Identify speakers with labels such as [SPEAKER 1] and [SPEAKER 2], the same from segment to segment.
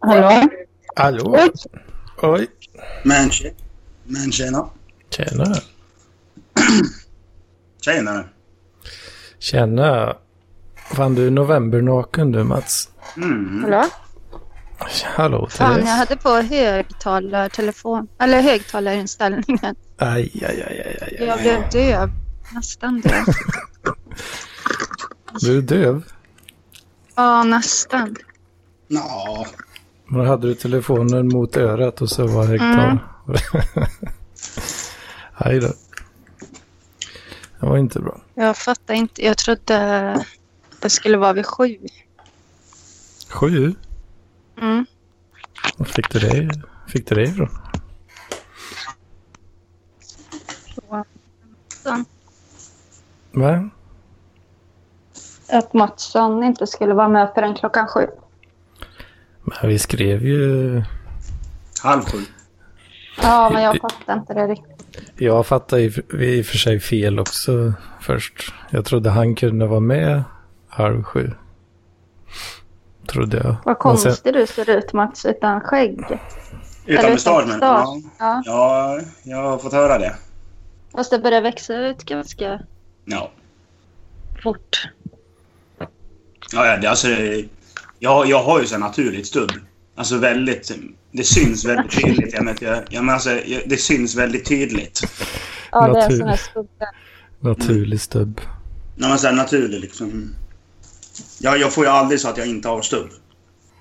[SPEAKER 1] Hallå?
[SPEAKER 2] Hallå?
[SPEAKER 1] Oj.
[SPEAKER 2] Oj.
[SPEAKER 3] Men, tje- men tjena.
[SPEAKER 2] Tjena.
[SPEAKER 3] Tjenare.
[SPEAKER 2] Tjena. Fan, du är novembernaken du Mats.
[SPEAKER 3] Mm.
[SPEAKER 1] Hallå?
[SPEAKER 2] Hallå
[SPEAKER 1] Fan, jag
[SPEAKER 2] Therese.
[SPEAKER 1] hade på högtalartelefon. Eller högtalarinställningen.
[SPEAKER 2] Aj, aj, aj, aj, aj, aj.
[SPEAKER 1] Jag blev döv. Nästan döv.
[SPEAKER 2] Blev du döv?
[SPEAKER 1] Ja, nästan.
[SPEAKER 3] Ja,
[SPEAKER 2] Men hade du telefonen mot örat och så var högtalaren? Aj då. Det var inte bra.
[SPEAKER 1] Jag fattar inte. Jag trodde det skulle vara vid sju.
[SPEAKER 2] Sju?
[SPEAKER 1] Mm.
[SPEAKER 2] Var fick du det, fick du det ifrån? Va?
[SPEAKER 1] Att Mattsson inte skulle vara med förrän klockan sju.
[SPEAKER 2] Men vi skrev ju...
[SPEAKER 3] halv sju.
[SPEAKER 1] Ja, men jag fattar inte det riktigt.
[SPEAKER 2] Jag fattade i i och för sig fel också först. Jag trodde han kunde vara med halv sju. Trodde jag.
[SPEAKER 1] Vad
[SPEAKER 2] Men sen-
[SPEAKER 1] konstig du ser ut Mats, utan skägg.
[SPEAKER 3] Utan
[SPEAKER 1] Eller
[SPEAKER 3] bestånd, men ja,
[SPEAKER 1] bestånd. Ja.
[SPEAKER 3] ja, jag har fått höra det.
[SPEAKER 1] Fast det börjar växa ut ganska
[SPEAKER 3] Ja,
[SPEAKER 1] fort.
[SPEAKER 3] ja ja, det, alltså, det- jag, jag har ju så här naturligt stubb. Alltså väldigt, det syns väldigt tydligt. Jag menar, jag, jag menar alltså, jag, det syns väldigt tydligt.
[SPEAKER 1] Ja, det är
[SPEAKER 2] Natur.
[SPEAKER 1] sån här skugga.
[SPEAKER 2] Naturlig stubb.
[SPEAKER 3] När man säger naturligt liksom. Jag, jag får ju aldrig så att jag inte har stubb.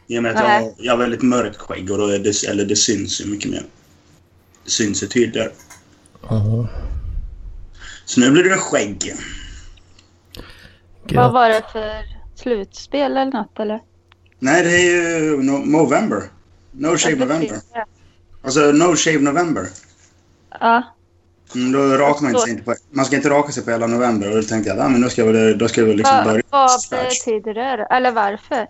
[SPEAKER 3] I och med att jag,
[SPEAKER 1] Nej.
[SPEAKER 3] har- jag har väldigt mörkt skägg och då är det, eller det syns ju mycket mer. Det syns ju tydligare.
[SPEAKER 2] Ja.
[SPEAKER 3] Så nu blir det skägg.
[SPEAKER 1] Vad
[SPEAKER 2] Gött.
[SPEAKER 1] var det för slutspel eller något eller?
[SPEAKER 3] Nej, det är ju no November. No Shave November. Alltså No Shave November.
[SPEAKER 1] Ja,
[SPEAKER 3] Mm, då rakar man, inte sig inte på, man ska inte raka sig på hela november. Och då tänkte jag ah, men då ska jag väl, då ska jag väl liksom
[SPEAKER 1] vad,
[SPEAKER 3] börja
[SPEAKER 1] vad
[SPEAKER 3] scratch.
[SPEAKER 1] betyder det typ- då? Eller varför?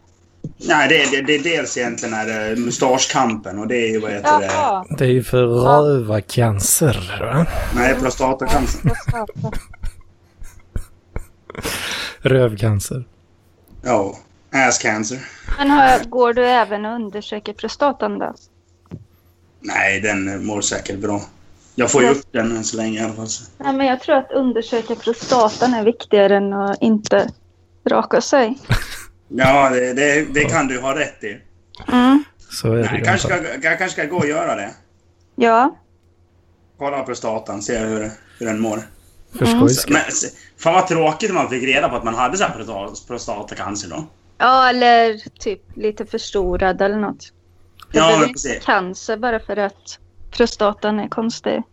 [SPEAKER 3] Nej, det är, det, det är dels egentligen är det mustaschkampen och det är ju vad heter det?
[SPEAKER 1] Jaha,
[SPEAKER 2] Det är ju för rövarcancer. va?
[SPEAKER 3] Nej, prostatacancer.
[SPEAKER 1] jag fattar.
[SPEAKER 2] Rövcancer.
[SPEAKER 3] Ja. Ass cancer.
[SPEAKER 1] Men har, går du även och undersöker prostatan då?
[SPEAKER 3] Nej, den mår säkert bra. Jag får ju upp den än så länge i alla fall.
[SPEAKER 1] Nej, men jag tror att undersöka prostatan är viktigare än att inte raka sig.
[SPEAKER 3] Ja, det, det, det kan du ha rätt i.
[SPEAKER 1] Mm.
[SPEAKER 2] Så är det
[SPEAKER 3] Nej,
[SPEAKER 2] ju.
[SPEAKER 3] kanske
[SPEAKER 2] antagligen.
[SPEAKER 3] ska, jag kanske ska gå och göra det.
[SPEAKER 1] Ja,
[SPEAKER 3] Kolla prostatan, se hur, hur den mår.
[SPEAKER 1] Mm.
[SPEAKER 2] För skojs skull.
[SPEAKER 3] Men, s- fan vad tråkigt om man fick reda på att man hade så här prostat- prostatacancer då.
[SPEAKER 1] ja eller typ lite förstorad eller något. Det
[SPEAKER 3] Ja,
[SPEAKER 1] behöver
[SPEAKER 3] men
[SPEAKER 1] inte vara
[SPEAKER 3] precis.
[SPEAKER 1] cancer bara för att prostatan är konstig.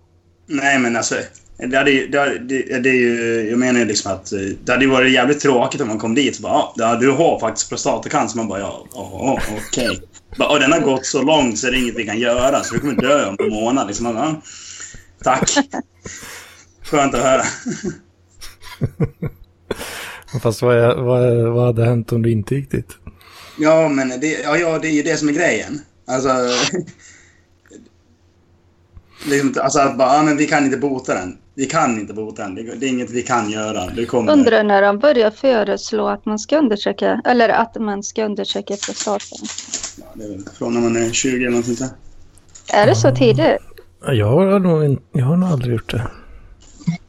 [SPEAKER 3] Nej, men alltså. Det, hade, ju- det, hade, det, det är ju, jag menar ju liksom att eh, det hade ju varit jävligt tråkigt om man kom dit och bara ah, ja, du har faktiskt prostatacancer. Man bara ja, oh, okej. Bara, Och den har gått så långt så det är inget vi kan göra så du kommer dö om en månad. Liksom, man bara, "Ah, tack. Skönt att höra. Mm.
[SPEAKER 2] Fast vad, är- vad, vad hade hänt om du inte gick dit?
[SPEAKER 3] Ja, men det, ja, ja, det är ju det som är grejen. Alltså... liksom, alltså att bara, ja, men vi kan inte bota den. Vi kan inte bota den. Det, det är inget vi kan göra. Det kommer...
[SPEAKER 1] Undrar när de börjar föreslå att man ska undersöka, eller att man ska undersöka prostatan.
[SPEAKER 3] Ja, det är väl från när man är 20 eller något sånt där.
[SPEAKER 1] Är det så tidigt?
[SPEAKER 2] Jag har nog, in, jag har nog aldrig gjort det.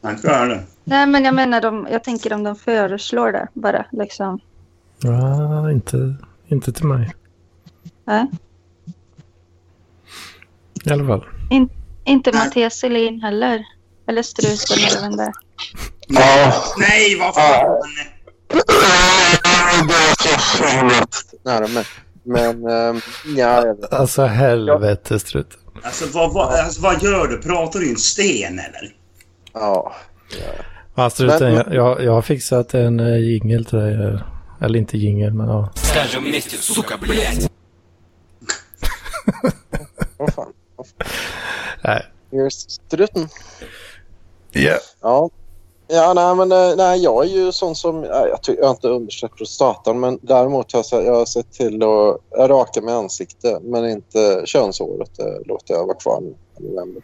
[SPEAKER 3] Tack för det.
[SPEAKER 1] Nej, men jag menar, de, jag tänker om de föreslår det bara. Liksom.
[SPEAKER 2] Ja, inte, inte till mig.
[SPEAKER 1] Nej.
[SPEAKER 2] I alla fall.
[SPEAKER 1] In, inte
[SPEAKER 3] Nej.
[SPEAKER 1] Mattias Selin heller. Eller struten eller vem det är.
[SPEAKER 3] Nej, vad fan!
[SPEAKER 4] Det var så himla närmare. Men ehm, ja, jag vet.
[SPEAKER 2] Alltså helvete strut.
[SPEAKER 3] Alltså vad, vad, alltså, vad gör du? Pratar du i en sten eller?
[SPEAKER 4] Ja.
[SPEAKER 2] Ja, struten,
[SPEAKER 4] Men-
[SPEAKER 2] jag, jag, jag har fixat en eh, jingel till dig. eh, Eller inte jingel, men ja.
[SPEAKER 5] Скажем вместе, сука, блядь.
[SPEAKER 4] Vad fan. Vad fan.
[SPEAKER 2] Nej.
[SPEAKER 4] Here's struten.
[SPEAKER 2] Yeah.
[SPEAKER 4] Ja. Ja, nej, men eh, nej, jag är ju sån som... Nej, jag, ty- jag har inte undersökt prostatan, men däremot har jag, se- jag har sett till att jag raka mig ansikte, men inte könshåret. Det låter jag vara kvar nu. i november.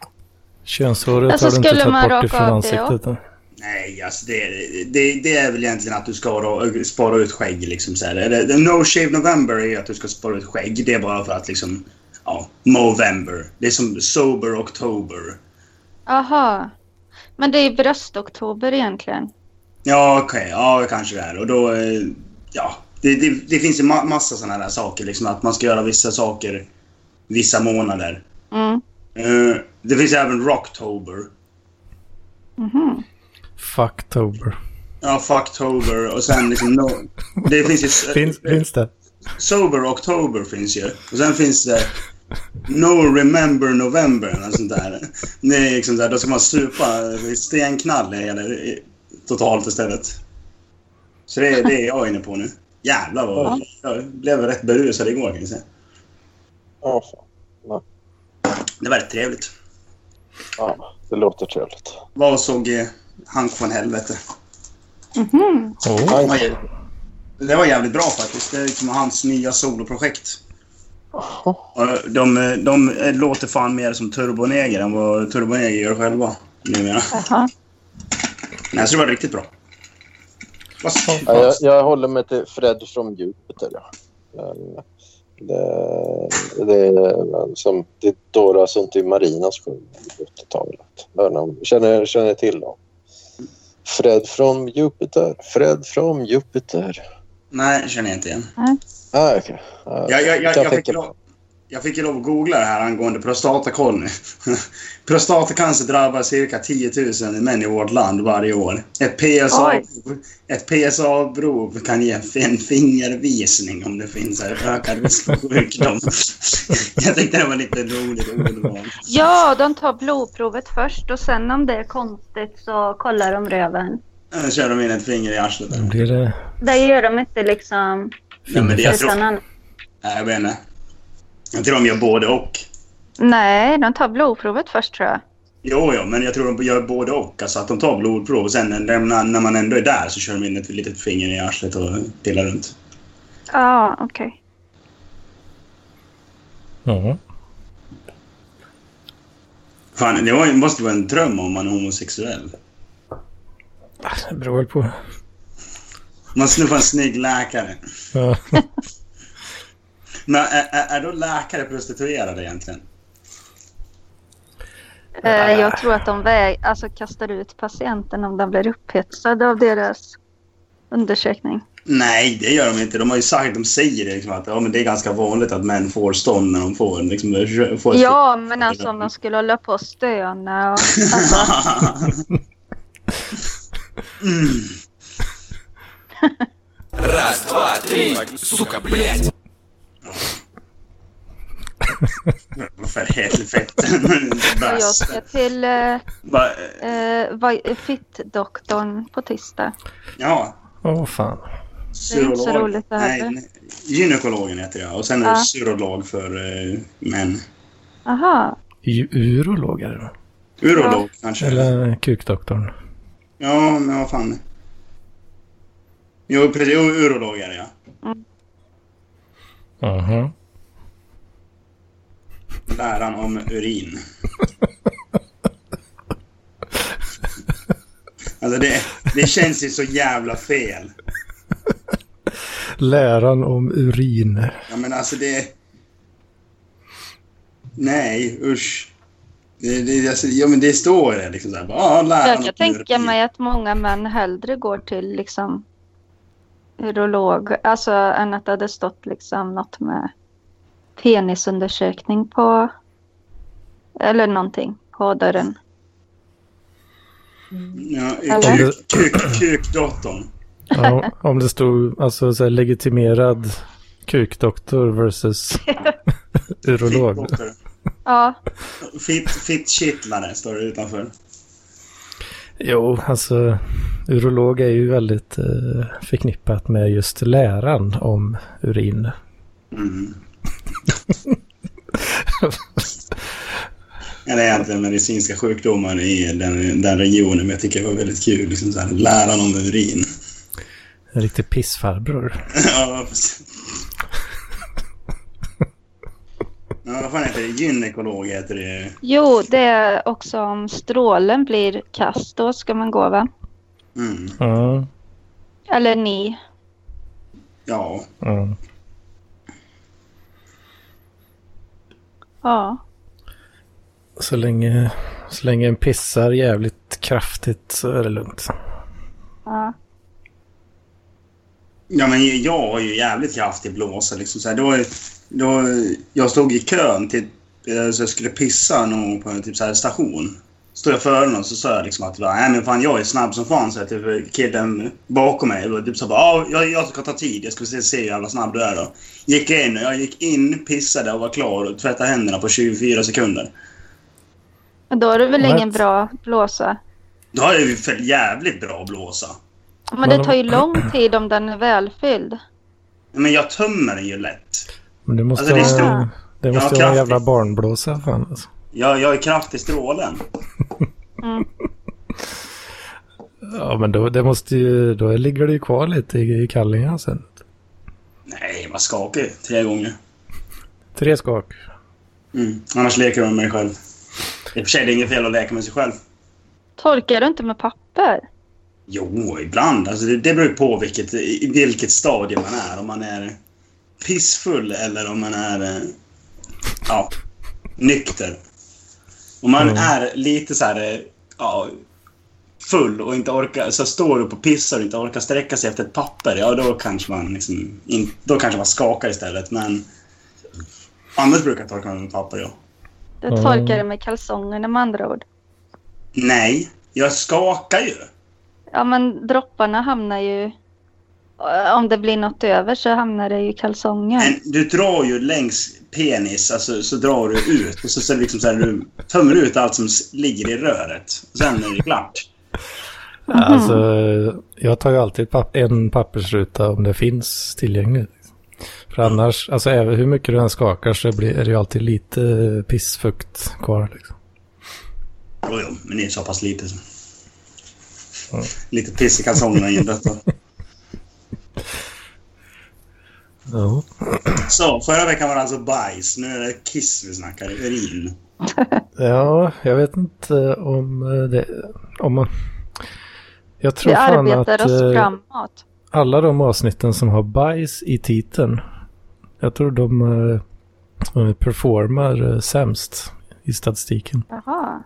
[SPEAKER 2] Könshåret
[SPEAKER 1] Alltså,
[SPEAKER 2] har du inte
[SPEAKER 1] skulle man
[SPEAKER 2] tagit bort
[SPEAKER 1] raka
[SPEAKER 2] ifrån
[SPEAKER 1] av det
[SPEAKER 2] ansiktet. då?
[SPEAKER 3] Nej, alltså det, det, det är väl egentligen att du ska då, eh, spara ut skägg. Liksom, så här. Eller, the no Shave November är att du ska spara ut skägg. Det är bara för att liksom... Ja, Movember. Det är som Sober October.
[SPEAKER 1] Aha. Men det är bröstoktober egentligen.
[SPEAKER 3] Ja, okej. Ja, kanske det är. Och då... eh, Ja. Det, det, det finns ju ma- massa sådana där saker. Liksom, att man ska göra vissa saker vissa månader.
[SPEAKER 1] Mm.
[SPEAKER 3] Eh, det finns även Rocktober.
[SPEAKER 1] Mhm.
[SPEAKER 2] Fucktober.
[SPEAKER 3] Ja, Fucktober och sen liksom... No, det finns ju...
[SPEAKER 2] Finns, finns det?
[SPEAKER 3] Sober October finns ju. Och sen finns det No Remember November eller sånt där. Det är liksom så här, då ska man supa stenknalle hela, totalt istället. Så det är det är jag inne på nu. Jävlar vad... Jag blev rätt berusad igår kan jag säga.
[SPEAKER 4] Ja, fan.
[SPEAKER 3] Det var rätt trevligt.
[SPEAKER 4] ja, det låter trevligt.
[SPEAKER 3] Var och såg eh, Hank von Helvete.
[SPEAKER 1] Mhm.
[SPEAKER 2] Oh.
[SPEAKER 3] Det
[SPEAKER 4] Jaha.
[SPEAKER 3] var jä- Det var jävligt bra faktiskt. Det är liksom hans nya soloprojekt. Och De, eh, de eh, låter fan mer som Turboneger än vad Turboneger gör själva numera.
[SPEAKER 1] Jaha.
[SPEAKER 3] Nej, så det var riktigt bra. Vad sa
[SPEAKER 4] Ja, jag, jag håller mig till Fred från Jupiter. Ja. Men det, det, är som, det är Dora Sunti Marinas sjung i 80-talet. Hör ni om- Känner, känner ni till dem? Fred från Jupiter. Fred från Jupiter.
[SPEAKER 3] Nej, känner jag inte igen.
[SPEAKER 4] Ah, okej. Ah,
[SPEAKER 3] Jag, jag, jag,
[SPEAKER 4] kan
[SPEAKER 3] jag, fick
[SPEAKER 4] tänka-
[SPEAKER 3] lov, jag fick ju lov att googla det här angående prostatakorn. Prostatacancer drabbar cirka 10 000 män i vårt land varje år. Ett PSA, ett PSA-prov kan ge en fingervisning om det finns en ökad risk för sjukdom. jag tyckte det var lite roligt ordval.
[SPEAKER 1] Ja, de tar blodprovet först och sen om det är konstigt så kollar de röven.
[SPEAKER 3] Nu kör de in ett finger i arslet.
[SPEAKER 2] Då blir det
[SPEAKER 1] Det gör de inte liksom
[SPEAKER 3] Nej, men det, jag, tror,
[SPEAKER 1] utan annat.
[SPEAKER 3] nej, jag vet inte. Jag tror de gör både och.
[SPEAKER 1] Nej, de tar blodprovet först tror jag.
[SPEAKER 3] Jo, jo, men jag tror de gör både och. Alltså att de tar blodprov och sen när, när man ändå är där så kör de in ett litet finger i arslet och pillar runt.
[SPEAKER 1] Ja, okej.
[SPEAKER 2] Ja.
[SPEAKER 3] Fan, det var, ju- måste vara en dröm om man är homosexuell.
[SPEAKER 2] Det beror väl på.
[SPEAKER 3] Man snuffar en snygg läkare.
[SPEAKER 2] Ja.
[SPEAKER 3] Men är, är, är då läkare prostituerade egentligen?
[SPEAKER 1] Eh, Jag tror att de väg, alltså, kastar ut patienten om de blir upphetsade av deras undersökning.
[SPEAKER 3] Nej, det gör de inte. De har ju sagt, de säger det liksom att ja, men det är ganska vanligt att män får stånd när de får, liksom, får ett-
[SPEAKER 1] Ja, men alltså om de skulle hålla på och stöna och... Alltså,
[SPEAKER 3] mm.
[SPEAKER 5] Раз, два, три, сука, блядь.
[SPEAKER 3] Vad för helvete.
[SPEAKER 1] och jag
[SPEAKER 3] Bäst.
[SPEAKER 1] ska till eh,
[SPEAKER 3] Bara,
[SPEAKER 1] eh, vad- fittdoktorn på tisdag.
[SPEAKER 3] Ja,
[SPEAKER 2] Åh fan.
[SPEAKER 1] Det är inte så
[SPEAKER 3] Syrolog.
[SPEAKER 1] roligt det här.
[SPEAKER 3] Nej, nej. gynekologen heter jag och sen är
[SPEAKER 1] Ja.
[SPEAKER 3] det syrolog för eh, män.
[SPEAKER 1] Aha.
[SPEAKER 2] Ju- Urolog är det va?
[SPEAKER 3] Urolog kanske.
[SPEAKER 2] Eller kukdoktorn.
[SPEAKER 3] Ja, men vad fan. Jo, precis. Jo, urolog är det ja.
[SPEAKER 2] Jaha.
[SPEAKER 3] Läran om urin. Alltså det, det känns ju så jävla fel.
[SPEAKER 2] Läran om urin.
[SPEAKER 3] Ja, men alltså det... Nej, usch. Det, det, alltså, ja, men det står det liksom så här. bara, Ja, läran
[SPEAKER 1] Jag kan
[SPEAKER 3] om
[SPEAKER 1] tänka
[SPEAKER 3] urin.
[SPEAKER 1] mig att många män hellre går till liksom urolog, alltså än att det hade stått liksom något med penisundersökning på eller någonting på dörren.
[SPEAKER 3] Ja,
[SPEAKER 1] Eller?
[SPEAKER 3] kuk, kuk, kukdatorn.
[SPEAKER 2] Ja, om det stod alltså så här, legitimerad kukdoktor versus urolog.
[SPEAKER 3] Fittdotter.
[SPEAKER 1] Ja,
[SPEAKER 3] Fitt, fittkittlare står det utanför.
[SPEAKER 2] Jo, alltså urolog är ju väldigt eh, förknippat med just läran om urin.
[SPEAKER 3] Mm. Eller egentligen medicinska sjukdomar i den, den regionen. Men jag tycker det var väldigt kul. Liksom så här, läran om urin.
[SPEAKER 2] En riktig pissfarbror.
[SPEAKER 3] ja, precis. ja, vad fan heter det? Gynekolog heter det.
[SPEAKER 1] jo, det är också om strålen blir kast, då ska man gå va?
[SPEAKER 3] Mm.
[SPEAKER 2] Ja.
[SPEAKER 1] Eller ni.
[SPEAKER 3] Ja.
[SPEAKER 2] ja.
[SPEAKER 1] Ja.
[SPEAKER 2] Så länge, så länge en pissar jävligt kraftigt så är det lugnt.
[SPEAKER 1] ja.
[SPEAKER 3] Ja, men jag har ju jävligt kraftig blåsa. Liksom. Så här, då, då, jag stod i kön till, eh, så jag skulle pissa någon på en typ, så här, station. Stod jag före någon så sa jag liksom att Nej, men fan, jag är snabb som fan. Så här, typ, killen bakom mig och typ, så bara, "Ja, jag, jag ska ta tid. Jag ska se, se hur jävla snabb du är. Då. Gick jag in, och jag gick in, pissade och var klar och tvättade händerna på 24 sekunder.
[SPEAKER 1] Men då är det väl
[SPEAKER 2] What?
[SPEAKER 1] ingen bra blåsa?
[SPEAKER 3] Då har jag ju för jävligt bra blåsa.
[SPEAKER 1] Men
[SPEAKER 2] Men-
[SPEAKER 1] det tar ju lång tid om den är välfylld.
[SPEAKER 3] Men jag tömmer den ju lätt.
[SPEAKER 2] Men det måste
[SPEAKER 3] Alltså, det är
[SPEAKER 2] vara,
[SPEAKER 1] stor-
[SPEAKER 2] det
[SPEAKER 3] Ja,
[SPEAKER 2] måste vara en
[SPEAKER 3] kraftigt.
[SPEAKER 2] jävla barnblåsa fan alltså.
[SPEAKER 3] Jag, jag är kraft i strålen.
[SPEAKER 1] Mm.
[SPEAKER 2] Ja men då, det måste ju, då ligger det ju kvar lite i, i kallingen sen.
[SPEAKER 3] Nej, vad skakig. Tre gånger.
[SPEAKER 2] Tre skak.
[SPEAKER 3] Mm. Annars leker man med mig själv. I och för sig, det är inget fel att leka med sig själv.
[SPEAKER 1] Torkar du inte med papper?
[SPEAKER 3] Jo, ibland. Alltså, det, det beror ju på vilket, i vilket stadie man är. Om man är pissfull eller om man är eh, ja, nykter. Om man
[SPEAKER 2] Mm.
[SPEAKER 3] är lite så här eh, ja, full och inte orkar, så står upp och pissar och inte orkar sträcka sig efter ett papper, ja då kanske man, liksom, in, då kanske man skakar istället. Men annars brukar jag torka mig med papper, ja.
[SPEAKER 1] Du
[SPEAKER 2] Mm.
[SPEAKER 1] torkar det med kalsongerna med andra ord.
[SPEAKER 3] Nej, jag skakar ju.
[SPEAKER 1] Ja, men dropparna hamnar ju... Om det blir något över så hamnar det ju i kalsongen.
[SPEAKER 3] Men du drar ju längs penis, alltså, så drar du ut. Och så, så, liksom så här, du tömmer ut allt som s- ligger i röret. Sen är det klart.
[SPEAKER 2] Alltså, jag tar ju alltid papp- en pappersruta om det finns tillgängligt. För annars, alltså även hur mycket du än skakar så blir, är det ju alltid lite pissfukt kvar. Liksom.
[SPEAKER 3] Jo, jo, men det är så pass lite. Så. Lite piss i kalsongerna i en detta.
[SPEAKER 2] Ja.
[SPEAKER 3] Så, förra veckan var det alltså bajs. Nu är det kiss vi snackar. Urin.
[SPEAKER 2] ja, jag vet inte om eh, det... Om man, jag tror
[SPEAKER 1] Vi
[SPEAKER 2] fan
[SPEAKER 1] arbetar
[SPEAKER 2] att
[SPEAKER 1] oss
[SPEAKER 2] eh,
[SPEAKER 1] framåt.
[SPEAKER 2] alla de avsnitten som har bajs i titeln, jag tror de eh, eh, performar eh, sämst i statistiken.
[SPEAKER 1] Jaha.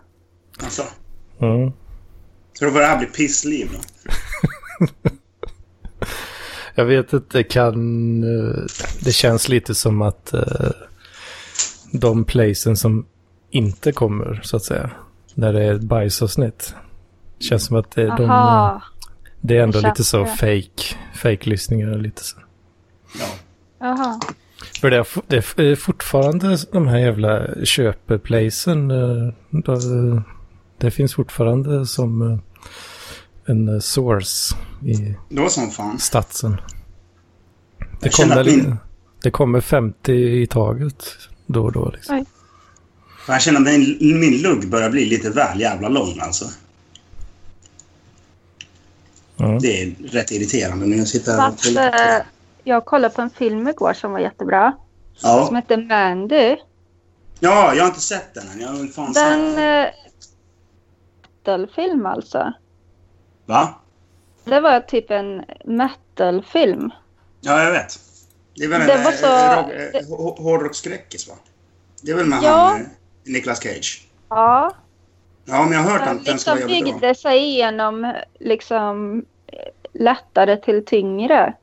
[SPEAKER 3] Alltså,
[SPEAKER 2] Mm.
[SPEAKER 3] tror du det här blir pissliv då?
[SPEAKER 2] Jag vet inte, kan... eh, Det känns lite som att eh, de placen som inte kommer, så att säga, när det är ett bajsavsnitt. Känns som att det, de, eh,
[SPEAKER 1] Jaha.
[SPEAKER 2] det är ändå
[SPEAKER 1] Det
[SPEAKER 2] lite så
[SPEAKER 1] känns
[SPEAKER 2] fake, fake lyssningar lite så.
[SPEAKER 3] Ja.
[SPEAKER 1] Jaha.
[SPEAKER 2] För det är, fo- det är f- det är fortfarande de här jävla köpeplacen. eh, de- Det finns fortfarande som eh, en eh, source i
[SPEAKER 3] Det var som fan.
[SPEAKER 2] statsen. Det
[SPEAKER 3] Jag känner
[SPEAKER 2] kommer,
[SPEAKER 3] att min-
[SPEAKER 2] li- det kommer 50 i taget då och då. Liksom.
[SPEAKER 3] För Jag känner att min- min lugg börjar bli lite väl jävla lång alltså.
[SPEAKER 2] Ja.
[SPEAKER 3] Det är rätt irriterande när jag sitter här
[SPEAKER 1] Fast, eh, jag kollade på en film igår som var jättebra.
[SPEAKER 3] Ja.
[SPEAKER 1] Som heter Mandy.
[SPEAKER 3] ja, jag har inte sett den än. Jag vill fan se
[SPEAKER 1] Den... Eh, metalfilm alltså.
[SPEAKER 3] Va?
[SPEAKER 1] Det var typ en metalfilm.
[SPEAKER 3] Ja, jag vet. Det är väl en
[SPEAKER 1] Det var
[SPEAKER 3] eh,
[SPEAKER 1] så-
[SPEAKER 3] rock- eh,
[SPEAKER 1] det-
[SPEAKER 3] hå- hårdrocksskräckis, va? Det är väl med
[SPEAKER 1] Ja.
[SPEAKER 3] han, eh, Nicolas Cage?
[SPEAKER 1] Ja.
[SPEAKER 3] Ja, men jag har hört
[SPEAKER 1] Den
[SPEAKER 3] att den ska
[SPEAKER 1] liksom
[SPEAKER 3] vara jävligt bra.
[SPEAKER 1] byggde sig igenom liksom eh, lättare till tyngre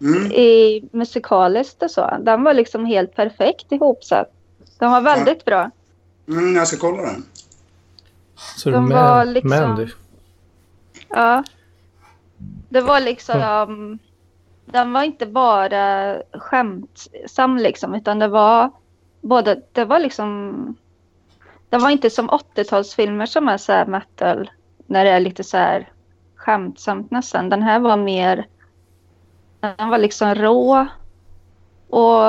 [SPEAKER 3] Mm.
[SPEAKER 1] i musikaliskt och så. Den var liksom helt perfekt ihopsatt. Den var väldigt bra.
[SPEAKER 3] Mm, jag ska kolla den.
[SPEAKER 2] Så
[SPEAKER 1] de
[SPEAKER 2] med,
[SPEAKER 1] var liksom-
[SPEAKER 2] men du.
[SPEAKER 1] Ja. Det var liksom... Den var inte bara skämtsam liksom, utan det var både... Det var liksom... Det var inte som 80-talsfilmer som är så här metal, när det är lite så här skämtsamt nästan. Den här var mer... Den var liksom rå. Och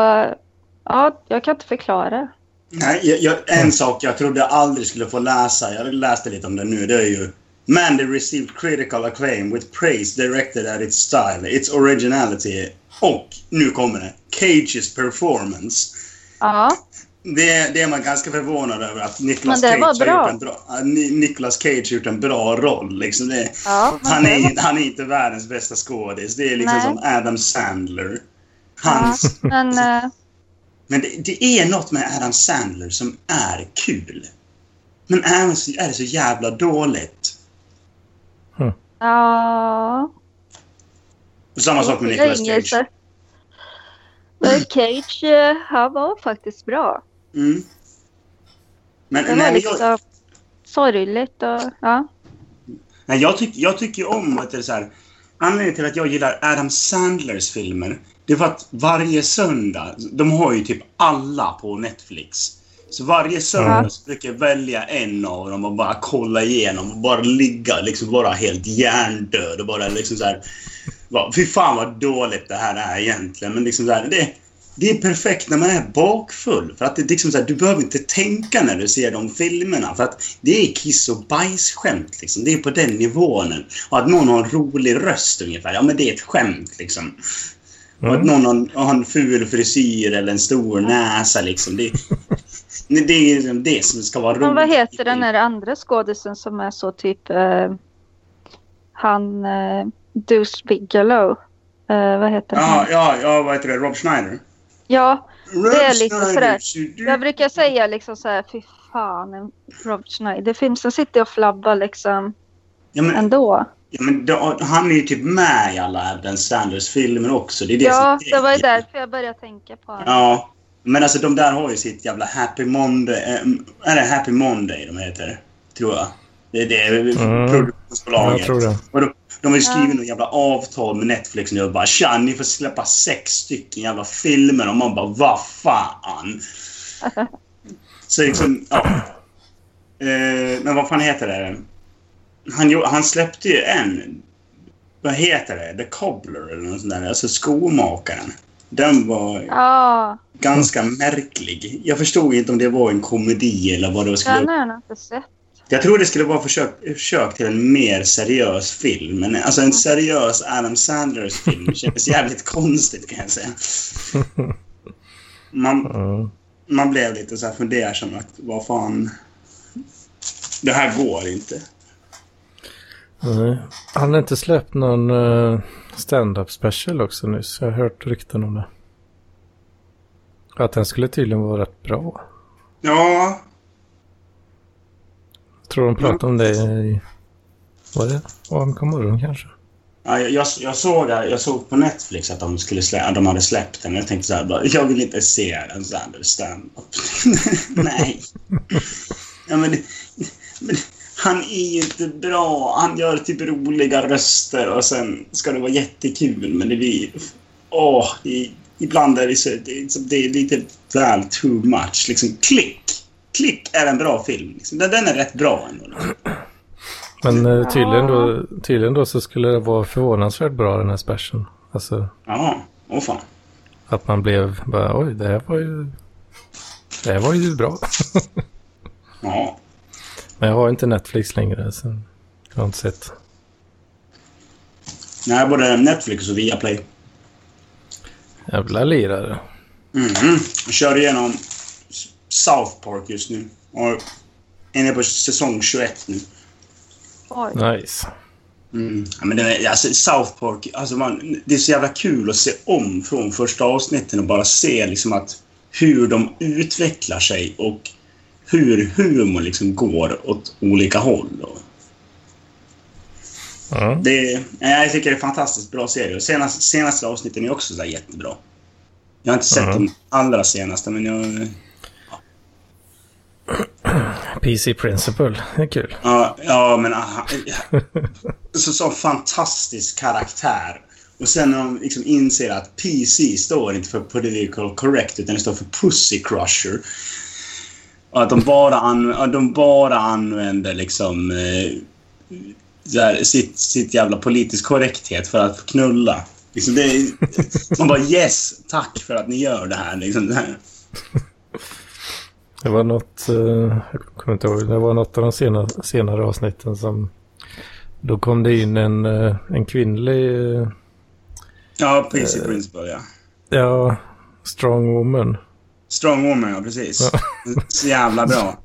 [SPEAKER 1] ja, jag kan inte förklara.
[SPEAKER 3] Nej, jag, jag, en sak jag trodde jag aldrig skulle få läsa, jag läste lite om den nu, det är ju Mandy received critical acclaim with praise directed at its style, its originality och, nu kommer det, Cages performance.
[SPEAKER 1] Ja,
[SPEAKER 3] Det, det är man ganska förvånad över att Nicolas
[SPEAKER 1] Men det
[SPEAKER 3] Cage
[SPEAKER 1] var
[SPEAKER 3] har
[SPEAKER 1] bra.
[SPEAKER 3] gjort en bra, ja, Ni- Nicolas Cage har gjort en bra roll. Liksom det,
[SPEAKER 1] Ja,
[SPEAKER 3] han, är, han är inte världens bästa skådis. Det är liksom
[SPEAKER 1] Nej.
[SPEAKER 3] som Adam Sandler.
[SPEAKER 1] ja,
[SPEAKER 3] Hans,
[SPEAKER 1] men eh,
[SPEAKER 3] Men det, det är något med Adam Sandler som är kul. Men är, han så- är det så jävla dåligt?
[SPEAKER 1] ja...
[SPEAKER 3] Och Samma sak med
[SPEAKER 1] det är
[SPEAKER 3] Nicolas
[SPEAKER 1] inget
[SPEAKER 3] Cage.
[SPEAKER 1] så- Men Cage, eh, han var faktiskt bra.
[SPEAKER 3] Mm. Men, nej,
[SPEAKER 1] Det var
[SPEAKER 3] men jag,
[SPEAKER 1] liksom sorgligt och ja.
[SPEAKER 3] Nej, jag, tyck, jag tycker ju om att det är så här. Anledningen till att jag gillar Adam Sandlers filmer, det är för att varje söndag, de har ju typ alla på Netflix. Så varje söndag
[SPEAKER 1] Ja.
[SPEAKER 3] så brukar jag välja en av dem och bara kolla igenom och bara ligga liksom bara helt hjärndöd och bara liksom så här. Bara, Fy fan vad dåligt det här är egentligen. Men liksom så här, det, det är perfekt när man är bakfull. För att det är liksom så här, du behöver inte tänka när du ser de filmerna. För att det är kiss och bajsskämt. Liksom. Det är på den nivån. Och att någon har en rolig röst ungefär, ja men det är ett skämt liksom. Och att
[SPEAKER 2] Mm.
[SPEAKER 3] någon har en, har en ful frisyr eller en stor näsa liksom. Det, Nej, det är liksom det som ska vara roligt.
[SPEAKER 1] Men vad heter den här andra skådisen som är så typ eh, han eh, Deuce Bigelow. Eh, vad heter
[SPEAKER 3] Ja,
[SPEAKER 1] han?
[SPEAKER 3] ja, ja, vad heter det? Rob Schneider?
[SPEAKER 1] Ja,
[SPEAKER 3] Rob
[SPEAKER 1] är lite sådär.
[SPEAKER 3] ser du-
[SPEAKER 1] jag brukar säga liksom så här, fy fan en Rob Schneider-film. Sen sitter jag och flabbar liksom
[SPEAKER 3] Ja, men,
[SPEAKER 1] ändå.
[SPEAKER 3] Ja, men då, han är ju typ med i alla Adam Sanders filmer också. Det är det
[SPEAKER 1] Ja,
[SPEAKER 3] som är
[SPEAKER 1] det var ju
[SPEAKER 3] grejen.
[SPEAKER 1] därför jag började tänka på honom.
[SPEAKER 3] Ja. Men alltså de där har ju sitt jävla Happy Monday. eh, Är det Happy Monday de heter? Tror jag. Det, det är
[SPEAKER 2] Mm.
[SPEAKER 3] produktionsbolaget.
[SPEAKER 2] Jag tror det.
[SPEAKER 3] Och de, de har ju skrivit
[SPEAKER 1] Ja.
[SPEAKER 3] några jävla avtal med Netflix nu och bara tja, ni får släppa sex stycken jävla filmer och man bara vad fan. Så liksom, ja. Eh, men vad fan heter det? Han, gjo- han släppte ju en. Vad heter det? The Cobbler eller något sånt där. Alltså skomakaren. Den var
[SPEAKER 1] Ja,
[SPEAKER 3] ganska märklig. Jag förstod inte om det var en komedi eller vad det skulle
[SPEAKER 1] den har jag nog inte sett.
[SPEAKER 3] jag tror det skulle vara försök, försök till en mer seriös film. Men alltså en seriös Adam Sandlers film kändes jävligt konstigt kan jag säga. Man,
[SPEAKER 2] Mm.
[SPEAKER 3] man blev lite så här fundersam att vad fan. Det här går inte.
[SPEAKER 2] Nej. Han har inte släppt någon eh, stand-up special också nyss. Jag har hört rykten om det. Att den skulle tydligen vara rätt bra.
[SPEAKER 3] Ja,
[SPEAKER 2] Tror
[SPEAKER 3] Mm.
[SPEAKER 2] de pratade om det i... Vad är det? AMK morgon kanske?
[SPEAKER 3] ja, jag, jag, jag, såg, jag såg på Netflix att de, skulle slä, att de hade släppt den. Jag tänkte så här, bara, jag vill inte se Adam Sandlers stand-up. Nej. Ja, men, men han är ju inte bra. Han gör typ roliga röster och sen ska det vara jättekul, men det blir... Åh, i, ibland är det, så, det, är som- det är lite väl too much. Liksom, klick! Klick är en bra film. Liksom. Den, den är rätt bra ändå.
[SPEAKER 2] Men eh, tydligen, då, tydligen då så skulle det vara förvånansvärt bra den här specialen. Alltså
[SPEAKER 3] Ja, åh fan.
[SPEAKER 2] att man blev bara oj, det här var ju... Det här var ju bra.
[SPEAKER 3] Ja.
[SPEAKER 2] Men jag har inte Netflix längre så jag har inte sett.
[SPEAKER 3] Nej, både Netflix och Viaplay.
[SPEAKER 2] Jävla lirare.
[SPEAKER 3] Mm. Jag kör igenom S- South Park just nu. Och är inne på säsong 21 nu.
[SPEAKER 1] Oj.
[SPEAKER 2] Nice.
[SPEAKER 3] Mm. Ja, men det, är- alltså, South Park, alltså man, det är så jävla kul att se om från första avsnitten och bara se liksom att hur de utvecklar sig och hur humor liksom går åt olika håll. Och
[SPEAKER 2] Mm.
[SPEAKER 3] det, är- ja, jag tycker det är en fantastiskt bra serie. Och Senast, senaste avsnitten är också så där jättebra. Jag har inte sett de allra senaste, men jag...
[SPEAKER 2] PC Principle, det är kul.
[SPEAKER 3] Ja, ja men aha, så, så fantastisk karaktär. Och sen när de liksom inser att PC står inte för political correct utan det står för pussy crusher. Och att de bara, an, att de bara använder liksom eh, så här, sitt, sitt jävla politisk korrekthet för att knulla. Liksom det är, man bara yes, tack för att ni gör det här. Liksom det här.
[SPEAKER 2] Det var något, eh, jag kommer inte ihåg, det var något av de sena, senare avsnitten som då kom det in en, eh, en kvinnlig, eh,
[SPEAKER 3] Ja, PC principle ja.
[SPEAKER 2] ja, strong woman.
[SPEAKER 3] Strongwoman, ja precis. Så jävla bra.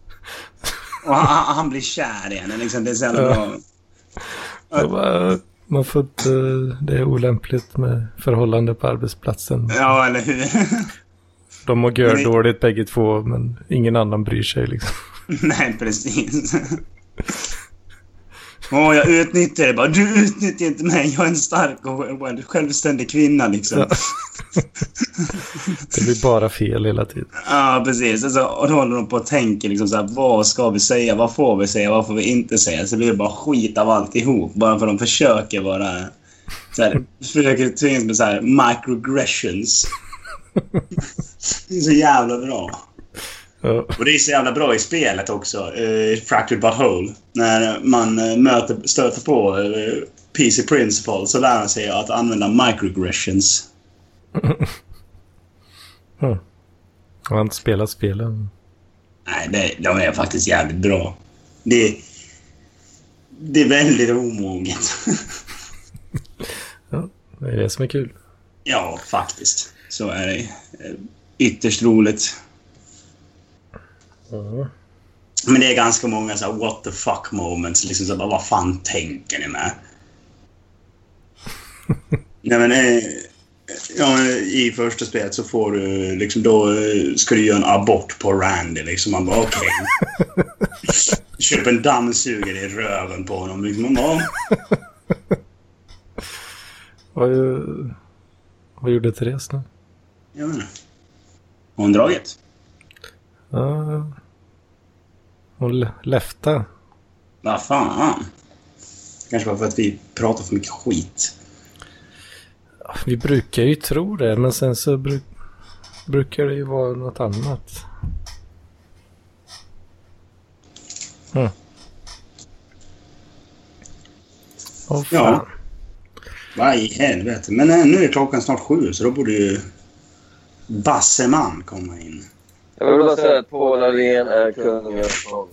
[SPEAKER 3] Och han, han- han blir kär i henne liksom. Det är så jävla
[SPEAKER 2] Ja.
[SPEAKER 3] bra.
[SPEAKER 2] Det var, man får inte, det är olämpligt med förhållande på arbetsplatsen.
[SPEAKER 3] Ja, eller hur?
[SPEAKER 2] De och
[SPEAKER 3] Men det-
[SPEAKER 2] gör dåligt bägge två, men ingen annan bryr sig liksom.
[SPEAKER 3] Nej, precis. Åh, jag utnyttjar det bara. Du utnyttjar inte mig. Jag är en stark och själv- självständig kvinna liksom.
[SPEAKER 2] Ja. Det blir bara fel hela tiden.
[SPEAKER 3] Ja, precis. Alltså, och då håller de på och tänker liksom så här, vad ska vi säga, vad får vi säga, vad får vi inte säga? Så blir det bara skit av alltihop, bara för att de försöker vara... Så här, försöker tvinga in med så här microaggressions. Det är så jävla bra.
[SPEAKER 2] Ja,
[SPEAKER 3] Och det är så jävla bra i spelet också, eh, Fractured But Whole. När man eh, möter, stöter på eh, PC Principle så lär man sig att använda microaggressions.
[SPEAKER 2] jag har inte spelat spelen.
[SPEAKER 3] Nej, det, de är faktiskt jävligt bra. Det, det är väldigt omoget.
[SPEAKER 2] Det är det som är kul.
[SPEAKER 3] ja, faktiskt. Så är det. Eh, Ytterst roligt.
[SPEAKER 2] Ja.
[SPEAKER 3] Men det är ganska många så här, what the fuck moments. Liksom så här, bara, vad fan tänker ni med? Nej, men, eh, ja, men i första spelet så får du liksom då eh, ska du göra en abort på Randy liksom. Man bara okej. Köp en dammsugare i röven på honom. Liksom, man bara,
[SPEAKER 2] Vad, eh, vad gjorde Therese nu?
[SPEAKER 3] Jag menar. Har hon dragit?
[SPEAKER 2] Ja. Hon le- lefta.
[SPEAKER 3] Vad fan. Kanske bara för att vi pratar för mycket skit.
[SPEAKER 2] Vi brukar ju tro det, men sen så bru- brukar det ju vara något annat. Mm. Åh, fan.
[SPEAKER 3] Ja. Vad i helvete. Men eh, nu är klockan snart sju så då borde ju Basseman komma in.
[SPEAKER 4] Jag vill bara säga att Paul Arén är kung över sång.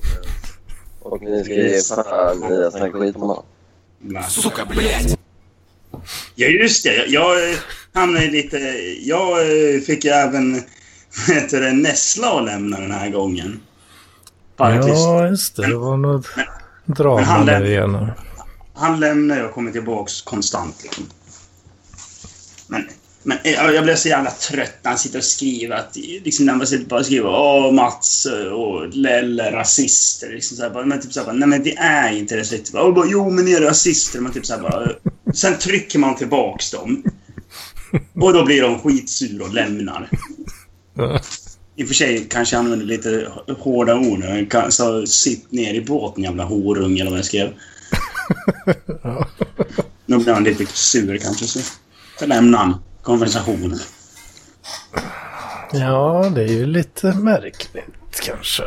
[SPEAKER 4] Och ni ska ge fan i att snacka skit om honom.
[SPEAKER 3] Bla.
[SPEAKER 5] Сука, блядь!
[SPEAKER 3] Ja just det. Jag, jag eh, hamnade i lite... Jag eh, fick ju även heter det, Nessla att lämna den här gången. Parklist.
[SPEAKER 2] Ja, just det. Det var något drama
[SPEAKER 3] Men han
[SPEAKER 2] där
[SPEAKER 3] lät-
[SPEAKER 2] igen.
[SPEAKER 3] Han lämnar och kommer tillbaks konstant. Liksom. Men, men eh, jag, jag blev så jävla trött när han sitter och skriver att liksom, när man sitter bara och skriver Åh, Mats eh, och Lelle rasister. Liksom, så här, bara, men typ så här, bara, nej men det är inte det. Så lite, bara, och bara, jo men ni är rasister. Man, typ, så här, bara, sen trycker man tillbaks dem. Och då blir de skitsura och lämnar.
[SPEAKER 2] Ja.
[SPEAKER 3] I och för sig kanske jag använde lite hårda ord. Jag kan- sa sitt ner i båten jävla horunge eller vad jag skrev. Nu blir han lite sur kanske. Så, så lämnar han konversationen.
[SPEAKER 2] Ja, det är ju lite märkligt kanske.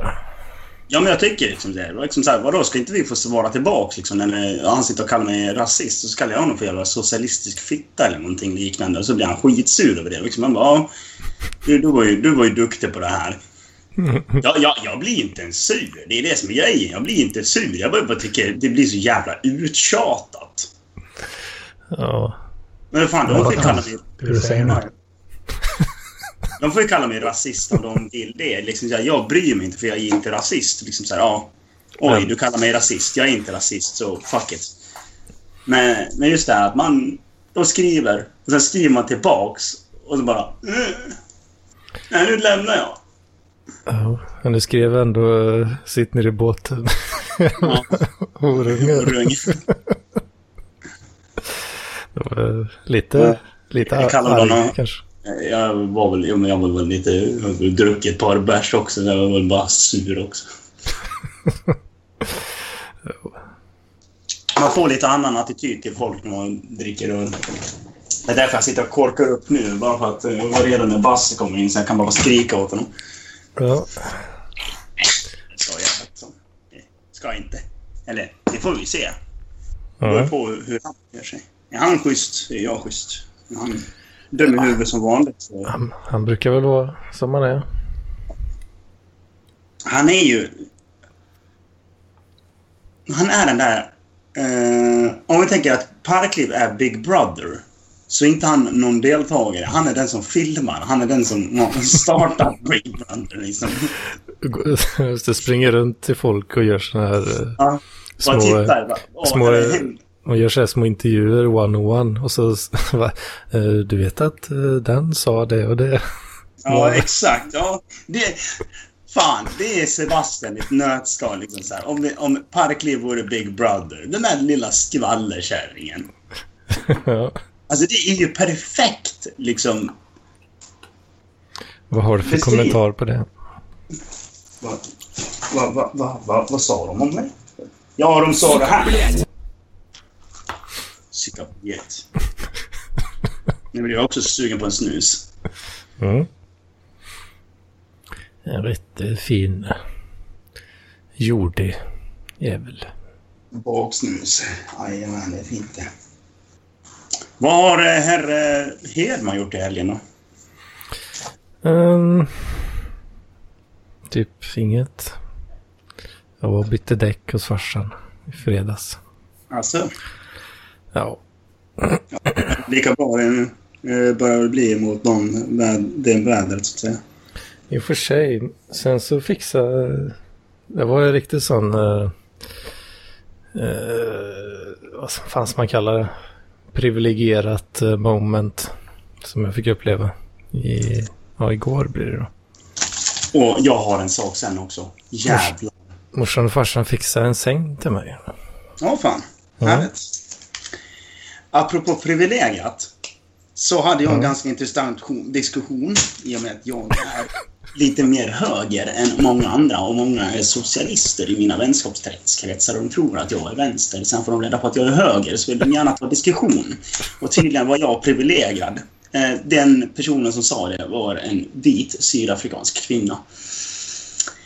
[SPEAKER 3] Ja, men jag tycker liksom det. Det var Liksom så här, vadå, ska inte vi få svara tillbaka liksom, när eh, han sitter och kallar mig rasist? Så kallar jag honom för jävla socialistisk fitta eller någonting liknande. Och så blir han skitsur över det. Liksom, man bara, "Ja, du, du, var ju, du var ju duktig på det här. Ja, jag, jag blir inte ens sur. Det är det som är grejen. Jag blir inte sur. Jag bara, bara tycker det blir så jävla uttjatat.
[SPEAKER 2] Ja.
[SPEAKER 3] Men fan, de får ju kalla mig...
[SPEAKER 6] vill du säga nu?
[SPEAKER 3] De får ju kalla mig rasist om de vill det. Liksom, så här, jag bryr mig inte för jag är inte rasist. Liksom, så här, ja, Oj, du kallar mig rasist. Jag är inte rasist, så fuck it. Men, men just det här att man... De skriver, och sen skriver man tillbaks och så bara... "Mm. Nej, nu lämnar jag.
[SPEAKER 2] ja. Men du skrev ändå eh, sitt ner i båten.
[SPEAKER 3] Ja,
[SPEAKER 2] Horungar.
[SPEAKER 3] rung.
[SPEAKER 2] Det var eh, lite,
[SPEAKER 4] Ja.
[SPEAKER 2] lite
[SPEAKER 3] Jag kallar
[SPEAKER 2] arg
[SPEAKER 3] honom-
[SPEAKER 2] kanske.
[SPEAKER 3] Jag var väl, jo, men jag var väl lite... Jag hade väl druckit ett par bärs också, så jag var väl bara sur också. Man får lite annan attityd till folk när man dricker öl. Det är därför jag sitter och korkar upp nu, bara för att eh, jag var redo när Basse kommer in så jag kan bara skrika åt honom.
[SPEAKER 2] Ja.
[SPEAKER 3] Det ska jag liksom. Det ska jag inte. Eller, det får vi se. Det beror
[SPEAKER 2] ja.
[SPEAKER 3] på hur han gör sig. Är han schysst så är jag schysst. Är han dömer huvudet som vanligt så...
[SPEAKER 2] Han, han brukar väl vara som han är.
[SPEAKER 3] Han är ju... Han är den där... eh, om vi tänker att Parkliv är Big Brother så är inte han någon deltagare. Han är den som filmar. Han är den som startar Brainbrunder liksom.
[SPEAKER 2] Just det, springer runt till folk och gör sådana här... eh,
[SPEAKER 3] Ja,
[SPEAKER 2] Små,
[SPEAKER 3] Bara tittar. Bara, Åh,
[SPEAKER 2] små-
[SPEAKER 3] är det händer?
[SPEAKER 2] Man gör så här små intervjuer one-on-one och så... va, eh, du vet att eh, den sa det och det.
[SPEAKER 3] Ja, exakt. Ja, det, fan, det är Sebastian i ett nötskal. Liksom så här. Om, det, om Parkliv vore Big Brother, den där lilla skvallerkärringen.
[SPEAKER 2] Ja.
[SPEAKER 3] Alltså det är ju perfekt liksom.
[SPEAKER 2] Vad har du för
[SPEAKER 3] Precis.
[SPEAKER 2] kommentar på det?
[SPEAKER 3] Vad vad vad vad vad- vad sa de om mig? Ja, de sa det här. Sucka biet. Nu blir jag också sugen på en snus.
[SPEAKER 2] Mm. En riktigt fin, jordig jävel.
[SPEAKER 3] Baksnus. Jajamän, det är fint det. Vad har eh, herr eh, Hedman gjort i helgen då?
[SPEAKER 2] Ehm, typ inget. Jag var och bytte däck hos farsan i fredags.
[SPEAKER 3] Alltså,
[SPEAKER 2] Ja,
[SPEAKER 3] lika bra det eh, börjar det bli mot de, väd- det vädret så att säga.
[SPEAKER 2] i och för sig. Sen så fixade... Det var en riktigt sån... eh, eh, vad som fanns man kallar det? Privilegierat eh, moment. Som jag fick uppleva. I, ja, igår blir det då.
[SPEAKER 3] Och jag har en sak sen också. Jävlar.
[SPEAKER 2] Morsan och farsan fixade en säng till mig.
[SPEAKER 3] Ja, fan. Härligt. Apropå privilegiet så hade jag en ganska intressant ko- diskussion i och med att jag är lite mer höger än många andra och många är socialister i mina vänskapskretsar och de tror att jag är vänster. Sen får de reda på att jag är höger så vill de gärna ta diskussion. Och tydligen var jag privilegierad. Eh, Den personen som sa det var en vit sydafrikansk kvinna.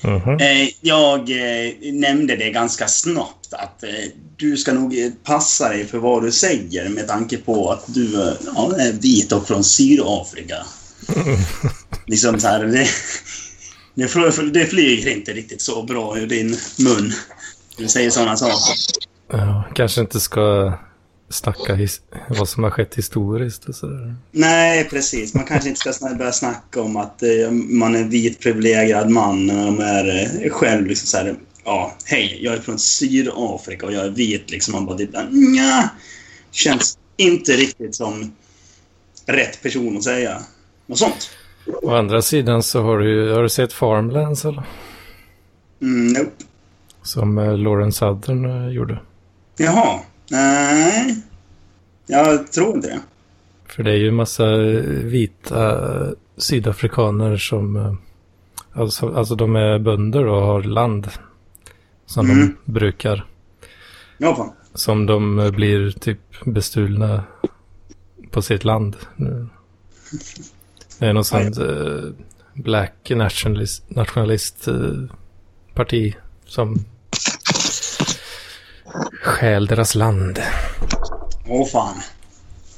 [SPEAKER 2] Mhm.
[SPEAKER 3] Eh, jag eh, nämnde det ganska snabbt att eh, du ska nog eh, passa dig för vad du säger med tanke på att du eh, ja, är vit och från Sydafrika. liksom så här, det, det, fl- det flyger inte riktigt så bra ur din mun. Du säger sådana saker.
[SPEAKER 2] Ja, kanske inte ska snacka his- vad som har skett historiskt och sådär.
[SPEAKER 3] Nej, precis. Man kanske inte ska sna- börja snacka om att eh, man är en vit privilegierad man när man är eh, själv liksom så här, ja, hej, jag är från Sydafrika och jag är vit liksom. Man bara typ, nja, känns inte riktigt som rätt person att säga något sånt.
[SPEAKER 2] Å andra sidan så har du ju, har du sett Farmlands eller?
[SPEAKER 3] Mm, nope.
[SPEAKER 2] Som eh, Lauren Southern eh, gjorde.
[SPEAKER 3] Jaha, nej, jag tror inte det.
[SPEAKER 2] För det är ju en massa eh, vita eh, sydafrikaner som, eh, alltså, alltså de är bönder och har land som
[SPEAKER 3] Mm.
[SPEAKER 2] de brukar.
[SPEAKER 3] Ja, fan.
[SPEAKER 2] Som de eh, blir typ bestulna på sitt land. nu. Det är någon sån eh, black nationalist, nationalist eh, parti som stjäl deras land.
[SPEAKER 3] Åh, fan.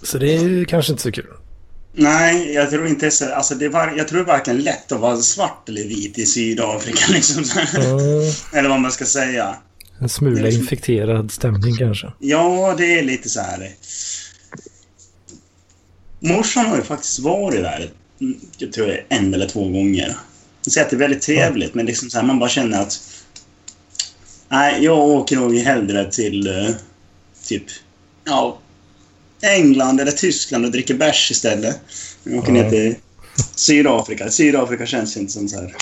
[SPEAKER 2] Så det är ju kanske inte så kul.
[SPEAKER 3] Nej, jag tror inte så. Alltså, det var, jag tror det är varken lätt att vara svart eller vit i Sydafrika. Liksom. så här.
[SPEAKER 2] Eh,
[SPEAKER 3] Eller vad man ska säga.
[SPEAKER 2] En smula infekterad stämning kanske.
[SPEAKER 3] Ja, det är lite så här. Morsan har ju faktiskt varit där, mm, jag tror det är en eller två gånger. Jag säger att det är väldigt trevligt, men liksom så här, man bara känner att... Nej, jag åker nog hellre till eh, typ ja, England eller Tyskland och dricker bärs istället. Jag åker ner
[SPEAKER 2] Ja.
[SPEAKER 3] till Sydafrika. Sydafrika känns inte som så här...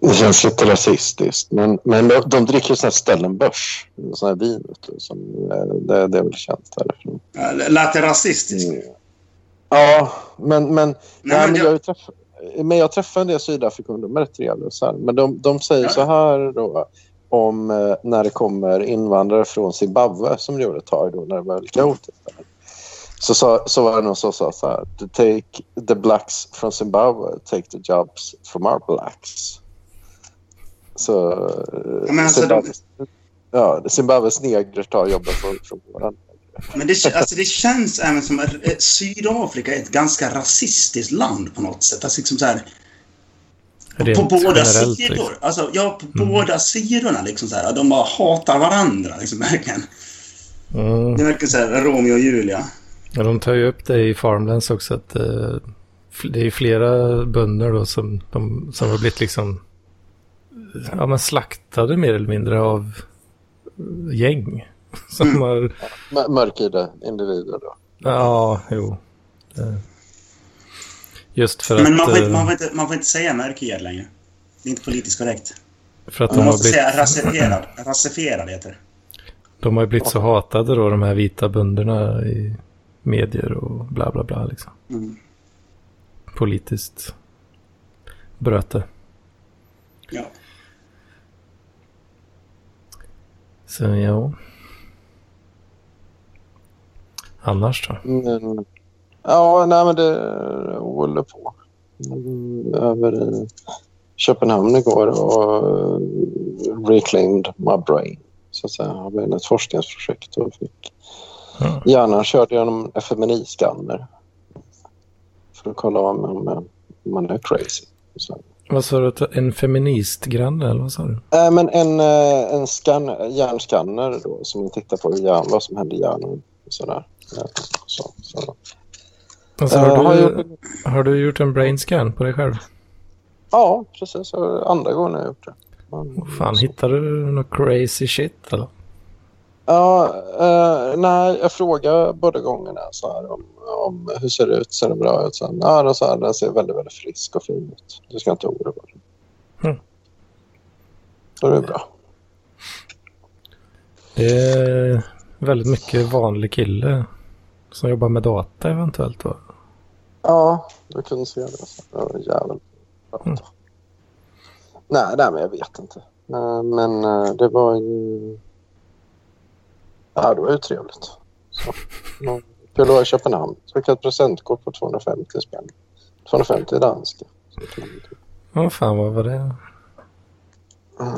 [SPEAKER 4] Det känns lite rasistiskt. Men, men de, de dricker sån här Stellenbosch. Sån här vin. vet du, Som, eh, det, det är väl känt därifrån.
[SPEAKER 3] äh, Lät det rasistiskt?
[SPEAKER 4] Mm. Ja, men, men, nej, men,
[SPEAKER 3] det-
[SPEAKER 4] jag... har ju träff, men jag träffade en del sydafrikaner. De är rätt trevliga. och Så här. Men de, de säger
[SPEAKER 3] Ja.
[SPEAKER 4] så här då, om eh, när det kommer invandrare från Zimbabwe som det gjorde ett tag då när det var lika kaotiskt. där. Så, sa- så var det någon som sa så här. "To Take the blacks from Zimbabwe, take the jobs from our blacks. Så
[SPEAKER 3] Ja, men alltså, de-
[SPEAKER 4] Zimbabwes, ja, Zimbabwes negrer tar jobben från, från våran.
[SPEAKER 3] Men det, alltså det känns även som att eh, Sydafrika är ett ganska rasistiskt land på något sätt. Alltså liksom så här, på
[SPEAKER 2] Rent
[SPEAKER 3] båda
[SPEAKER 2] generellt,
[SPEAKER 3] sidor.
[SPEAKER 2] liksom.
[SPEAKER 3] Alltså, ja, på båda sidorna. Liksom så här, de bara hatar varandra. Liksom, verkligen.
[SPEAKER 2] Mm.
[SPEAKER 3] Det verkar så här Romeo och Julia.
[SPEAKER 2] Ja, de tar ju upp det i Farmlands också. Att, eh, fl- det är ju flera bönder då som, de, som har blivit liksom ja, men slaktade mer eller mindre av eh, gäng. Som
[SPEAKER 3] Mm.
[SPEAKER 2] har,
[SPEAKER 4] M- mörkhyade individer då.
[SPEAKER 2] ja, jo. Det- Just för
[SPEAKER 3] Men
[SPEAKER 2] att,
[SPEAKER 3] man får, inte,
[SPEAKER 2] eh,
[SPEAKER 3] man, får inte, man får inte säga mörkhyad längre. Det är inte politiskt korrekt.
[SPEAKER 2] för att de
[SPEAKER 3] Man
[SPEAKER 2] har
[SPEAKER 3] måste
[SPEAKER 2] blivit,
[SPEAKER 3] säga rasifierad. Rasifierad heter det.
[SPEAKER 2] de har ju blivit så hatade då, de här vita bönderna i medier och bla bla bla liksom.
[SPEAKER 3] Mm.
[SPEAKER 2] Politiskt bröte.
[SPEAKER 3] Ja.
[SPEAKER 2] Så ja. Annars då?
[SPEAKER 4] Men, Mm. ja, nej men det håller på. Mm, Över i Köpenhamn igår och eh, reclaimed my brain. Så att säga. Jag blev ett forskningsprojekt och fick
[SPEAKER 2] Ja.
[SPEAKER 4] hjärnan körd genom FMNI-skanner. För att kolla om, om, om man är crazy. Så.
[SPEAKER 2] Vad sa du? att- En feministgranne eller vad sa du?
[SPEAKER 4] Äh, men en, eh, en scan, hjärnskanner då, som tittar på hur hjärn, vad som händer i hjärnan. och Sådär. Ja, Så, så.
[SPEAKER 2] Alltså,
[SPEAKER 4] Eh,
[SPEAKER 2] har,
[SPEAKER 4] har
[SPEAKER 2] du,
[SPEAKER 4] jag gjort-
[SPEAKER 2] har du gjort en brain scan på dig själv?
[SPEAKER 4] Ja, precis. Ja, Andra gången har jag gjort det. Men-
[SPEAKER 2] Vad Fan, hittade du något crazy shit eller?
[SPEAKER 4] Ja, eh, nej, jag frågar båda gångerna så här om, om hur ser det ut, ser det bra ut? Sen, ja, då så här, den ser väldigt, väldigt frisk och fin ut. Du ska inte oroa dig.
[SPEAKER 2] Mm.
[SPEAKER 4] Då är det bra.
[SPEAKER 2] Det är väldigt mycket vanlig kille som jobbar med data eventuellt va?
[SPEAKER 4] Ja, jag kunde se det. Det var en jävel.
[SPEAKER 2] Mm.
[SPEAKER 4] Nej, nej, men jag vet inte. Eh, Men eh, det var ju... Ja, det var ju trevligt. Så. ja. Kul att vara i Köpenhamn. Så fick jag ett presentkort på 250 spänn. 250 danska. Så det kan-
[SPEAKER 2] Vad fan vad var det?
[SPEAKER 4] Ah,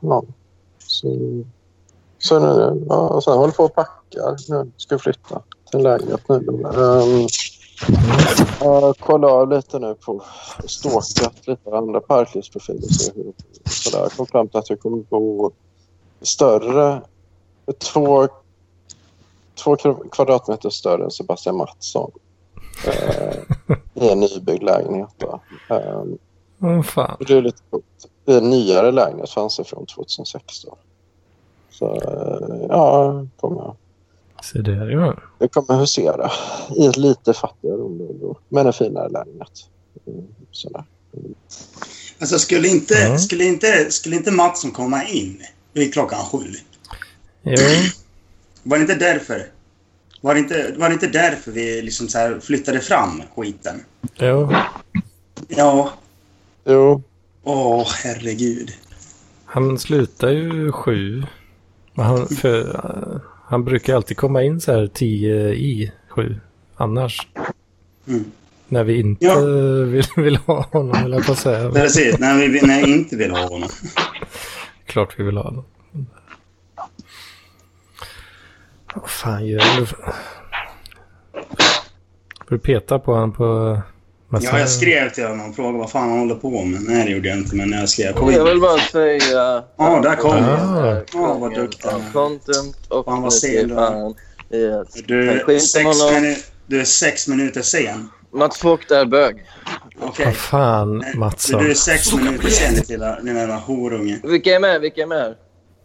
[SPEAKER 4] Ja. Så, så nu, ja, och sen håller på och packar nu. Ska flytta till lägenhet nu. Um, jag kollar av lite nu på ståkat lite andra parklivsprofiler. Så, hur- sådär. Jag kom fram till att jag kommer bo större. Två, två kv- kvadratmeter större än Sebastian Mattsson. Eh, I en nybyggd lägenhet. Då. Ehm,
[SPEAKER 2] Vad fan.
[SPEAKER 4] och Det är lite coolt. Det är en nyare lägenhet fanns det från 2016. Så eh, ja, kommer jag.
[SPEAKER 2] Se där ja.
[SPEAKER 4] Jag kommer husera i ett lite fattigare område men en finare lägenhet. Mm, sådär.
[SPEAKER 3] Alltså skulle inte,
[SPEAKER 2] Ja.
[SPEAKER 3] skulle inte, skulle inte Mattsson komma in vid klockan sju?
[SPEAKER 2] Jo,
[SPEAKER 3] Var det inte därför? Var det inte, var det inte därför vi liksom så här flyttade fram skiten?
[SPEAKER 2] jo.
[SPEAKER 3] Ja.
[SPEAKER 4] Jo,
[SPEAKER 3] Åh, herregud.
[SPEAKER 2] Han slutar ju sju. Men han, för, eh, han brukar alltid komma in så här tio i sju annars.
[SPEAKER 3] Mm.
[SPEAKER 2] När vi inte
[SPEAKER 3] Ja.
[SPEAKER 2] vill, vill ha honom, vill jag på säga.
[SPEAKER 3] Precis, när vi när jag inte vill ha honom.
[SPEAKER 2] Alltså, Klart vi vill ha honom. Vad fan gör du? Får du peta på honom på... massa-
[SPEAKER 3] Ja, jag skrev till honom och frågade vad fan han håller på med. Nej, det gjorde jag inte, men när jag skrev kom in.
[SPEAKER 6] Jag vill bara säga...
[SPEAKER 3] Ja, där kom
[SPEAKER 6] den.
[SPEAKER 2] den.
[SPEAKER 6] här
[SPEAKER 3] Ja, vad
[SPEAKER 6] gången
[SPEAKER 3] duktig han är.
[SPEAKER 6] av Content och
[SPEAKER 3] Fan, vad sen du är.
[SPEAKER 6] fan. Yes.
[SPEAKER 3] Du,
[SPEAKER 6] Jag skiter
[SPEAKER 3] är
[SPEAKER 6] med
[SPEAKER 3] sex
[SPEAKER 6] honom.
[SPEAKER 3] minu- du är sex minuter sen.
[SPEAKER 6] Mats Vogt är bög.
[SPEAKER 3] Okej.
[SPEAKER 2] Vad fan,
[SPEAKER 3] Så
[SPEAKER 2] Mattsson.
[SPEAKER 3] du är sex minuter sen, ditt lilla, din jävla horunge.
[SPEAKER 6] Vilka är med? Vilka är med?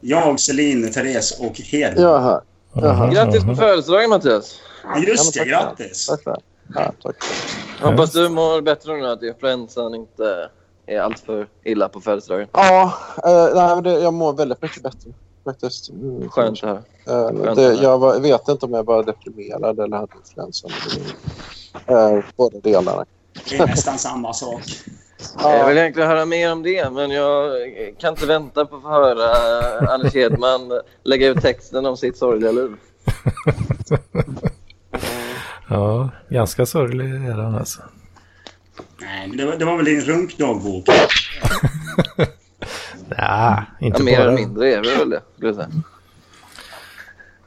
[SPEAKER 3] Jag, Celine, Therese och Hedvig.
[SPEAKER 4] jag är här.
[SPEAKER 2] Jaha,
[SPEAKER 6] Grattis
[SPEAKER 2] jaha.
[SPEAKER 6] på födelsedagen Mattias!
[SPEAKER 3] Ja, Just det,
[SPEAKER 4] Ja, men tack.
[SPEAKER 3] grattis!
[SPEAKER 4] Tack för ja, tack.
[SPEAKER 6] Hoppas du mår bättre nu att influensan inte är alltför illa på födelsedagen.
[SPEAKER 4] Ja, eh, nej, men det, jag mår väldigt mycket bättre. Faktiskt. Mm,
[SPEAKER 6] Skönt det här.
[SPEAKER 4] Eh,
[SPEAKER 6] Skönt
[SPEAKER 4] det,
[SPEAKER 6] att höra.
[SPEAKER 4] jag var, vet inte om jag var deprimerad eller hade influensa. Eh, båda delarna.
[SPEAKER 3] Det är nästan samma sak.
[SPEAKER 6] Jag vill egentligen höra mer om det, men jag kan inte vänta på att få höra Anders Hedman lägga ut texten om sitt sorgliga liv.
[SPEAKER 2] Ja, ganska sorglig är han alltså.
[SPEAKER 3] Nej, men det var, det var väl din runkdagbok?
[SPEAKER 2] Nej, inte
[SPEAKER 6] Ja, mer
[SPEAKER 2] bara.
[SPEAKER 6] eller mindre är det väl det, skulle jag säga.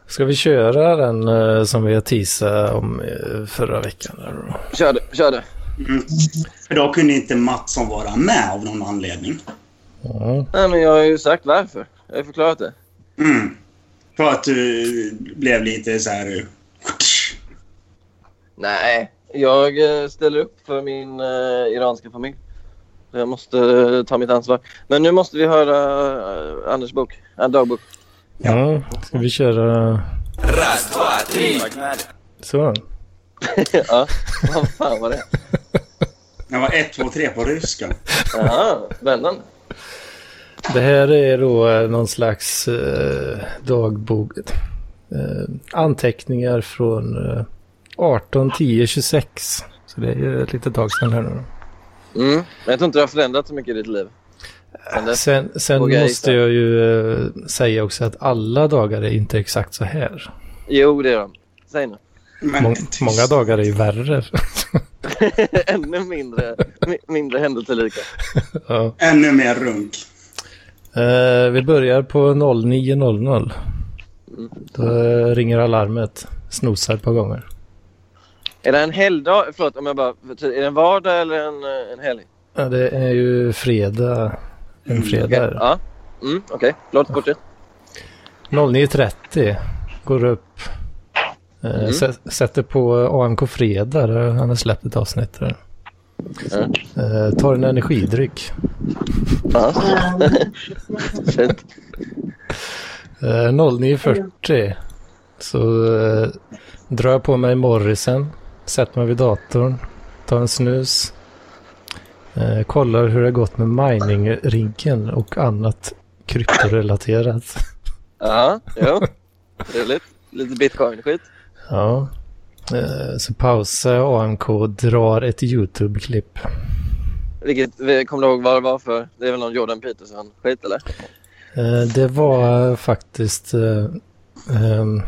[SPEAKER 2] Ska vi köra den eh, som vi teasade om eh, förra veckan? Eller? då?
[SPEAKER 6] Kör det, kör det.
[SPEAKER 3] Mm. För då kunde inte Mattsson vara med av någon anledning.
[SPEAKER 6] Nej, men jag har ju sagt varför. Jag har ju förklarat det.
[SPEAKER 3] eh, Mm. För att du blev lite så här...
[SPEAKER 6] Nej, jag eh, ställer upp för min eh, iranska familj. Jag måste eh, ta mitt ansvar. Men nu måste vi höra eh, Anders bok, eh, dagbok.
[SPEAKER 2] Ja, ska vi köra
[SPEAKER 5] Раз, два, три, погнали.
[SPEAKER 2] så?
[SPEAKER 6] ja, vad fan var det?
[SPEAKER 3] Jag var 1, 2, 3 på ryska.
[SPEAKER 6] Jaha, spännande.
[SPEAKER 2] Det här är då eh, någon slags eh, dagbok. Eh, anteckningar från eh, 18 10 26. Så det är ju ett litet tag sedan här nu. då.
[SPEAKER 6] Mm. Men jag tror inte det har förändrats så mycket i ditt liv. Sen dess.
[SPEAKER 2] Sen, sen
[SPEAKER 6] Vågar jag
[SPEAKER 2] måste
[SPEAKER 6] gissa.
[SPEAKER 2] jag ju eh, säga också att alla dagar är inte exakt så här.
[SPEAKER 6] Jo, det gör de. Säg nu.
[SPEAKER 3] Men,
[SPEAKER 6] Mm.
[SPEAKER 2] Mång,
[SPEAKER 3] tyst.
[SPEAKER 2] många dagar är ju värre.
[SPEAKER 6] Ännu mindre, mi- mindre händelserika.
[SPEAKER 2] ja.
[SPEAKER 3] Ännu mer runk.
[SPEAKER 2] Eh, vi börjar på 09.00. Då eh, ringer alarmet. Snosar ett par gånger.
[SPEAKER 6] Är det en helgdag? Förlåt, om jag bara... Är det en vardag eller en, eh, en helg?
[SPEAKER 2] Ja, det är ju fredag. En fredag.
[SPEAKER 6] Okej.
[SPEAKER 2] är det.
[SPEAKER 6] Ja. Mm, Okej, låt fortsätt.
[SPEAKER 2] 09.30 går upp. eh,
[SPEAKER 6] Mm.
[SPEAKER 2] sä- Sätter på AMK Fredag. där Han har släppt ett avsnitt. Där.
[SPEAKER 6] Mm.
[SPEAKER 2] Eh, tar en energidryck.
[SPEAKER 6] Ja. Fint.
[SPEAKER 2] Eh, 09.40 så eh, drar jag på mig morrisen. Sätter mig vid datorn. Tar en snus. Eh, kollar hur det gått med mining-riggen och annat kryptorelaterat.
[SPEAKER 6] Ja, jo. Trevligt. Lite bitcoin-skit.
[SPEAKER 2] Ja. Eh, Så pausar jag AMK och drar ett YouTube-klipp.
[SPEAKER 6] Vilket, vi- kommer du ihåg vad det var för? Det är väl någon Jordan Peterson-skit eller?
[SPEAKER 2] Eh, Det var faktiskt eh, ehm,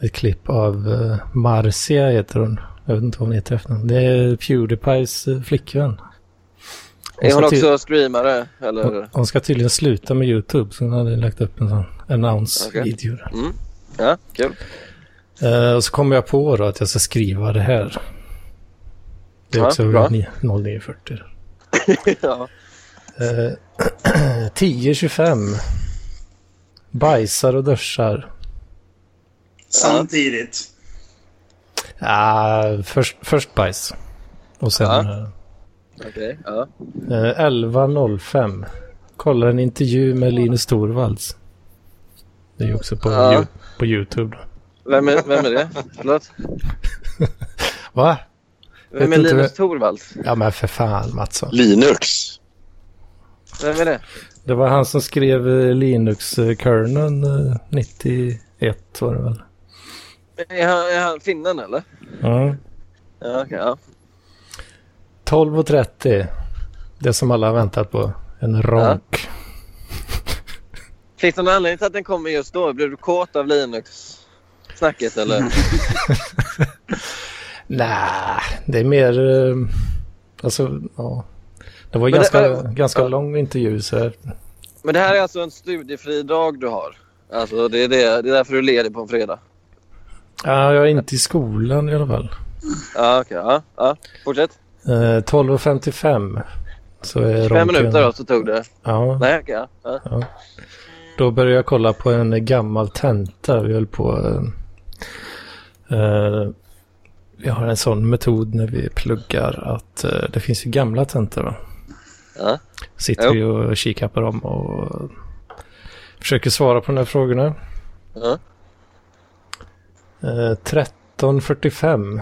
[SPEAKER 2] ett klipp av eh, Marcia heter hon. Jag vet inte vad hon heter efter Det är Pewdiepies eh, flickvän.
[SPEAKER 6] Är hon
[SPEAKER 2] ska ty-
[SPEAKER 6] också streamare
[SPEAKER 2] hon,
[SPEAKER 6] eller?
[SPEAKER 2] hon ska tydligen sluta med YouTube så hon hade lagt upp en sån announce-video. där.
[SPEAKER 6] Ja, kul.
[SPEAKER 2] Eh, och så kommer jag på då att jag ska skriva det här. Det är
[SPEAKER 6] Ja,
[SPEAKER 2] också
[SPEAKER 6] bra.
[SPEAKER 2] 09.40.
[SPEAKER 6] ja.
[SPEAKER 2] Eh, 10.25. Bajsar och duschar.
[SPEAKER 3] Samtidigt.
[SPEAKER 2] Ah, först, först bajs. Och sen
[SPEAKER 6] Ja.
[SPEAKER 2] eh,
[SPEAKER 6] Okej, ja.
[SPEAKER 2] eh, 11.05. Kollar en intervju med Linus Torvalds. Det är ju också på,
[SPEAKER 6] Ja.
[SPEAKER 2] Ju- på YouTube. då.
[SPEAKER 6] Vem är, vem är det? Förlåt?
[SPEAKER 2] Va?
[SPEAKER 6] Vem är
[SPEAKER 2] Vet inte
[SPEAKER 6] Linus
[SPEAKER 2] vem-
[SPEAKER 6] Torvalds?
[SPEAKER 2] Ja men för fan Mattsson.
[SPEAKER 4] Linux.
[SPEAKER 6] Vem är det?
[SPEAKER 2] Det var han som skrev eh, Linux-kernen eh, 91 var det väl?
[SPEAKER 6] Är han, är han finnen eller?
[SPEAKER 2] Mm.
[SPEAKER 6] Ja, okej. ja.
[SPEAKER 2] 12.30. Det som alla har väntat på. En ronk.
[SPEAKER 6] Finns det någon anledning till att den kommer just då? Blev du kåt av Linux-snacket eller?
[SPEAKER 2] Mm. Nej, det är mer... eh, Alltså, ja. Det var ju
[SPEAKER 6] Men
[SPEAKER 2] ganska,
[SPEAKER 6] det- äh,
[SPEAKER 2] ganska
[SPEAKER 6] ja.
[SPEAKER 2] lång intervju så här.
[SPEAKER 6] Men det här är alltså en studiefri dag du har? Alltså det är, det, det är därför du är ledig på en fredag?
[SPEAKER 2] Ja, jag är inte i skolan i alla fall.
[SPEAKER 6] Ja, okej. ja, ja. Fortsätt.
[SPEAKER 2] Eh, 12.55 så är
[SPEAKER 6] Fem
[SPEAKER 2] ronken...
[SPEAKER 6] minuter då så tog det.
[SPEAKER 2] Ja,
[SPEAKER 6] Nej, okej. ja. ja.
[SPEAKER 2] då började jag kolla på en gammal tenta. Vi höll på... eh, eh, vi har en sån metod när vi pluggar att eh, det finns ju gamla tentor. Va?
[SPEAKER 6] Ja.
[SPEAKER 2] Sitter
[SPEAKER 6] Jo.
[SPEAKER 2] vi och kikar på dem och försöker svara på de här frågorna.
[SPEAKER 6] Ja.
[SPEAKER 2] Eh, 13.45.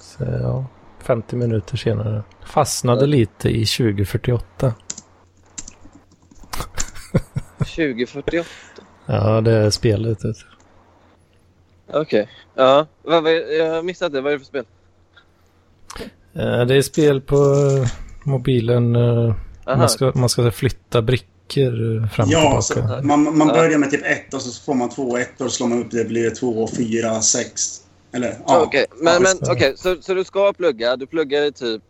[SPEAKER 2] Så, ja, 50 minuter senare. Fastnade lite i 2048.
[SPEAKER 6] 2048.
[SPEAKER 2] Ja, det är spelet. vet du.
[SPEAKER 6] Okej. Ja. Vad, vad, jag har missat det. Vad är det för spel?
[SPEAKER 2] Eh, Det är spel på eh, mobilen. eh,
[SPEAKER 6] Aha.
[SPEAKER 2] Man ska, man ska flytta brickor eh, fram och
[SPEAKER 3] Ja,
[SPEAKER 2] tillbaka.
[SPEAKER 3] så man, man
[SPEAKER 6] Ja.
[SPEAKER 3] börjar med typ 1 och så får man 2 1 och slår man upp det blir 2, 4, 6. Eller ja.
[SPEAKER 6] Okej, men,
[SPEAKER 3] Ja,
[SPEAKER 6] men, okej, så, så du ska plugga. Du pluggar i typ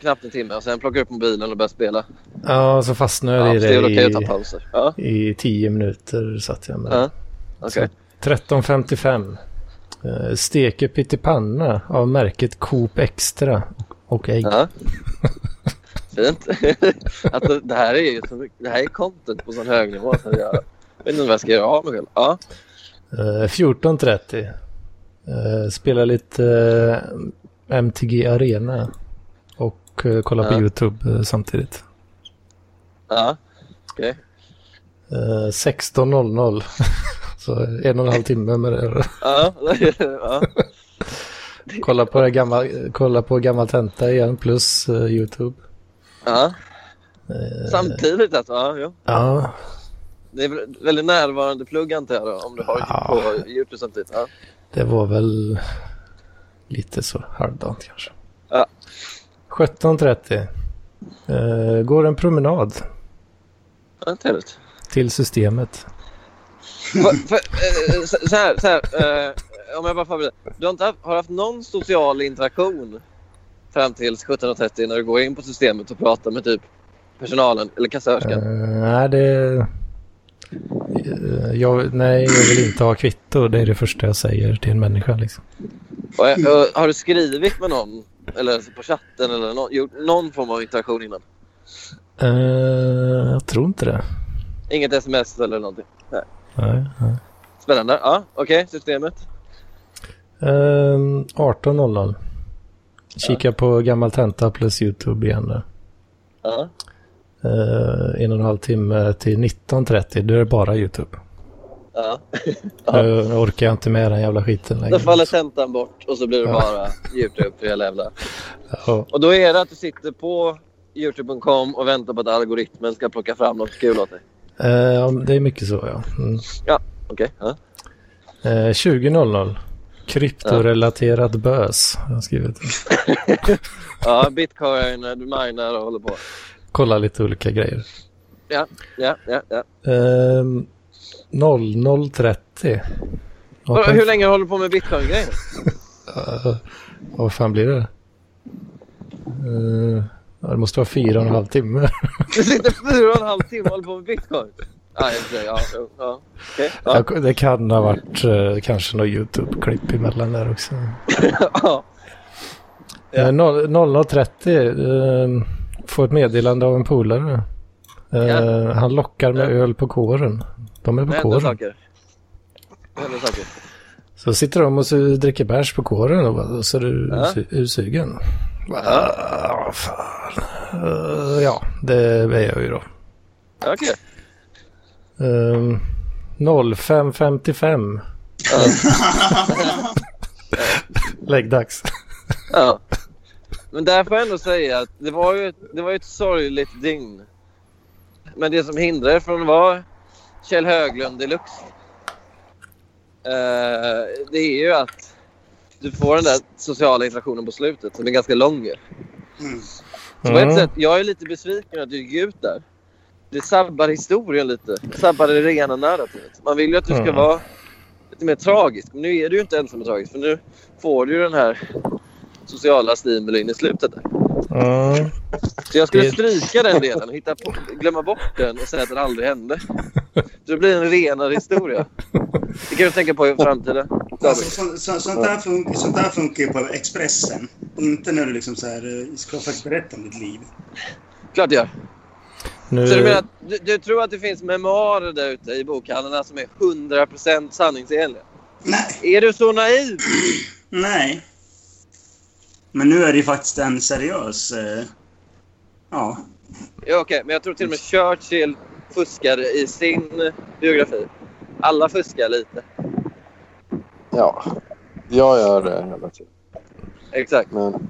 [SPEAKER 6] knappt en timme och sen plockar du upp mobilen och börjar spela.
[SPEAKER 2] Ja, så fastnade
[SPEAKER 6] Ja,
[SPEAKER 2] jag
[SPEAKER 6] så
[SPEAKER 2] i
[SPEAKER 6] det är
[SPEAKER 2] det
[SPEAKER 6] väl okej att ta
[SPEAKER 2] i,
[SPEAKER 6] pauser. Ja,
[SPEAKER 2] i tio minuter. Satt jag med.
[SPEAKER 6] Ja. okej.
[SPEAKER 2] 13.55. Eh, Steker pyttipanna av märket Coop Extra och ägg.
[SPEAKER 6] Ja. Fint. att det, det här är ju så mycket, det här är content på sån hög nivå. Så jag jag vet inte vad jag ska göra av mig själv. Ja.
[SPEAKER 2] Eh, 14.30. Eh, Spela lite eh, MTG Arena och eh, kolla på
[SPEAKER 6] Ja.
[SPEAKER 2] YouTube eh, samtidigt.
[SPEAKER 6] Ja.
[SPEAKER 2] Eh, 16.00. Så en och en halv timme med det.
[SPEAKER 6] Ja. ja.
[SPEAKER 2] Kolla på, det gamla, eh, kolla på gammal tenta igen plus eh, YouTube.
[SPEAKER 6] ja.
[SPEAKER 2] Eh,
[SPEAKER 6] Samtidigt alltså. Ja, ja.
[SPEAKER 2] Ja,
[SPEAKER 6] Det är väl- väldigt närvarande plugg antar jag då, om du har
[SPEAKER 2] Ja.
[SPEAKER 6] på Youtube samtidigt. Ja.
[SPEAKER 2] det var väl lite så halvdant kanske.
[SPEAKER 6] Ja.
[SPEAKER 2] 17.30. Eh, går en promenad
[SPEAKER 6] Ja, trevligt.
[SPEAKER 2] till systemet.
[SPEAKER 6] Va- för, eh, så, så här, så här eh, om jag bara får avbryta. Du har inte haft, har haft någon social interaktion fram till 17.30 när du går in på systemet och pratar med typ personalen eller kassörskan?
[SPEAKER 2] Eh, nej, det... Eh, jag, nej, jag vill inte ha kvitto. Det är det första jag säger till en människa. Liksom.
[SPEAKER 6] Och, eh, och, har du skrivit med någon? Eller alltså på chatten eller nå- gjort någon form av interaktion innan?
[SPEAKER 2] Eh, jag tror inte det.
[SPEAKER 6] Inget sms eller någonting?
[SPEAKER 2] Nej, nej.
[SPEAKER 6] Spännande. Ja, okej. systemet.
[SPEAKER 2] Eh, 18.00. Kika på gammal tenta plus YouTube igen. där.
[SPEAKER 6] Ja.
[SPEAKER 2] Eh, en och en halv timme till 19.30. Då är det bara YouTube.
[SPEAKER 6] ja.
[SPEAKER 2] Ja. orkar jag inte med den jävla skiten längre.
[SPEAKER 6] Då faller tentan bort och så blir det
[SPEAKER 2] Ja.
[SPEAKER 6] bara Youtube för hela jävla...
[SPEAKER 2] Ja.
[SPEAKER 6] Och då är det att du sitter på youtube.com och väntar på att algoritmen ska plocka fram något kul åt dig.
[SPEAKER 2] Eh, ja, det är mycket så ja. Mm.
[SPEAKER 6] Okej. ja.
[SPEAKER 2] Eh, 20.00. Kryptorelaterat bös. har Jag skrivit.
[SPEAKER 6] Ja, bitcoin, du minar och håller på.
[SPEAKER 2] Kolla lite olika grejer.
[SPEAKER 6] Ja, ja, ja.
[SPEAKER 2] Ehm, 00.30.
[SPEAKER 6] Vadå,
[SPEAKER 2] Vad
[SPEAKER 6] hur länge håller du på med bitcoin-grejen?
[SPEAKER 2] Eh, vad fan blir det? Eh, ja, det måste vara fyra och en halv timme.
[SPEAKER 6] Du sitter fyra och en halv timme och håller på med bitcoin. Ja, i och för sig, ja, jo, ja. Okej. ja.
[SPEAKER 2] Jag- Det kan ha varit eh, kanske något YouTube-klipp emellan där också.
[SPEAKER 6] ja. Ja.
[SPEAKER 2] Eh, noll- 00.30. Eh, får ett meddelande av en polare. Eh,
[SPEAKER 6] Ja.
[SPEAKER 2] Han lockar med
[SPEAKER 6] Ja.
[SPEAKER 2] öl på kåren. De är på
[SPEAKER 6] Det händer
[SPEAKER 2] kåren.
[SPEAKER 6] saker. Det händer saker.
[SPEAKER 2] Så sitter de och så dricker bärs på kåren och bara, så är du
[SPEAKER 6] Ja.
[SPEAKER 2] ja. ursugen. Bara, "Ah, fan. Eh, Ja, det är jag ju då.
[SPEAKER 6] Okej.
[SPEAKER 2] Ehm, 05.55.
[SPEAKER 6] Ja.
[SPEAKER 2] Läggdags.
[SPEAKER 6] Ja. Men där får jag ändå säga att det var ju, det var ju ett sorgligt dygn. Men det som hindrade er från att vara Kjell Höglund deluxe. Eh, det är ju att du får den där sociala interaktionen på slutet som är ganska lång ju.
[SPEAKER 3] Mm.
[SPEAKER 6] Så på ett
[SPEAKER 2] Mm.
[SPEAKER 6] sätt, jag är lite besviken att du gick ut där. Det sabbar historien lite. Det sabbar det rena narrativet. Man vill ju att du ska
[SPEAKER 2] Mm.
[SPEAKER 6] vara lite mer tragisk. Men nu är du ju inte ensam och tragisk. För nu får du ju den här sociala stimulin i slutet. Där.
[SPEAKER 2] Mm.
[SPEAKER 6] Så jag skulle
[SPEAKER 2] Det-
[SPEAKER 6] stryka den delen, och hitta på, glömma bort den och säga att den aldrig hände. Så det blir en renare historia. Det kan du tänka på i framtiden.
[SPEAKER 3] Alltså, så, så, sånt, där funkar, sånt där funkar ju på Expressen. Inte när du liksom så här, eh, ska faktiskt berätta om ditt liv.
[SPEAKER 6] Klart det gör.
[SPEAKER 2] Nu,
[SPEAKER 6] Så du menar att du, du tror att det finns memoarer där ute i bokhandlarna som är 100% sanningsenliga?
[SPEAKER 3] Nej,
[SPEAKER 6] Är du så naiv?
[SPEAKER 3] nej. Men nu är det ju faktiskt en seriös... Eh, ja.
[SPEAKER 6] Ja, okej, men jag tror till och med Churchill fuskade i sin eh, biografi. Alla fuskar lite.
[SPEAKER 4] Ja, jag gör det hela tiden.
[SPEAKER 6] Exakt.
[SPEAKER 4] Men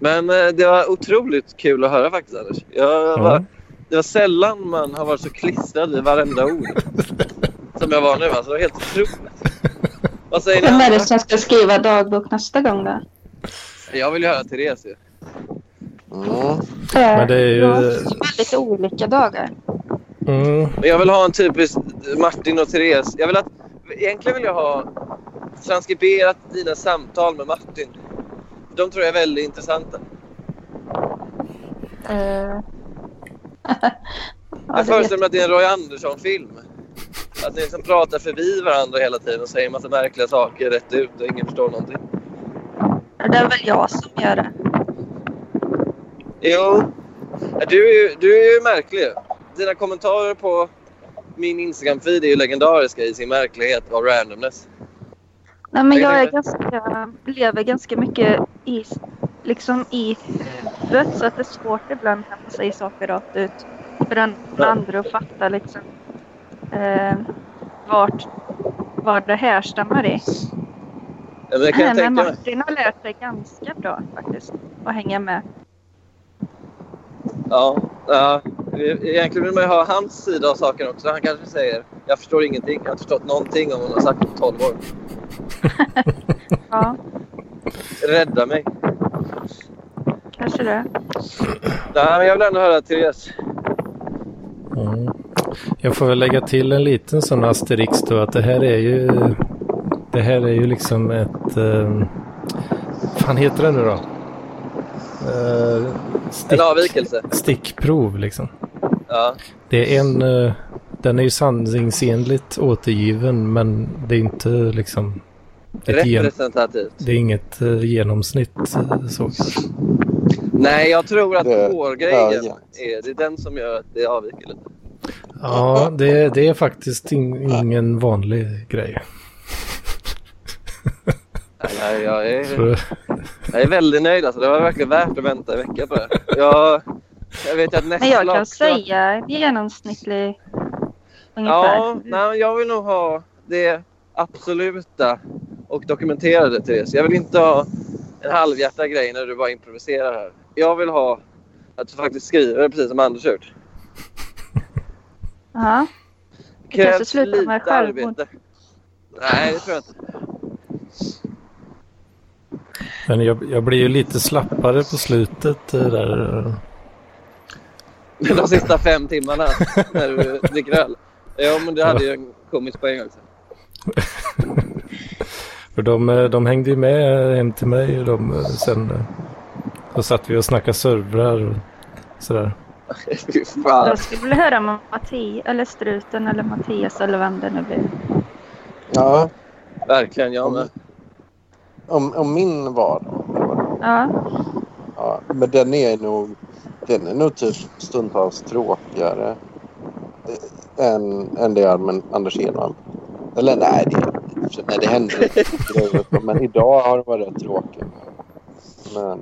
[SPEAKER 6] Men eh, det var otroligt kul att höra faktiskt, Anders. Jag var, Det var sällan man har varit så klistrad i varenda ord som jag var nu. Alltså, det var helt otroligt. Vad säger ni?
[SPEAKER 1] Vem är det
[SPEAKER 6] andra?
[SPEAKER 1] som ska skriva dagbok nästa gågång då?
[SPEAKER 6] Jag vill ju höra Therese. ju.
[SPEAKER 4] mm,
[SPEAKER 2] Men det är ju-
[SPEAKER 1] väldigt olika dagar.
[SPEAKER 2] mm,
[SPEAKER 6] Men jag vill ha en typisk Martin och Therese. Jag vill att, egentligen vill jag ha transkriberat dina samtal med Martin. De tror jag är väldigt intressanta.
[SPEAKER 1] Eh. ja,
[SPEAKER 6] Jag
[SPEAKER 1] det vet
[SPEAKER 6] föreställer mig att det är en Roy Andersson-film. Att ni liksom pratar förbi varandra hela tiden och säger en massa märkliga saker rätt ut och ingen förstår någonting.
[SPEAKER 1] jag. det är väl jag som gör det.
[SPEAKER 6] Jo, du är ju, du är ju märklig. Dina kommentarer på min Instagram-feed är ju legendariska i sin märklighet och randomness.
[SPEAKER 1] Nej, men
[SPEAKER 6] Jag
[SPEAKER 1] jag är
[SPEAKER 6] tänkte-
[SPEAKER 1] ganska, lever ganska mycket i, liksom i huvudet så att det är svårt ibland att hämta sig saker rakt ut för den andra att fatta liksom eh, vart, vart det härstammar i.
[SPEAKER 6] Ja, men det kan jag tänka
[SPEAKER 1] Men
[SPEAKER 6] mig.
[SPEAKER 1] Martin har lärt sig ganska bra faktiskt att hänga med.
[SPEAKER 6] Ja, ja. Egentligen vill man ju ha hans sida av saken också. Han kanske säger jag förstår ingenting. Jag har inte förstått någonting om vad hon har sagt på 12 år.
[SPEAKER 1] Ja,
[SPEAKER 6] Rädda mig.
[SPEAKER 1] kanske det.
[SPEAKER 6] Nej, men jag vill ändå höra Therese.
[SPEAKER 2] Mm. Jag får väl lägga till en liten sån asterix då att det här är ju... Det här är ju liksom ett... Eh, fan heter det nu då? Eh, stick,
[SPEAKER 6] En avvikelse.
[SPEAKER 2] stickprov liksom.
[SPEAKER 6] Ja.
[SPEAKER 2] Det är en... Eh, den är ju sanningsenligt återgiven men det är inte liksom... Ett gen,
[SPEAKER 6] Representativt.
[SPEAKER 2] det är inget eh, genomsnitt eh, så kanske.
[SPEAKER 6] Nej, jag tror att
[SPEAKER 4] Det-
[SPEAKER 6] hårgrejen
[SPEAKER 4] ja, ja.
[SPEAKER 6] är, det är den som gör att det avviker lite.
[SPEAKER 2] Ja, det, det är faktiskt in, ingen vanlig grej.
[SPEAKER 6] Nej, jag, är,
[SPEAKER 2] Så,
[SPEAKER 6] jag är väldigt nöjd. Alltså. Det var verkligen värt att vänta en vecka på det här. Jag, jag vet ju att nästa
[SPEAKER 1] Men jag
[SPEAKER 6] lag
[SPEAKER 1] kan
[SPEAKER 6] också-
[SPEAKER 1] säga genomsnittlig ungefär.
[SPEAKER 6] Ja, nej, men jag vill nog ha det absoluta och dokumenterade, Therese. Jag vill inte ha en halvhjärtad grej när du bara improviserar här. Jag vill ha att du faktiskt skriver det precis som Anders gjort.
[SPEAKER 1] Ja. Vi kanske slutar med självmord.
[SPEAKER 6] Nej, det tror jag inte.
[SPEAKER 2] men jag, jag blir ju lite slappare på slutet eh, där.
[SPEAKER 6] de sista fem timmarna när du dricker öl. Ja, men det hade ju en komisk poäng också.
[SPEAKER 2] För de, eh, de hängde ju med hem till mig och de, eh, sen. eh, Så satt vi och snackade servrar och sådär.
[SPEAKER 6] Fy fan.
[SPEAKER 1] Jag skulle vilja höra om Matti, eller Struten eller Mattias eller vem det nu blir.
[SPEAKER 4] Ja,
[SPEAKER 6] Verkligen, jag med.
[SPEAKER 4] om, om min vardag.
[SPEAKER 1] Ja,
[SPEAKER 4] Ja, men den är nog, den är nog typ stundtals tråkigare eh, än, än det är med Anders Hedman. Eller nej, det, nej, det händer inte. Men idag har det varit rätt tråkigt. Men,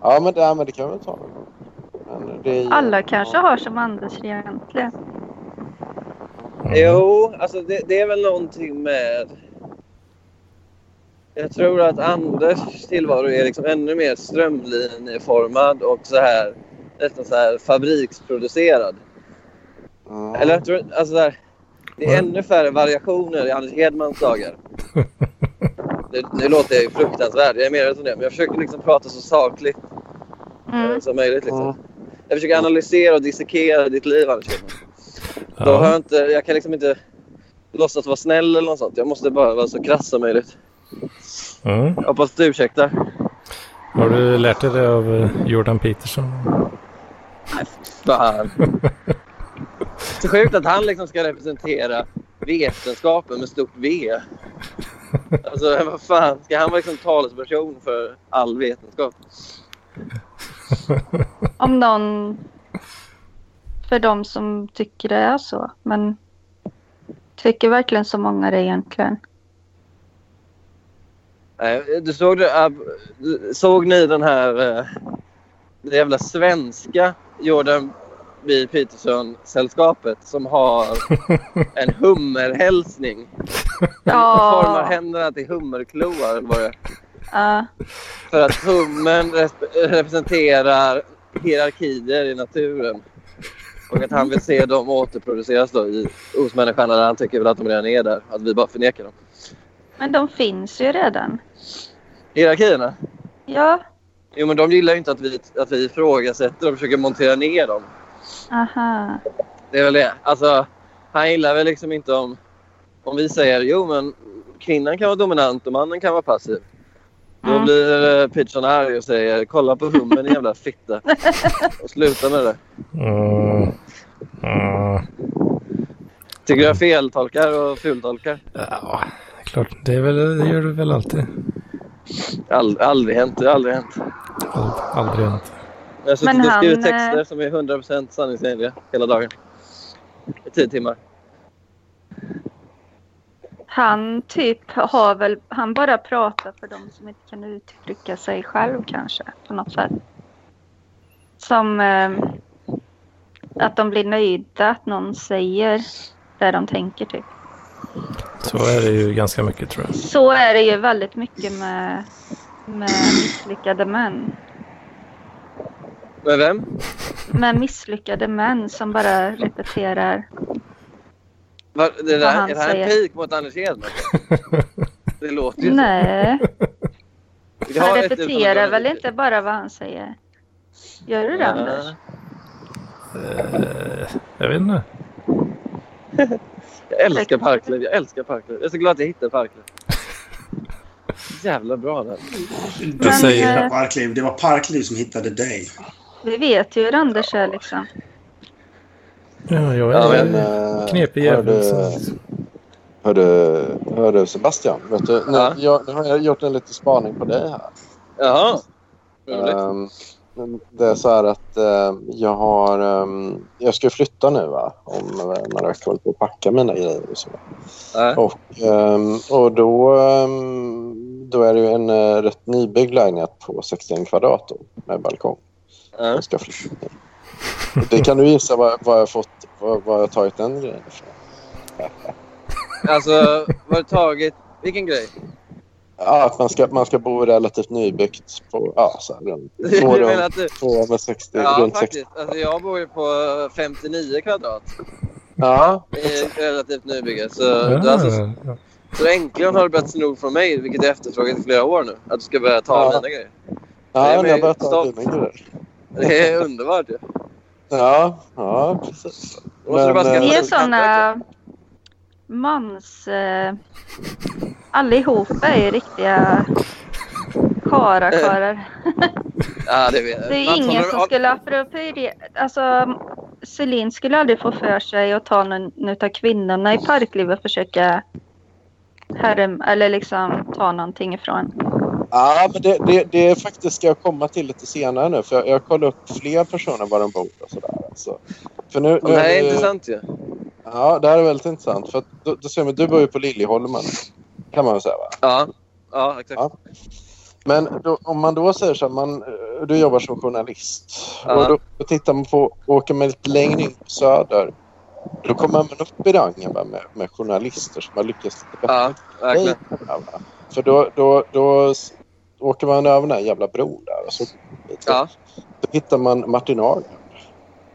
[SPEAKER 4] ja, men, det, ja, men det kan vi väl ta. Men det är,
[SPEAKER 1] alla kanske har som Anders egentligen.
[SPEAKER 6] Jo, alltså det, det är väl någonting med... Jag tror att Anders tillvaro är liksom ännu mer strömlinjeformad och så här nästan så här fabriksproducerad.
[SPEAKER 4] Mm.
[SPEAKER 6] Eller jag tror, alltså så här, det är
[SPEAKER 2] Mm.
[SPEAKER 6] ännu färre variationer i Anders Hedmans dagar. Nu, nu låter jag ju fruktansvärd, jag är medveten om det. Men jag försöker liksom prata så sakligt eh,
[SPEAKER 1] Mm.
[SPEAKER 6] som möjligt. Liksom.
[SPEAKER 4] Mm.
[SPEAKER 6] Jag försöker analysera och dissekera ditt liv, Anders Hedman. Då har
[SPEAKER 2] Ja.
[SPEAKER 6] jag, inte, jag kan liksom inte låtsas vara snäll eller något sånt. Jag måste bara vara så krass som möjligt.
[SPEAKER 2] Mm.
[SPEAKER 6] Jag hoppas att du ursäktar.
[SPEAKER 2] Har du lärt dig det av eh, Jordan Peterson?
[SPEAKER 6] Fan. Så sjukt att han liksom ska representera vetenskapen med stort V. Alltså vad fan, ska han vara liksom talesperson för all vetenskap?
[SPEAKER 1] Om någon... För de som tycker det är så. Men tycker verkligen så många det egentligen?
[SPEAKER 6] Nej, Eh, Du såg, det, Ab- såg ni den här eh, det jävla svenska Jordan B. Peterson-sällskapet som har en hummerhälsning?
[SPEAKER 1] Ja.
[SPEAKER 6] Formar händerna till hummerkloar eller vad det är.
[SPEAKER 1] Ja.
[SPEAKER 6] För att hummen resp- representerar hierarkier i naturen. Och att han vill se dem återproduceras då i osmänniskan. Eller han tycker väl att de redan är där. Att vi bara förnekar dem.
[SPEAKER 1] Men de finns ju redan.
[SPEAKER 6] Hierarkierna?
[SPEAKER 1] Ja,
[SPEAKER 6] Jo men de gillar ju inte att vi, att vi ifrågasätter och försöker montera ner dem.
[SPEAKER 1] aha.
[SPEAKER 6] Det är väl det. Alltså, han gillar väl liksom inte om, om vi säger jo men kvinnan kan vara dominant och mannen kan vara passiv. Då
[SPEAKER 1] Mm.
[SPEAKER 6] blir eh, Pitchon arg och säger kolla på hummen din jävla fitta. Och sluta med det där.
[SPEAKER 2] Mm. Mm.
[SPEAKER 6] Tycker jag feltolkar och fultolkar?
[SPEAKER 2] Ja, det är klart. Det, är väl, det gör du väl alltid.
[SPEAKER 6] All, aldrig hänt, det har aldrig hänt.
[SPEAKER 2] Ald, aldrig hänt.
[SPEAKER 6] Jag har
[SPEAKER 1] Men
[SPEAKER 6] suttit och skrivit
[SPEAKER 1] han, eh,
[SPEAKER 6] texter som är 100% sanningsenliga hela dagen. I tio timmar.
[SPEAKER 1] Han typ har väl, han bara pratar för de som inte kan uttrycka sig själv kanske på något sätt. Som eh, att de blir nöjda att någon säger det de tänker typ.
[SPEAKER 2] Så är det ju ganska mycket tror jag.
[SPEAKER 1] Så är det ju väldigt mycket med, med misslyckade män.
[SPEAKER 6] Med vem?
[SPEAKER 1] Med misslyckade män som bara repeterar.
[SPEAKER 6] Var, det
[SPEAKER 1] Vad
[SPEAKER 6] där,
[SPEAKER 1] han
[SPEAKER 6] är det här en
[SPEAKER 1] säger.
[SPEAKER 6] pik mot Anders Hedman? Det låter ju så.
[SPEAKER 1] Nej,
[SPEAKER 6] Vi har
[SPEAKER 1] han
[SPEAKER 6] ett
[SPEAKER 1] repeterar
[SPEAKER 6] uttalande.
[SPEAKER 1] väl inte bara vad han säger? Gör du det Anders?
[SPEAKER 2] Eh, jag vet inte.
[SPEAKER 6] Jag älskar Parklöv. Jag älskar Parklöv. Jag är så glad att jag hittade Parklöv. Jävla bra där.
[SPEAKER 1] Men,
[SPEAKER 2] säger-
[SPEAKER 1] eh,
[SPEAKER 3] Parkliv. Det var Parkliv som hittade dig.
[SPEAKER 1] Vi vet ju hur Anders är liksom.
[SPEAKER 2] Ja, jag
[SPEAKER 6] Ja,
[SPEAKER 2] är
[SPEAKER 6] men,
[SPEAKER 2] en
[SPEAKER 4] eh,
[SPEAKER 2] knepig jävel.
[SPEAKER 4] hörde,
[SPEAKER 2] så-
[SPEAKER 6] eh,
[SPEAKER 4] hörde, hörde Sebastian, vet du, nu,
[SPEAKER 6] Ja.
[SPEAKER 4] jag, nu har jag gjort en liten spaning på dig här.
[SPEAKER 6] Jaha. Roligt.
[SPEAKER 4] Ehm, men det är så här att ehm, jag har... ehm, jag ska flytta nu va? om eh, några veckor. håller på att packa mina grejer och så.
[SPEAKER 6] Ja.
[SPEAKER 4] Och, ehm, och då, ehm, då är det ju en eh, rätt nybyggd lägenhet på 61 kvadrat då, med balkong.
[SPEAKER 6] Ja.
[SPEAKER 4] Jag ska flytta till. Och Det kan du gissa vad, vad jag fått, vad, vad jag har tagit den grejen ifrån.
[SPEAKER 6] Alltså, var det taget... Vilken grej?
[SPEAKER 4] Ja, att man ska, man ska bo relativt nybyggt på ja, så här, runt,
[SPEAKER 6] Du
[SPEAKER 4] två
[SPEAKER 6] menar
[SPEAKER 4] rum,
[SPEAKER 6] att du...
[SPEAKER 4] två med 60,
[SPEAKER 6] Ja,
[SPEAKER 4] runt 60.
[SPEAKER 6] faktiskt. Alltså, jag bor ju på 59 kvadrat.
[SPEAKER 4] Ja,
[SPEAKER 6] Det är relativt nybygge. Så,
[SPEAKER 2] Ja,
[SPEAKER 4] Ah.
[SPEAKER 6] du, alltså,
[SPEAKER 2] ja.
[SPEAKER 6] så äntligen har du börjat sno från mig, vilket jag efterfrågat i flera år nu. Att du ska börja ta
[SPEAKER 4] Ja.
[SPEAKER 6] mina grejer. Nej,
[SPEAKER 4] ja
[SPEAKER 6] men
[SPEAKER 4] nu har jag börjat ta
[SPEAKER 6] stopp.
[SPEAKER 4] dina grejer.
[SPEAKER 6] Det är underbart ju.
[SPEAKER 4] Ja, ja precis.
[SPEAKER 6] Då måste du bara skaffa
[SPEAKER 4] eh,
[SPEAKER 1] Vi är
[SPEAKER 6] dig en katt
[SPEAKER 1] såna mans... Eh, allihopa är riktiga
[SPEAKER 6] Eh,
[SPEAKER 1] karakarar.
[SPEAKER 6] också. Ja, det vet jag.
[SPEAKER 1] Det är
[SPEAKER 6] Mats,
[SPEAKER 1] ingen
[SPEAKER 6] håller du-
[SPEAKER 1] som skulle apropå det. Alltså, Celine skulle aldrig få för sig att ta någon utav kvinnorna i parklivet och försöka härm, eller liksom ta någonting ifrån.
[SPEAKER 4] Ja, men det, det, det är faktiskt ska jag komma till lite senare nu. För jag, jag kollar upp fler personer var de bor och sådär. Alltså. För nu, nu
[SPEAKER 6] Det här
[SPEAKER 4] är
[SPEAKER 6] är
[SPEAKER 4] det-
[SPEAKER 6] intressant ju.
[SPEAKER 4] Ja, det här är väldigt intressant. För att, då, då ser man, du bor ju på Liljeholmen. Kan man väl säga va?
[SPEAKER 6] Ja, ja exakt.
[SPEAKER 4] Ja. Men då, om man då säger så här, man, eh, du jobbar som journalist.
[SPEAKER 6] Ja.
[SPEAKER 4] Och då, då tittar man på, åker man lite längre in på söder. Då kommer man upp i rangen va, med, med journalister som har lyckats lite bättre.
[SPEAKER 6] Ja, verkligen.
[SPEAKER 4] Ja, va. För då, då, då s- åker man över den här jävla bron där och så
[SPEAKER 6] Ja.
[SPEAKER 4] då hittar man Martin Arn.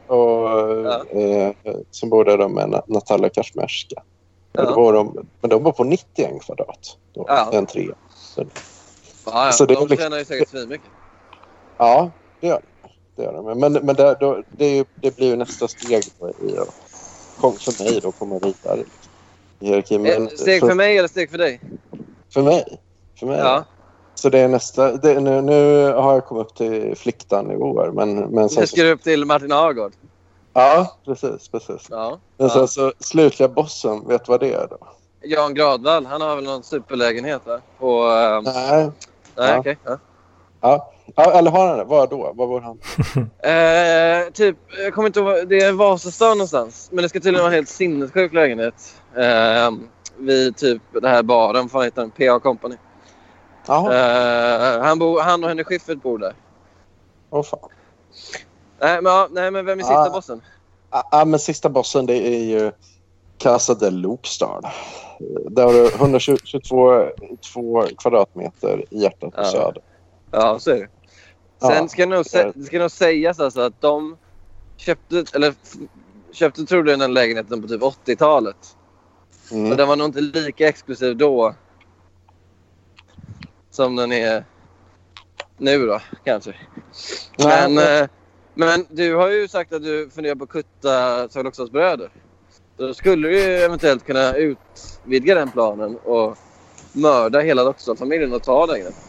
[SPEAKER 4] Och, eh, som bor där då med Na- Natalia Kashmerska. Och då
[SPEAKER 6] Ja.
[SPEAKER 4] bor de, men de bor på 91 kvadrat. Då,
[SPEAKER 6] Ja.
[SPEAKER 4] En trea.
[SPEAKER 6] Ja,
[SPEAKER 4] Så
[SPEAKER 6] ja.
[SPEAKER 4] det är
[SPEAKER 6] De
[SPEAKER 4] liksom-
[SPEAKER 6] tjänar ju säkert svinmycket.
[SPEAKER 4] Ja, det gör de. det. Gör de. Men, men där, då, det, är ju, det blir ju nästa steg då i att, kom, för mig då, komma vidare. Liksom. i hierarkin.
[SPEAKER 6] Eh,
[SPEAKER 4] Men
[SPEAKER 6] Steg för mig eller steg för dig?
[SPEAKER 4] För mig. För mig.
[SPEAKER 6] Ja.
[SPEAKER 4] Så det är nästa. Det, nu, nu har jag kommit upp till fliktan-nivåer. Men, men sen
[SPEAKER 6] Nu
[SPEAKER 4] så,
[SPEAKER 6] ska du upp till Martin Agård.
[SPEAKER 4] Ja, precis. precis.
[SPEAKER 6] Ja.
[SPEAKER 4] Men
[SPEAKER 6] Ja.
[SPEAKER 4] sen så slutliga bossen, vet du vad det är då?
[SPEAKER 6] Jan Gradvall, han har väl någon superlägenhet va? På... ehm,
[SPEAKER 4] Nej.
[SPEAKER 6] nej,
[SPEAKER 4] Ja.
[SPEAKER 6] okej. Ja.
[SPEAKER 4] Ja. ja eller har han det? Var då? Var bor han?
[SPEAKER 6] Eh, typ, jag kommer inte ihåg. vad- Det är Vasastan någonstans. Men det ska tydligen vara en helt sinnessjuk lägenhet. Ehm, vid typ det här baren. Vad fan heter den? PA Company.
[SPEAKER 4] Jaha,
[SPEAKER 6] Eh, han, bor, han och Henry Schiffert bor där.
[SPEAKER 4] åh fan.
[SPEAKER 6] Nej, men, ja, nej, men vem är sista
[SPEAKER 4] Ah.
[SPEAKER 6] bossen?
[SPEAKER 4] Ja, ja, men sista bossen det är ju Casa del Lokstad. Där har du 122 två kvadratmeter i hjärtat på
[SPEAKER 6] Ja.
[SPEAKER 4] Söder.
[SPEAKER 6] Ja, så är det.
[SPEAKER 4] Ja.
[SPEAKER 6] Sen ska nog, sä- det ska nog sägas alltså att de köpte, eller f- köpte troligen den lägenheten på typ 80-talet. Och
[SPEAKER 4] Mm.
[SPEAKER 6] den var nog inte lika exklusiv då som den är nu då, kanske.
[SPEAKER 4] Nej,
[SPEAKER 6] Men,
[SPEAKER 4] men-
[SPEAKER 6] eh, men du har ju sagt att du funderar på att kutta Tage Loxas bröder. Då skulle du ju eventuellt kunna utvidga den planen och mörda hela Loxdal-familjen och ta lägenheten.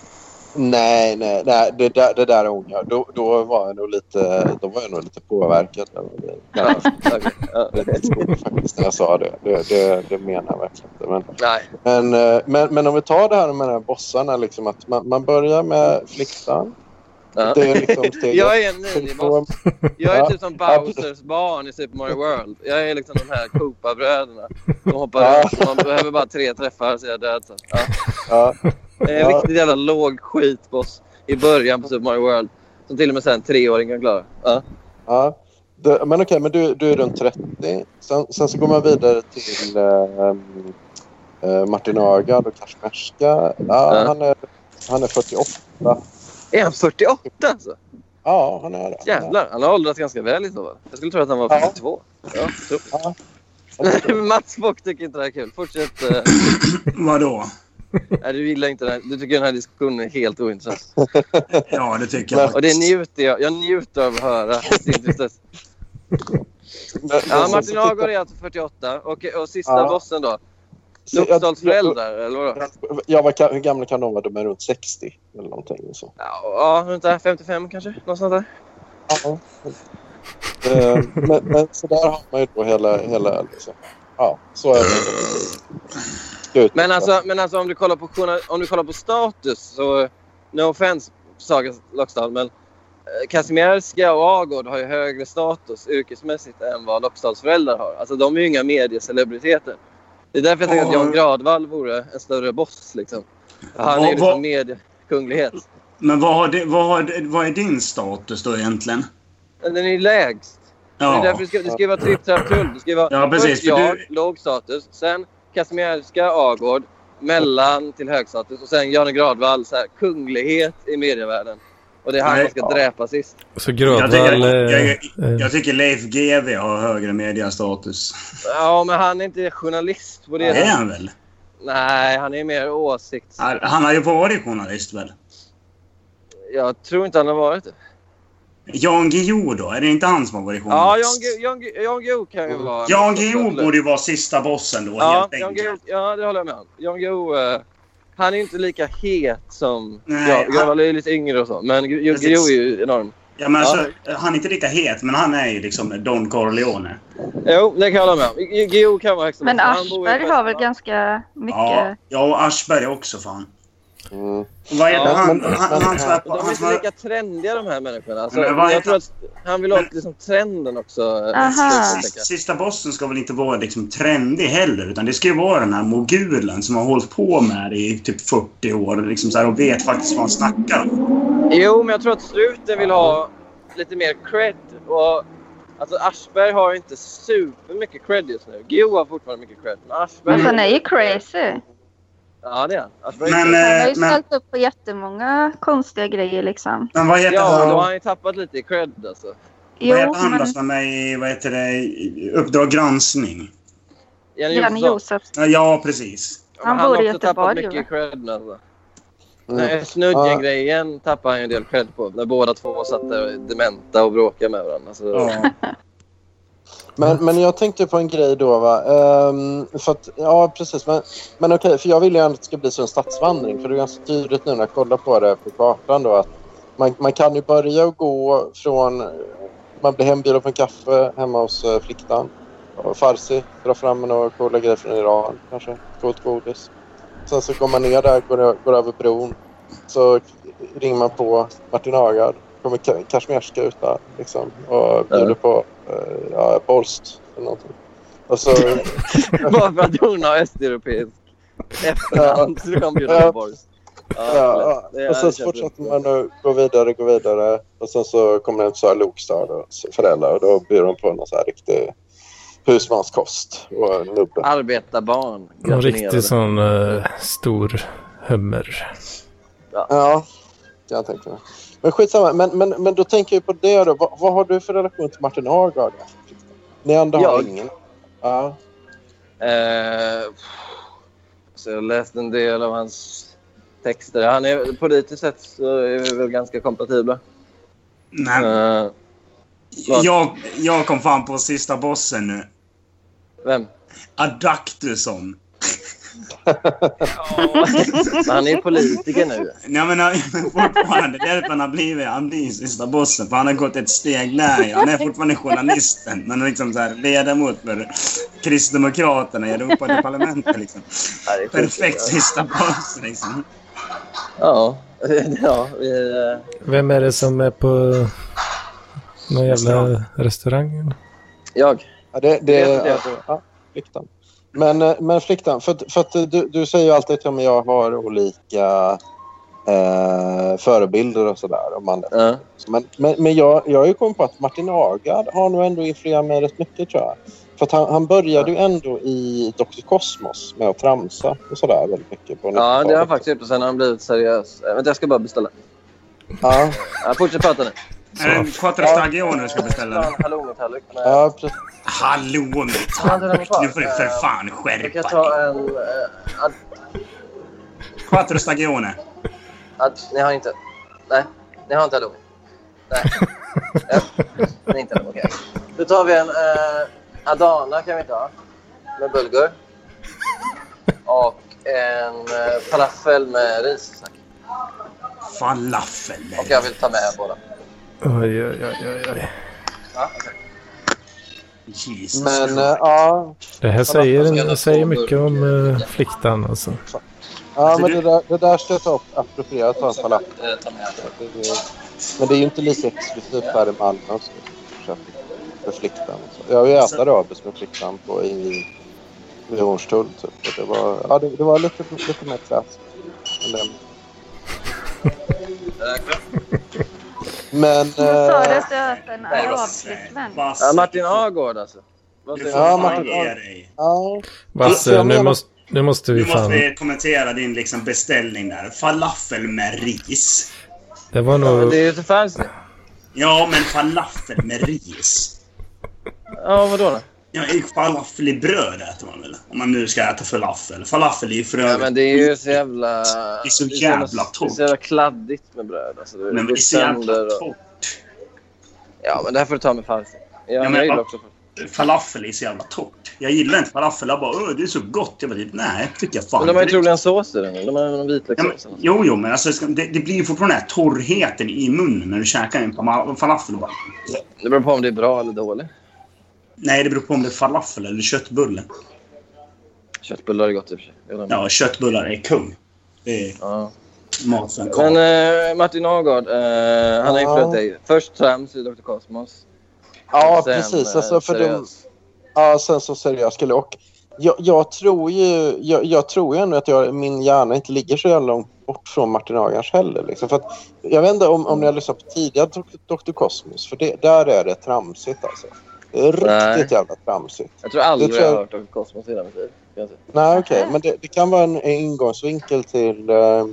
[SPEAKER 4] Nej, nej, nej det, där, det där ångrar jag. Då, då, var jag nog lite, då var jag nog lite påverkad. av det.
[SPEAKER 6] Ja, okej. ja.
[SPEAKER 4] Det är lite svårt faktiskt när jag sa det. Det, det, det menar jag verkligen inte. Men,
[SPEAKER 6] Nej.
[SPEAKER 4] men, eh, men, men om vi tar det här med de här bossarna. Liksom att man, man börjar med flickan.
[SPEAKER 6] Ja.
[SPEAKER 4] Det är liksom steget.
[SPEAKER 6] Jag är en miniboss.
[SPEAKER 4] Från-
[SPEAKER 6] Jag är
[SPEAKER 4] Ja,
[SPEAKER 6] typ som
[SPEAKER 4] absolut.
[SPEAKER 6] Bowsers barn i Super Mario World. Jag är liksom de här Koopa-bröderna. De
[SPEAKER 4] Ja.
[SPEAKER 6] hoppar runt. Man behöver bara tre träffar så är jag död. sen. Ja.
[SPEAKER 4] Ja,
[SPEAKER 6] Det är En
[SPEAKER 4] Ja.
[SPEAKER 6] riktigt jävla låg skitboss i början på Super Mario World. Som till och med sen en treåring kan klara. Ja.
[SPEAKER 4] ja. Du, men okej, men du, du är runt 30. Sen, sen så går man vidare till ehm, eh, Martin Ögard och Kashmerska. Ja,
[SPEAKER 6] Ja.
[SPEAKER 4] Han, är, han är 48.
[SPEAKER 6] Är han 48 alltså?
[SPEAKER 4] Ja, han är det.
[SPEAKER 6] Jävlar. Han har åldrats ganska väl i så fall. Jag skulle tro att han var
[SPEAKER 4] Ja.
[SPEAKER 6] 42. Ja, tror.
[SPEAKER 4] Ja.
[SPEAKER 6] Mats Bock tycker inte det här är kul. Fortsätt. eh,
[SPEAKER 3] Vadå?
[SPEAKER 6] Nej, du gillar inte den här. Du tycker den här diskussionen är helt ointressant.
[SPEAKER 3] Ja, det tycker jag
[SPEAKER 6] Och det njuter jag. Jag njuter av att höra din tristess.
[SPEAKER 4] Men-
[SPEAKER 6] Ja,
[SPEAKER 4] men-
[SPEAKER 6] Martin Agård är alltså 48. Och, och sista
[SPEAKER 4] Ja.
[SPEAKER 6] bossen då?
[SPEAKER 4] Så jag-
[SPEAKER 6] Uppsals föräldrar, eller vadå?
[SPEAKER 4] Ja, vad kan, hur gamla kan de vara? De är runt 60 eller någonting. Så.
[SPEAKER 6] Ja, ja, runt där 55 kanske? Någonstans där.
[SPEAKER 4] Ja. Eh, men, men så där har man ju då hela... hela liksom. Ja, så är det. Slut.
[SPEAKER 6] Men alltså, men alltså om, du kollar på, journal- om du kollar på status så... No offense, Saga Lockstad, men eh, Kazimierska och Agård har ju högre status yrkesmässigt än vad Lockstads föräldrar har. Alltså de är ju inga mediecelebriteter. Det är därför jag tänker att
[SPEAKER 3] Ja.
[SPEAKER 6] Jan Gradvall vore en större boss. Liksom. Han är
[SPEAKER 3] Vad-
[SPEAKER 6] ju
[SPEAKER 3] vad-
[SPEAKER 6] liksom mediekunglighet.
[SPEAKER 3] Men vad, har det, vad, har det, vad är din status då egentligen?
[SPEAKER 6] Men Den är ju lägst. Det är
[SPEAKER 3] Ja,
[SPEAKER 6] därför det ska, det ska ju vara tripp, trapp, trull. Det ska ju vara
[SPEAKER 3] Ja, precis,
[SPEAKER 6] först
[SPEAKER 3] för
[SPEAKER 6] jag,
[SPEAKER 3] du-
[SPEAKER 6] låg status. Sen Kazimierska, Agård. Mellan till hög status. Och sen Janne Gradvall, så här, kunglighet i medievärlden. Och det är han
[SPEAKER 3] Nej,
[SPEAKER 6] som ska dräpa sist.
[SPEAKER 2] Så
[SPEAKER 3] jag, tycker,
[SPEAKER 2] Grödvall...
[SPEAKER 3] jag, jag,
[SPEAKER 2] eh, eh,
[SPEAKER 3] jag tycker Leif GW har högre mediastatus.
[SPEAKER 6] Ja, men han är inte journalist på det
[SPEAKER 3] Det är
[SPEAKER 6] sättet.
[SPEAKER 3] han väl?
[SPEAKER 6] Nej, han är mer åsikts...
[SPEAKER 3] Han har ju varit journalist väl?
[SPEAKER 6] Jag tror inte han har varit det.
[SPEAKER 3] Mm. Jan Guillou då? Är det inte han som har varit
[SPEAKER 6] Ja,
[SPEAKER 3] journalist?
[SPEAKER 6] Jan Gu- Jan Gu- Jan Guillou kan ju vara...
[SPEAKER 3] Mm. Jan Guillou borde ju vara sista bossen då
[SPEAKER 6] Ja,
[SPEAKER 3] helt
[SPEAKER 6] Jan
[SPEAKER 3] enkelt.
[SPEAKER 6] Guillou, ja, det håller jag med om. Jan Guillou, eh, han är ju inte lika het som...
[SPEAKER 3] Nej,
[SPEAKER 6] Nej,
[SPEAKER 3] han-
[SPEAKER 6] Gravall är ju lite yngre och så, men Gu- Jan
[SPEAKER 3] Precis.
[SPEAKER 6] Guillou är ju enorm.
[SPEAKER 3] Ja, men
[SPEAKER 6] Ja.
[SPEAKER 3] alltså, han är inte lika het, men han är ju liksom Don Corleone.
[SPEAKER 6] Jo, det kan jag hålla med om. Gu- Guillou kan vara högsta
[SPEAKER 1] Men
[SPEAKER 6] bossen. Han bor i
[SPEAKER 1] Aschberg har väl
[SPEAKER 6] Västmanland.
[SPEAKER 1] ganska mycket...
[SPEAKER 3] Ja, ja, och Aschberg också fan.
[SPEAKER 4] Mm.
[SPEAKER 3] Vad är det?
[SPEAKER 6] Ja,
[SPEAKER 3] han,
[SPEAKER 4] men-
[SPEAKER 3] han, han som är på...
[SPEAKER 6] De är
[SPEAKER 3] Han som
[SPEAKER 6] inte
[SPEAKER 3] är,
[SPEAKER 6] lika trendiga de här människorna. Alltså,
[SPEAKER 3] Men vad-
[SPEAKER 6] jag tror att han vill åt liksom, trenden också. eh,
[SPEAKER 1] Aha.
[SPEAKER 6] tänker jag.
[SPEAKER 3] Sista bossen ska väl inte vara liksom trendig heller, utan det ska ju vara den här mogulen som har hållit på med det i typ 40 år liksom så här, och vet faktiskt vad han snackar om.
[SPEAKER 6] Jo, men jag tror att Struten vill ha lite mer cred. Och, alltså, Aschberg har ju inte supermycket cred just nu. Guillou har fortfarande mycket cred. Men Aschberg...
[SPEAKER 1] Men Alltså, han är ju crazy.
[SPEAKER 6] Ja, det är han. Aschberg är
[SPEAKER 3] Men,
[SPEAKER 6] crazy.
[SPEAKER 1] Han har ju
[SPEAKER 3] eh, men,
[SPEAKER 1] ställt upp på jättemånga konstiga grejer liksom.
[SPEAKER 3] men vad heter
[SPEAKER 6] Ja, men då har
[SPEAKER 3] han?
[SPEAKER 6] han ju tappat lite i cred alltså.
[SPEAKER 3] Vad
[SPEAKER 1] Jo,
[SPEAKER 3] heter han då
[SPEAKER 1] men
[SPEAKER 3] som är med i vad heter det, i Uppdrag granskning?
[SPEAKER 6] Janne
[SPEAKER 1] Janne
[SPEAKER 6] Josefsson.
[SPEAKER 1] Josefsson.
[SPEAKER 3] Ja, precis.
[SPEAKER 6] Ja,
[SPEAKER 1] Han
[SPEAKER 6] men
[SPEAKER 1] bor i
[SPEAKER 6] har också tappat
[SPEAKER 1] Göteborg,
[SPEAKER 6] mycket i cred alltså.
[SPEAKER 4] Mm.
[SPEAKER 6] Nej, Snudgen-grejen tappade han ju en del cred på. När båda två satt där och dementa och bråkade med varandra. Alltså, Så,
[SPEAKER 3] Ja.
[SPEAKER 4] Men, men jag tänkte på en grej då. Va? Ehm, för att, ja, precis. Men, men okej, för jag vill ju ändå att det ska bli så en stadsvandring. För det är ganska tydligt nu när jag kollar på det på kartan då att man, man kan ju börja och gå från... Man blir hembjuden på en kaffe hemma hos eh, flickan. Och Farsi drar fram några coola grejer från Iran kanske. Coolt godis. Sen så går man ner där, går, ö- går över bron. Så ringer man på Martin Agard. Kommer Ka- Kashmirska ut där liksom. Och bjuder
[SPEAKER 6] Ja.
[SPEAKER 4] på eh, ja, Bolst eller någonting. Och så...
[SPEAKER 6] Bara för att hon har östeuropeisk efternamn så kan
[SPEAKER 4] Ja.
[SPEAKER 6] bjuda på Boris.
[SPEAKER 4] Ja,
[SPEAKER 6] det- det-
[SPEAKER 4] och
[SPEAKER 6] det
[SPEAKER 4] sen
[SPEAKER 6] köper
[SPEAKER 4] så
[SPEAKER 6] jag.
[SPEAKER 4] fortsätter man att gå vidare, gå vidare. Och sen så kommer det en så här lokstad och så föräldrar och då blir de på någon så här riktig husmanskost och en nubbe.
[SPEAKER 6] Arbetarbarn.
[SPEAKER 2] någon
[SPEAKER 6] gratinerade.
[SPEAKER 2] riktig sån eh, stor hummer.
[SPEAKER 4] Ja, kan jag tänka mig. Men skitsamma, men, men, men då tänker jag på det då. Vad, vad har du för relation till Martin Agard? Ni andra har
[SPEAKER 6] Jag?
[SPEAKER 4] ingen? Ja.
[SPEAKER 6] Eh, så jag läste en del av hans texter. Han är, politiskt sett så är vi väl ganska kompatibla.
[SPEAKER 3] Nej,
[SPEAKER 6] Eh,
[SPEAKER 3] jag, jag kom fan på sista bossen nu.
[SPEAKER 6] vem?
[SPEAKER 3] Adaktusson.
[SPEAKER 6] Men han är ju politiker nu.
[SPEAKER 3] Nej men han- men fortfarande, det är därför han har blivit, han blir sista bossen. För han har gått ett steg lägre. Han är fortfarande journalisten. Men liksom så här, ledamot för Kristdemokraterna i Europaparlamentet liksom.
[SPEAKER 6] Ja, det är sjukt.
[SPEAKER 3] Perfekt sista boss liksom.
[SPEAKER 6] Ja. ja vi, eh,
[SPEAKER 2] Vem är det som är på någon jävla restaurang?
[SPEAKER 6] jag.
[SPEAKER 4] Ja, det, det,
[SPEAKER 6] Det- det-
[SPEAKER 4] alltså, ja, fliktan. Men, eh, men fliktan, för, att- för att du, du säger ju alltid att ja, men jag har olika eh, förebilder och sådär. om man-
[SPEAKER 6] Ja.
[SPEAKER 4] Men, men, men jag, jag har ju kommit på att Martin Agard har nog ändå influerat mig rätt mycket tror jag. För att han, han började ju ändå i Dr. Cosmos med att tramsa och sådär väldigt mycket. På
[SPEAKER 6] ja, det har han
[SPEAKER 4] 90-talet.
[SPEAKER 6] faktiskt gjort. Och sen har han blivit seriös. Eh, Vänta, jag ska bara beställa.
[SPEAKER 4] Ja,
[SPEAKER 6] Ja, fortsätt prata nu.
[SPEAKER 3] Är det en quattro stagione du ska beställa?
[SPEAKER 6] Hallongtallrik.
[SPEAKER 4] ja, precis.
[SPEAKER 3] Hallon! Nu får du för fan skärpa dig.
[SPEAKER 6] en... eh,
[SPEAKER 3] Quattro stagione.
[SPEAKER 6] ni har inte... Nej, ni har inte halloumi. Nej. ni har inte halloumi. Okej. Då tar vi en eh, Adana kan vi ta. Med bulgur. Och en eh, falafel med ris.
[SPEAKER 3] Falafel.
[SPEAKER 6] Och jag vill ta med båda.
[SPEAKER 2] Oj, oj, oj, oj, oj.
[SPEAKER 3] Jesus
[SPEAKER 6] Mm.
[SPEAKER 4] Men
[SPEAKER 3] Christ.
[SPEAKER 4] eh, ja,
[SPEAKER 2] Det här säger, det säger mycket om uh, fliktan alltså.
[SPEAKER 4] ja
[SPEAKER 3] Alltså,
[SPEAKER 4] men
[SPEAKER 3] du-
[SPEAKER 4] det där, det där ska jag ta upp, appropriera ta en falafel.
[SPEAKER 6] Eh, Ta med.
[SPEAKER 4] Det är- Men det är ju inte lika exklusivt här i Malmö som Köping för fliktan. och så. Jag vill äta rödbets med fliktan på i vid Hornstull typ. Och Det var, ja, det, det var lite, lite mer klass. Men,
[SPEAKER 6] Eh,
[SPEAKER 4] men
[SPEAKER 1] Hon sa det
[SPEAKER 4] eh,
[SPEAKER 1] söten
[SPEAKER 3] Vad
[SPEAKER 1] arabflickvän.
[SPEAKER 3] vad
[SPEAKER 6] Ja, Martin Agård alltså. Vad
[SPEAKER 3] Du
[SPEAKER 6] säger
[SPEAKER 3] får
[SPEAKER 6] du?
[SPEAKER 4] Ja,
[SPEAKER 3] fan
[SPEAKER 4] Martin
[SPEAKER 3] ge
[SPEAKER 4] Agård.
[SPEAKER 3] dig.
[SPEAKER 4] ja,
[SPEAKER 2] Basse, Alltså, nu måste, nu måste vi
[SPEAKER 3] Nu måste
[SPEAKER 2] fan...
[SPEAKER 3] vi kommentera din liksom beställning där. Falafel med ris.
[SPEAKER 2] Det var
[SPEAKER 6] Ja, men
[SPEAKER 2] nog...
[SPEAKER 6] det är ju så fancy.
[SPEAKER 3] Ja, men falafel med ris.
[SPEAKER 6] Ja, vadå då?
[SPEAKER 3] Ja, falafel i bröd äter man väl? Om man nu ska äta falafel. Falafel är ju för
[SPEAKER 6] Ja,
[SPEAKER 3] övrigt...
[SPEAKER 6] men det är ju så jävla...
[SPEAKER 3] är så jävla
[SPEAKER 6] jävla Det är
[SPEAKER 3] torrt.
[SPEAKER 6] så jävla kladdigt med bröd. Alltså, det,
[SPEAKER 3] Nej, men det är så jävla
[SPEAKER 6] sönder och...
[SPEAKER 3] torrt.
[SPEAKER 6] Ja, men det här får du ta med farsen. Ja,
[SPEAKER 3] men-
[SPEAKER 6] men jag gillar också farsen.
[SPEAKER 3] Falafel är så jävla torrt. Jag gillar inte falafel. Jag bara Åh, det är så gott. Jag bara typ, nej, tycker jag fan
[SPEAKER 6] Men de har ju
[SPEAKER 3] inte.
[SPEAKER 6] troligen sås i den. nu. De har någon
[SPEAKER 3] Ja, men,
[SPEAKER 6] vitlökssås. eller något.
[SPEAKER 3] jo, jo, men alltså, ska- det, det blir ju fortfarande den här torrheten i munnen när du käkar en fama- falafel. och Bara,
[SPEAKER 6] Det beror på om det är bra eller dåligt.
[SPEAKER 3] nej, det beror på om det är falafel eller köttbulle.
[SPEAKER 6] Köttbullar är gott i och för sig. Jag håller med.
[SPEAKER 3] Ja, köttbullar är kung. Det är
[SPEAKER 6] Ja.
[SPEAKER 3] mat för en karl.
[SPEAKER 6] Men eh, Martin Agard, eh, han
[SPEAKER 4] Ja.
[SPEAKER 6] har influerat dig. Först trams i Dr. Cosmos.
[SPEAKER 4] ja
[SPEAKER 6] sen,
[SPEAKER 4] precis.
[SPEAKER 6] eh,
[SPEAKER 4] Alltså, för de,
[SPEAKER 6] seriös.
[SPEAKER 4] ja, sen så seriös kille. Och jag, jag tror ju jag, jag tror ju ändå att jag, min hjärna inte ligger så jävla långt bort från Martin Agars heller. Liksom. För att, jag vet inte om, om ni har lyssnat på tidigare Dok- Dr. Cosmos, för det, där är det tramsigt alltså. Det är riktigt
[SPEAKER 6] Nej.
[SPEAKER 4] jävla tramsigt.
[SPEAKER 6] Jag tror aldrig
[SPEAKER 4] det tror jag-
[SPEAKER 6] jag har hört Dr. Cosmos i hela mitt liv. kan jag säga.
[SPEAKER 4] Nej, okej. Men det, det kan vara en, en ingångsvinkel till eh,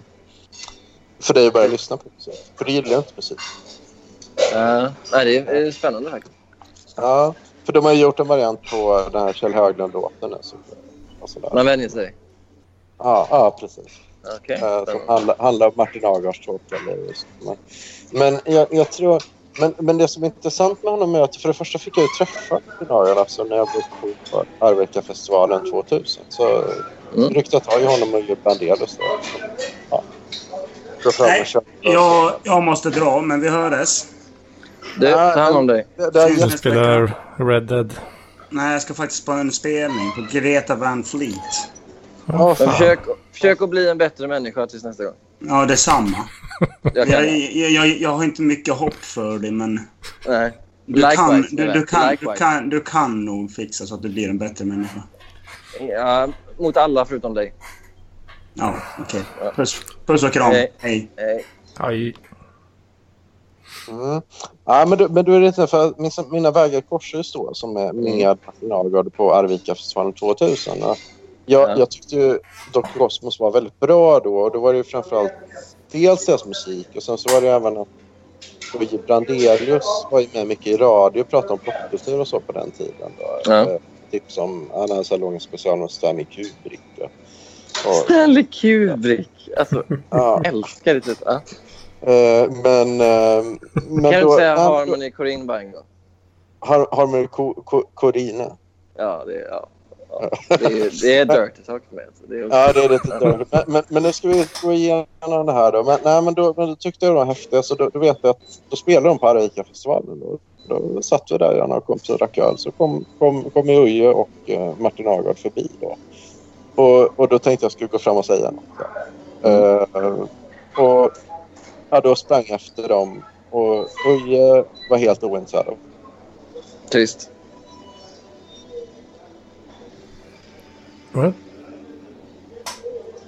[SPEAKER 4] för dig att börja lyssna på musik. För det gillar jag inte precis.
[SPEAKER 6] Eh, nej, det är, det är spännande faktiskt.
[SPEAKER 4] Ja, för de har ju gjort en variant på den här Kjell Höglund-låten. alltså. Och sådär.
[SPEAKER 6] Man vänjer sig.
[SPEAKER 4] Ja, ja, precis.
[SPEAKER 6] Okej.
[SPEAKER 4] Eh, som
[SPEAKER 6] spännande.
[SPEAKER 4] handlar, handlar om Martin Agards tolk. eller just- Men, men jag, jag tror... Men, men det som är intressant med honom är att för det första fick jag ju träffa Martin Agard alltså, när jag var på Arvika-festivalen 2000. Så
[SPEAKER 6] Mm.
[SPEAKER 4] ryckte jag tag i honom och gjorde Bandelius. där. Ja. Gå fram och
[SPEAKER 3] Nej,
[SPEAKER 4] köpa.
[SPEAKER 3] jag, jag måste dra, men vi hördes.
[SPEAKER 6] Du, ta hand om dig.
[SPEAKER 4] Det, det är
[SPEAKER 3] Tusen-
[SPEAKER 2] Jag spelar Red Dead.
[SPEAKER 3] Nej, jag ska faktiskt på en spelning på Greta Van Fleet.
[SPEAKER 4] ja,
[SPEAKER 6] Men
[SPEAKER 4] fan.
[SPEAKER 6] försök, försök att bli en bättre människa tills nästa gång.
[SPEAKER 3] Ja, detsamma.
[SPEAKER 6] Jag kan
[SPEAKER 3] Jag, jag, jag, jag har inte mycket hopp för dig, men
[SPEAKER 6] Nej.
[SPEAKER 3] du kan,
[SPEAKER 6] Likewise,
[SPEAKER 3] du,
[SPEAKER 6] eller?
[SPEAKER 3] du, kan, du,
[SPEAKER 6] Likewise.
[SPEAKER 3] kan, du kan nog fixa så att du blir en bättre människa.
[SPEAKER 6] Ja, mot alla förutom dig.
[SPEAKER 3] Ja, okej. Puss, puss och kram.
[SPEAKER 6] Hej.
[SPEAKER 3] Hej.
[SPEAKER 6] Nej.
[SPEAKER 2] Aj.
[SPEAKER 4] Mm. Ja, men, du, men du är lite för min, mina vägar korsades då som är
[SPEAKER 6] Mm.
[SPEAKER 4] med Martin Agard på Arvika festivalen 2000. Och Jag,
[SPEAKER 6] Ja.
[SPEAKER 4] jag tyckte ju Dr. Cosmos var väldigt bra då och då var det ju framförallt dels deras musik och sen så var det ju även att Oj Brandelius var ju med mycket i radio och pratade om popkultur och så på den tiden. Då.
[SPEAKER 6] Ja.
[SPEAKER 4] Eh, Typ som han hade en sån här lång special om Stanley Kubrick. Då. Och,
[SPEAKER 6] Stanley Kubrick. Alltså,
[SPEAKER 4] ja,
[SPEAKER 6] älskar det typ. Ja.
[SPEAKER 4] eh, men... Eh, men
[SPEAKER 6] Kan du
[SPEAKER 4] då,
[SPEAKER 6] inte säga
[SPEAKER 4] ja,
[SPEAKER 6] Harmony Corinne Bang då?
[SPEAKER 4] Har, Harmony Co- Co- Corina.
[SPEAKER 6] Ja, det är... Ja. Ja. Det är, det är dirty talk med. Så det är
[SPEAKER 4] Ja, det är lite dåligt. Men, men, men nu ska vi gå igenom det här då. Men, nej, men då, men då tyckte jag det var häftigt. Så då, då vet jag att då spelade de på Arvika-festivalen. Då, då satt vi där, jag och några kompisar och drack öl. Så kom, kom, kom Uje och eh, Martin Agard förbi då. Och, och då tänkte jag skulle gå fram och säga något. då. Eh, Och ja, då sprang jag efter dem och Uje var helt ointresserad.
[SPEAKER 6] Trist.
[SPEAKER 2] Right?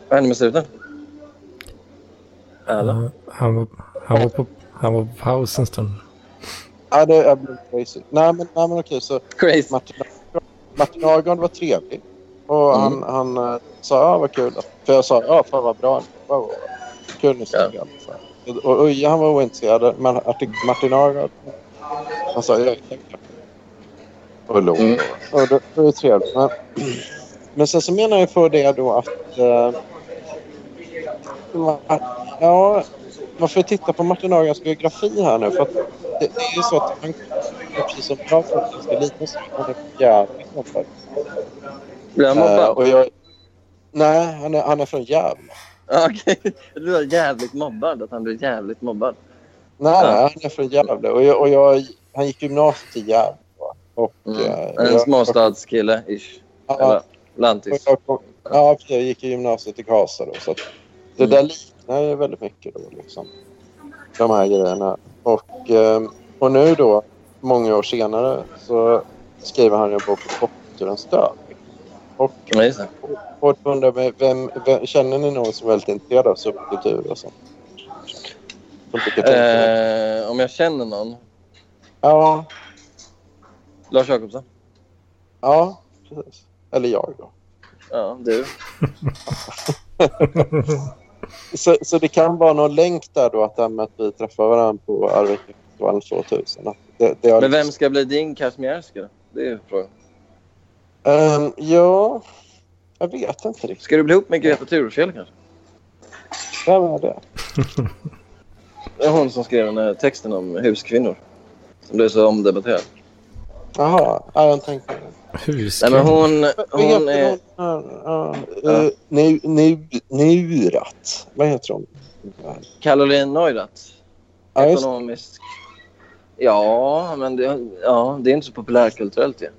[SPEAKER 6] Vad hände med struten? Eller?
[SPEAKER 2] Han, han, var, han, var på, han var på paus en stund.
[SPEAKER 4] Ja, det, jag blev crazy. Nej, men, nej, men okej. Så
[SPEAKER 6] Crazy.
[SPEAKER 4] Martin, Martin Argond var trevlig. Och han, han eh, sa ja, vad kul. att- För jag sa ja, fan vad bra. Wow, wow. Kul ni ska ja. Och Uje han var ointresserad. Men Arti- Martin Argond han sa ja, tack. tack. Och log.
[SPEAKER 6] Mm.
[SPEAKER 4] Och det det var ju trevligt. Men, men sen så menar jag för det då att... eh, att ja, man får titta på Martin Argans biografi här nu. För att det, det är ju så att han, precis som jag, från ganska liten så han är jävligt mobbad.
[SPEAKER 6] Blev han
[SPEAKER 4] Eh,
[SPEAKER 6] mobbad?
[SPEAKER 4] och jag, nej, han är, han är från Gävle.
[SPEAKER 6] Ja, Okej. Du var jävligt mobbad. Att han blev jävligt mobbad.
[SPEAKER 4] Nej,
[SPEAKER 6] Ja.
[SPEAKER 4] nej, han är från Gävle. Och, jag, och jag, han gick gymnasiet i Gävle. va. Och,
[SPEAKER 6] Mm.
[SPEAKER 4] eh,
[SPEAKER 6] En
[SPEAKER 4] jag-
[SPEAKER 6] småstadskille, ish.
[SPEAKER 4] Ja,
[SPEAKER 6] Eller lantis.
[SPEAKER 4] och jag kom, ja, precis, jag gick i gymnasiet i Karlstad då. Så att det
[SPEAKER 6] Mm.
[SPEAKER 4] där liknar ju väldigt mycket då. Liksom, de här grejerna. Och, ehm, och nu då, många år senare, så skriver han ju en bok om popkulturens död. Och
[SPEAKER 6] Ja, just det.
[SPEAKER 4] Folk undrar mig, vem, vem, känner ni någon som är väldigt intresserad av subkultur och sånt? Som brukar tänka-
[SPEAKER 6] Eh, om jag känner någon?
[SPEAKER 4] Ja,
[SPEAKER 6] Lars Jacobsson?
[SPEAKER 4] ja, precis. Eller jag då.
[SPEAKER 6] Ja, du.
[SPEAKER 4] Så, så det kan vara någon länk där då att, det här med att vi träffar varandra på Arvikafestivalen 2000. Att Det, det har liksom-
[SPEAKER 6] Men vem ska bli din Kazmierska? då? Det är frågan.
[SPEAKER 4] Ehm, ja, jag vet inte riktigt.
[SPEAKER 6] Ska du bli ihop med Greta Thurfjell kanske?
[SPEAKER 4] Vem är det?
[SPEAKER 6] Det är hon som skrev den här texten om huskvinnor. Som blev så omdebatterad.
[SPEAKER 4] Jaha, ja, jag tänkte...
[SPEAKER 6] Nej men
[SPEAKER 2] Huskvinnor.
[SPEAKER 6] hon, hon är...
[SPEAKER 4] eh,
[SPEAKER 6] Ja.
[SPEAKER 4] Nu, nu, nurat. Vad heter hon?
[SPEAKER 6] Caroline Neurath.
[SPEAKER 4] Ja, just
[SPEAKER 6] Ekonomisk. Ja, men det, ja, det är inte så populärkulturellt ju.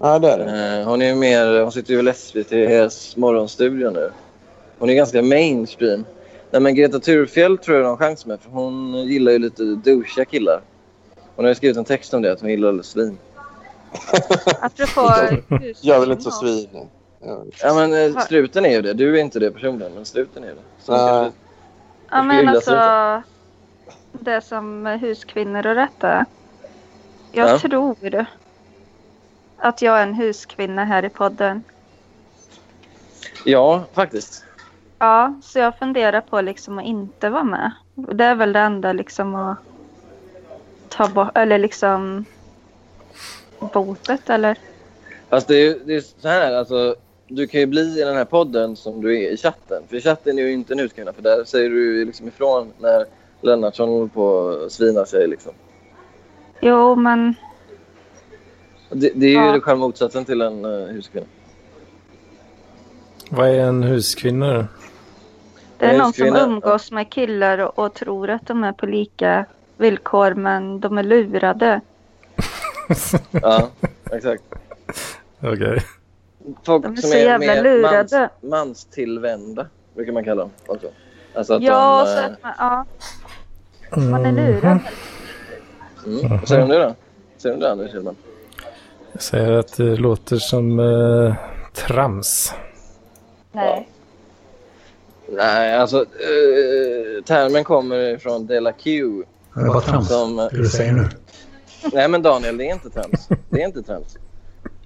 [SPEAKER 4] Ja, det är det.
[SPEAKER 6] Eh, Hon är ju mer, hon sitter ju väl SVTs morgonstudio nu. Hon är ganska mainstream. Nej men Greta Thurfjell tror jag de har chans med för hon gillar ju lite douchiga killar. Hon har ju skrivit en text om det, att hon gillar svin.
[SPEAKER 1] Apropå
[SPEAKER 4] Jag är väl inte så svinig. Ja.
[SPEAKER 6] Ja men eh, struten är ju det. Du är inte det personligen, men struten är det. Så hon
[SPEAKER 4] Nej.
[SPEAKER 6] kanske-
[SPEAKER 1] Ja
[SPEAKER 6] Jag
[SPEAKER 1] men
[SPEAKER 6] gillar
[SPEAKER 1] alltså det som huskvinnor och detta. Jag
[SPEAKER 6] Ja.
[SPEAKER 1] tror att jag är en huskvinna här i podden.
[SPEAKER 6] Ja, faktiskt.
[SPEAKER 1] Ja, så jag funderar på liksom att inte vara med. Det är väl det enda liksom att ta bort, eller liksom botet eller?
[SPEAKER 6] Alltså det är, ju- det är så här, alltså, du kan ju bli i den här podden som du är i chatten. För i chatten är ju inte en utkvinna, för där säger du ju liksom ifrån när Lennartsson håller på och svinar sig. Liksom.
[SPEAKER 1] Jo men
[SPEAKER 6] Det, det är ju
[SPEAKER 1] Ja.
[SPEAKER 6] själva motsatsen till en uh, huskvinna.
[SPEAKER 2] Vad är en huskvinna?
[SPEAKER 1] det är
[SPEAKER 6] En
[SPEAKER 1] någon som
[SPEAKER 6] huskvinna, ja.
[SPEAKER 1] umgås med killar och, och tror att de är på lika villkor men de är lurade.
[SPEAKER 6] Ja, exakt.
[SPEAKER 2] Okej.
[SPEAKER 6] Folk
[SPEAKER 1] De är
[SPEAKER 6] som
[SPEAKER 1] så
[SPEAKER 6] är
[SPEAKER 1] jävla
[SPEAKER 6] mer mans,
[SPEAKER 1] lurade.
[SPEAKER 6] manstillvända, brukar man kalla dem också. Alltså att
[SPEAKER 1] Ja,
[SPEAKER 6] de...
[SPEAKER 1] så
[SPEAKER 6] eh,
[SPEAKER 1] att man, ja,
[SPEAKER 2] Mm.
[SPEAKER 1] man är lurad.
[SPEAKER 6] mm. Vad säger du om det då? Vad säger du om det Anders Hedman?
[SPEAKER 2] Jag säger att det låter som eh, trams.
[SPEAKER 1] Nej.
[SPEAKER 6] Nej, alltså eh, termen kommer från Dela Q.
[SPEAKER 7] Det var trams,
[SPEAKER 6] Som,
[SPEAKER 7] det du säger nu.
[SPEAKER 6] Nej men Daniel, det är inte trams. Det är inte trams.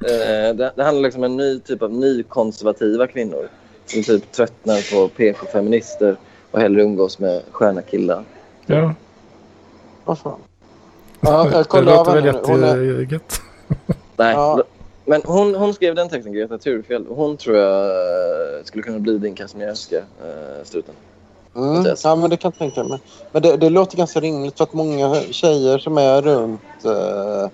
[SPEAKER 6] Eh, det, det handlar liksom om en ny typ av nykonservativa kvinnor som typ tröttnar på PK-feminister och hellre umgås med sköna killar.
[SPEAKER 2] Ja,
[SPEAKER 4] Vad fan. Ja, jag
[SPEAKER 2] det
[SPEAKER 4] kollar
[SPEAKER 2] låter
[SPEAKER 4] av
[SPEAKER 2] väl
[SPEAKER 4] henne nu. Hon är...
[SPEAKER 2] jättegött.
[SPEAKER 6] Nej.
[SPEAKER 4] Ja.
[SPEAKER 6] Men hon, hon skrev den texten, Greta Thurfjell. och Hon tror jag eh, skulle kunna bli din Kazimierska, eh, struten.
[SPEAKER 4] Mm. Ja, men det kan jag tänka mig. Men det, det låter ganska rimligt för att många tjejer som är runt... Eh,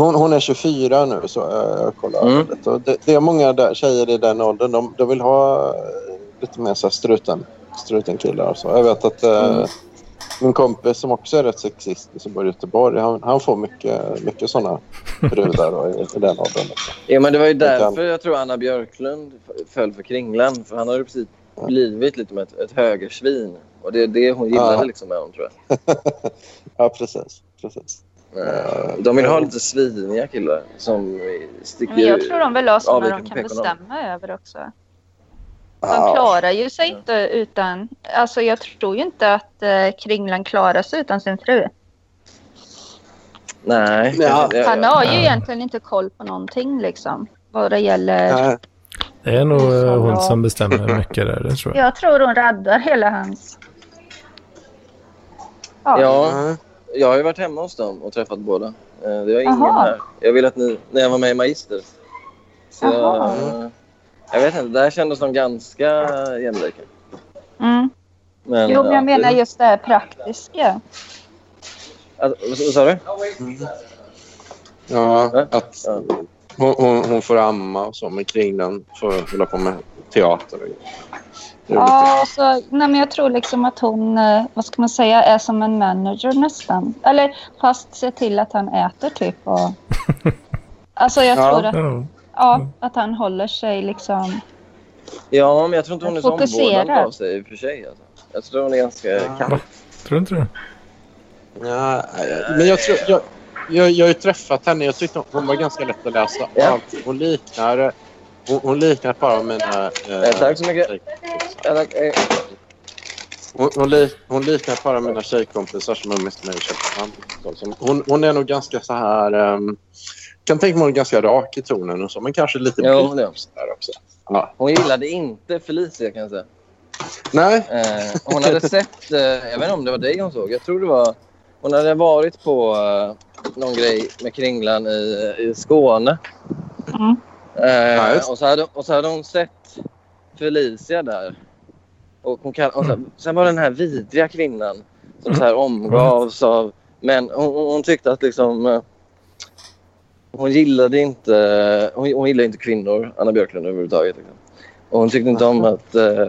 [SPEAKER 4] hon, hon är 24 nu, så jag, jag kollar.
[SPEAKER 6] Mm.
[SPEAKER 4] lite. Och Det, det är många där, tjejer i den åldern. De, de vill ha eh, lite mer så här struten, strutenkillar och så. Jag vet att eh, min kompis som också är rätt sexistisk som bor i Göteborg, han, han får mycket, mycket sådana brudar då, i, i den åldern.
[SPEAKER 6] Ja, men det var ju
[SPEAKER 4] kan-
[SPEAKER 6] därför jag tror Anna Björklund f- föll för Kringlan. För han har ju precis blivit lite med ett, ett högersvin. Och det är det hon gillade
[SPEAKER 4] Ja.
[SPEAKER 6] liksom med honom tror jag.
[SPEAKER 4] Ja, precis. precis.
[SPEAKER 6] Eh, De vill ha lite sviniga killar som sticker
[SPEAKER 1] Men jag tror de vill ha sådana
[SPEAKER 6] avviker
[SPEAKER 1] de
[SPEAKER 6] från
[SPEAKER 1] kan
[SPEAKER 6] PK-normen.
[SPEAKER 1] bestämma över också. De
[SPEAKER 4] Ja,
[SPEAKER 1] klarar ju sig inte utan... Alltså jag tror ju inte att eh, Kringlan klarar sig utan sin fru.
[SPEAKER 6] Nej.
[SPEAKER 4] Ja.
[SPEAKER 6] jag- jag-
[SPEAKER 1] Han har ju
[SPEAKER 2] Ja.
[SPEAKER 1] egentligen inte koll på någonting liksom. Vad det gäller...
[SPEAKER 4] nej,
[SPEAKER 2] Det är nog eh,
[SPEAKER 1] Fan,
[SPEAKER 2] hon
[SPEAKER 1] ja.
[SPEAKER 2] som bestämmer mycket där, det tror jag.
[SPEAKER 1] Jag tror hon räddar hela hans... Ja.
[SPEAKER 6] ja,
[SPEAKER 4] nej.
[SPEAKER 6] jag har ju varit hemma hos dem och träffat båda. Eh, Det har ingen
[SPEAKER 1] Jaha.
[SPEAKER 6] här. Jag vill att ni, när jag var med i Magister. Så jag,
[SPEAKER 1] Jaha.
[SPEAKER 6] jag vet inte, där kändes de ganska jämlika.
[SPEAKER 1] Mm.
[SPEAKER 6] Men,
[SPEAKER 1] Jo, men
[SPEAKER 6] ja,
[SPEAKER 1] jag menar just det här praktiska.
[SPEAKER 6] Alltså, vad, vad sa du?
[SPEAKER 4] Ja, att
[SPEAKER 6] Ja.
[SPEAKER 4] hon, hon, hon får amma och så, men kring den får hålla på med teater och grejer. Det är
[SPEAKER 1] Ja, och så, nej, men jag tror liksom att hon, eh, vad ska man säga, är som en manager nästan. Eller fast se till att han äter typ. Och... Alltså jag
[SPEAKER 4] Ja.
[SPEAKER 1] tror att,
[SPEAKER 2] Ja.
[SPEAKER 1] ja, att han håller sig liksom.
[SPEAKER 6] Ja, men jag tror inte hon är så
[SPEAKER 1] Fokusera.
[SPEAKER 6] omvårdande av sig i och för sig. Alltså. Jag tror hon är ganska katt.
[SPEAKER 2] Tror du inte det?
[SPEAKER 4] Ja, men jag, tror, jag, jag, jag har ju träffat henne. Jag tyckte hon var ganska lätt att läsa av.
[SPEAKER 6] Ja.
[SPEAKER 4] Hon liknar... Hon, hon liknar ett par av mina... eh,
[SPEAKER 6] Eh, tack så mycket. Ja, tack. Eh,
[SPEAKER 4] Hon, hon, lik, hon liknar ett par av mina tjejkompisar som umgås med mig i Köpenhamn. Så- som- Hon, hon är nog ganska så här... ehm, kan tänka mig hon är ganska rak i tonen och så, men kanske lite
[SPEAKER 6] Jo,
[SPEAKER 4] blyg
[SPEAKER 6] det är
[SPEAKER 4] och så där också. Ja.
[SPEAKER 6] Hon gillade inte Felicia kan jag säga.
[SPEAKER 4] Nej.
[SPEAKER 6] Eh, hon hade sett, eh, jag vet inte om det var dig hon såg, jag tror det var, hon hade varit på eh, någon grej med Kringlan i, eh, i Skåne.
[SPEAKER 1] Mm.
[SPEAKER 6] Eh,
[SPEAKER 4] just.
[SPEAKER 6] och, så hade, och så hade hon sett Felicia där. Och hon kall, och så, sen var det den här vidriga kvinnan som så här omgavs av män. Hon, hon hon tyckte att liksom eh, hon gillade inte, hon, hon gillade inte kvinnor, Anna Björklund överhuvudtaget. Liksom. Och hon tyckte inte om att eh,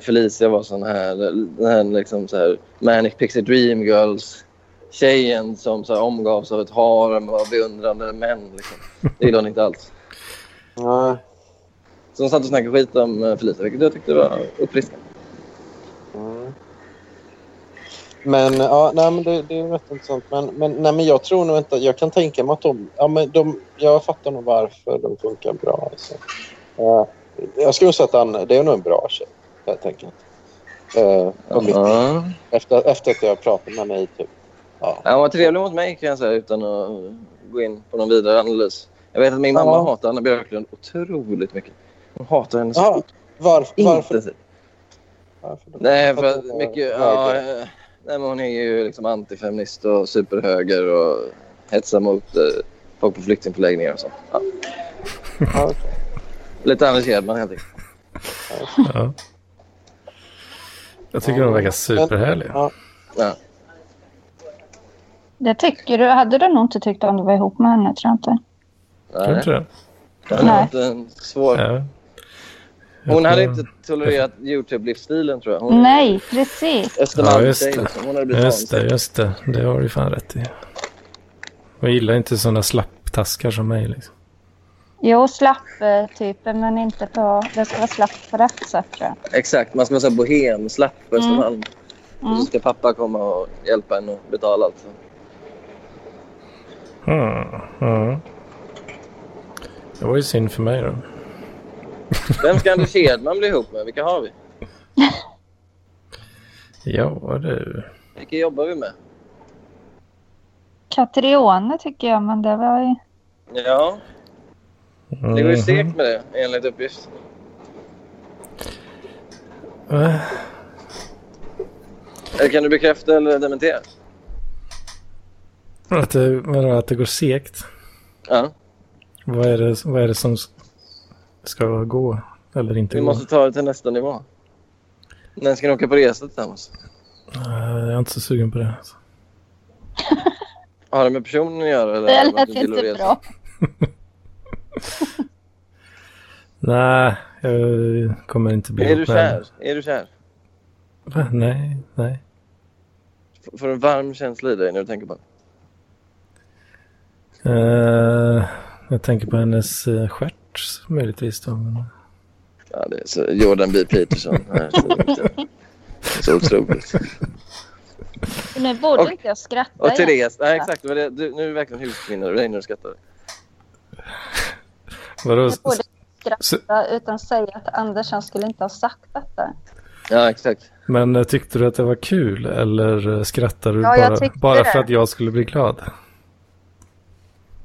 [SPEAKER 6] Felicia var sån här, den här, liksom så här Manic Pixie Dream Girls tjejen som så här omgavs av ett harem av beundrande män. Liksom. Det gillade hon inte alls.
[SPEAKER 4] Nej.
[SPEAKER 6] Så hon satt och snackade skit om eh, Felicia, vilket jag tyckte var uppfriskande.
[SPEAKER 4] Mm. Men, ja, nej, men det, det är rätt intressant. Men, men, nej, men jag tror nog inte... Jag kan tänka mig att de... Ja, men de jag fattar nog varför de funkar bra. Alltså. Eh, jag skulle säga att han, det är nog en bra tjej, helt enkelt. Eh, på mitt-
[SPEAKER 6] Ja.
[SPEAKER 4] efter, efter att jag pratat med mig typ. Ja.
[SPEAKER 6] Ja, Hon var trevlig mot mig kan jag säga utan att gå in på någon vidare analys. Jag vet att min mamma
[SPEAKER 4] Ja.
[SPEAKER 6] hatar Anna Björklund otroligt mycket. Hon hatar henne så
[SPEAKER 4] Ja, var, varför?
[SPEAKER 6] intensivt.
[SPEAKER 4] varför då?
[SPEAKER 6] Nej, för
[SPEAKER 4] Att
[SPEAKER 6] att
[SPEAKER 4] hon är
[SPEAKER 6] mycket... Ja,
[SPEAKER 4] höger.
[SPEAKER 6] eh, nej, men hon är ju liksom antifeminist och superhöger och hetsar mot eh, folk på flyktingförläggningar och sånt. Ja.
[SPEAKER 4] Ja, okej.
[SPEAKER 6] Lite Anders Hedman helt enkelt.
[SPEAKER 2] Ja. Jag tycker de verkar superhärliga.
[SPEAKER 4] Ja.
[SPEAKER 1] Det tycker du. Hade du nog inte tyckt om du var ihop med henne, tror jag inte.
[SPEAKER 2] Tror du
[SPEAKER 6] Nej,
[SPEAKER 2] inte det?
[SPEAKER 6] det hade varit en svår...
[SPEAKER 2] Ja. Jag
[SPEAKER 6] Hon hade
[SPEAKER 2] tror-
[SPEAKER 6] inte tolererat YouTube-livsstilen tror jag. Hon
[SPEAKER 1] Nej, precis.
[SPEAKER 2] Ja,
[SPEAKER 6] Östermalmstjej
[SPEAKER 2] just det.
[SPEAKER 6] liksom. Hon hade blivit
[SPEAKER 2] Just det,
[SPEAKER 6] vansinnig.
[SPEAKER 2] just det. Det har du fan rätt i. Hon gillar inte sådana slapptaskar som mig. Liksom.
[SPEAKER 1] Jo, slapp eh, typen, men inte på... Det ska vara slapp på rätt sätt, tror jag.
[SPEAKER 6] Exakt, man ska vara så här bohemslapp på Östermalm. Och
[SPEAKER 1] Mm.
[SPEAKER 6] så ska pappa komma och hjälpa en att betala allt.
[SPEAKER 2] Mm. Mm. Det var ju synd för mig då.
[SPEAKER 6] Vem ska Anders Hedman bli ihop med? Vilka har vi?
[SPEAKER 2] Ja du.
[SPEAKER 6] Vilka jobbar vi med?
[SPEAKER 1] Katrione tycker jag, men det var ju...
[SPEAKER 6] Ja,
[SPEAKER 2] Mhm.
[SPEAKER 6] det går ju segt med det enligt uppgift.
[SPEAKER 2] Äh,
[SPEAKER 6] Eller kan du bekräfta eller dementera?
[SPEAKER 2] Att det, vadå, att det går segt.
[SPEAKER 6] Ja.
[SPEAKER 2] Vad är det, vad är det som s- ska gå eller inte
[SPEAKER 6] Vi
[SPEAKER 2] gå?
[SPEAKER 6] måste ta det till nästa nivå. När ska ni åka på resa tillsammans?
[SPEAKER 2] Äh, jag är inte så sugen på det. alltså.
[SPEAKER 6] Har det med personen att göra? Eller
[SPEAKER 1] Det
[SPEAKER 6] att du
[SPEAKER 1] lät
[SPEAKER 6] inte vill
[SPEAKER 1] inte
[SPEAKER 6] resa?
[SPEAKER 1] bra.
[SPEAKER 2] Nej, jag kommer inte bli
[SPEAKER 6] Är du
[SPEAKER 2] ihop med
[SPEAKER 6] kär?
[SPEAKER 2] henne.
[SPEAKER 6] Är du kär?
[SPEAKER 2] Va? Nej, nej.
[SPEAKER 6] F- Får du en varm känsla i dig när du tänker på det?
[SPEAKER 2] Eh, jag tänker på hennes uh, stjärt möjligtvis då. Men...
[SPEAKER 6] Ja, det är så Jordan B. Peterson. Nej, det är inte- Så otroligt.
[SPEAKER 1] Nu borde
[SPEAKER 6] Och-
[SPEAKER 1] inte jag skratta
[SPEAKER 6] Och
[SPEAKER 1] igen.
[SPEAKER 6] Therese, nej, exakt. det var det- Du, nu är du verkligen husminne över dig när du skrattar.
[SPEAKER 2] Vadå?
[SPEAKER 1] Jag borde
[SPEAKER 2] Så-
[SPEAKER 1] skratta utan säga att Anders han skulle inte ha sagt detta.
[SPEAKER 6] Ja, exakt.
[SPEAKER 2] Men eh, tyckte du att det var kul eller eh, skrattade du
[SPEAKER 1] Ja, jag
[SPEAKER 2] bara,
[SPEAKER 1] tyckte
[SPEAKER 2] bara
[SPEAKER 1] det.
[SPEAKER 2] för att jag skulle bli glad?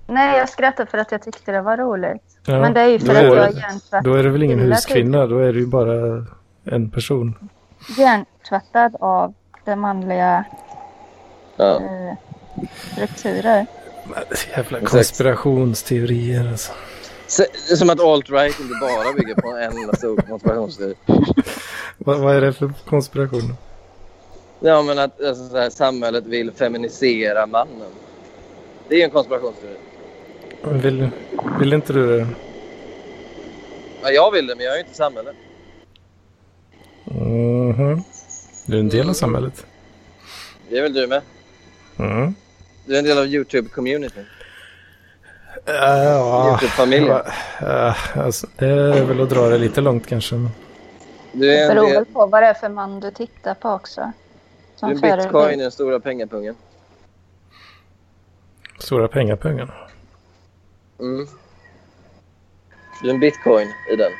[SPEAKER 1] Nej, jag skrattade för att jag tyckte det var roligt.
[SPEAKER 2] Ja,
[SPEAKER 1] Men det är ju
[SPEAKER 2] då
[SPEAKER 1] för att jag är
[SPEAKER 2] det-
[SPEAKER 1] hjärntvätt,
[SPEAKER 2] Då är det väl ingen
[SPEAKER 1] Himla
[SPEAKER 2] huskvinna, då är det ju bara en person.
[SPEAKER 1] hjärntvättad av det manliga
[SPEAKER 6] Ja.
[SPEAKER 1] eh, strukturer.
[SPEAKER 2] Jävla
[SPEAKER 6] Exakt.
[SPEAKER 2] konspirationsteorier alltså.
[SPEAKER 6] Så- det är Som att alt-right inte bara bygger på en enda stor konspirationsteori.
[SPEAKER 2] Vad, vad är det för konspiration?
[SPEAKER 6] Ja, men att alltså, så här, samhället vill feminisera mannen. Det är ju en konspirationsteori.
[SPEAKER 2] Vill, vill inte du det?
[SPEAKER 6] Ja, jag vill det, men jag är ju inte samhället.
[SPEAKER 2] Mhm. Du är en del av samhället.
[SPEAKER 6] Det är väl du med?
[SPEAKER 2] Mm.
[SPEAKER 6] Du är en del av YouTube-communityn.
[SPEAKER 2] Ja,
[SPEAKER 6] YouTube-familjen.
[SPEAKER 2] eh, alltså, det är väl att dra det lite långt kanske. men-
[SPEAKER 6] Du
[SPEAKER 1] Det
[SPEAKER 6] är en,
[SPEAKER 1] beror
[SPEAKER 6] del,
[SPEAKER 1] väl på vad det är för man du tittar på också.
[SPEAKER 6] du
[SPEAKER 1] Som
[SPEAKER 6] är en
[SPEAKER 1] förebild.
[SPEAKER 6] bitcoin i den stora pengapungen.
[SPEAKER 2] Stora pengapengarna.
[SPEAKER 6] Mm. Du är en bitcoin i den.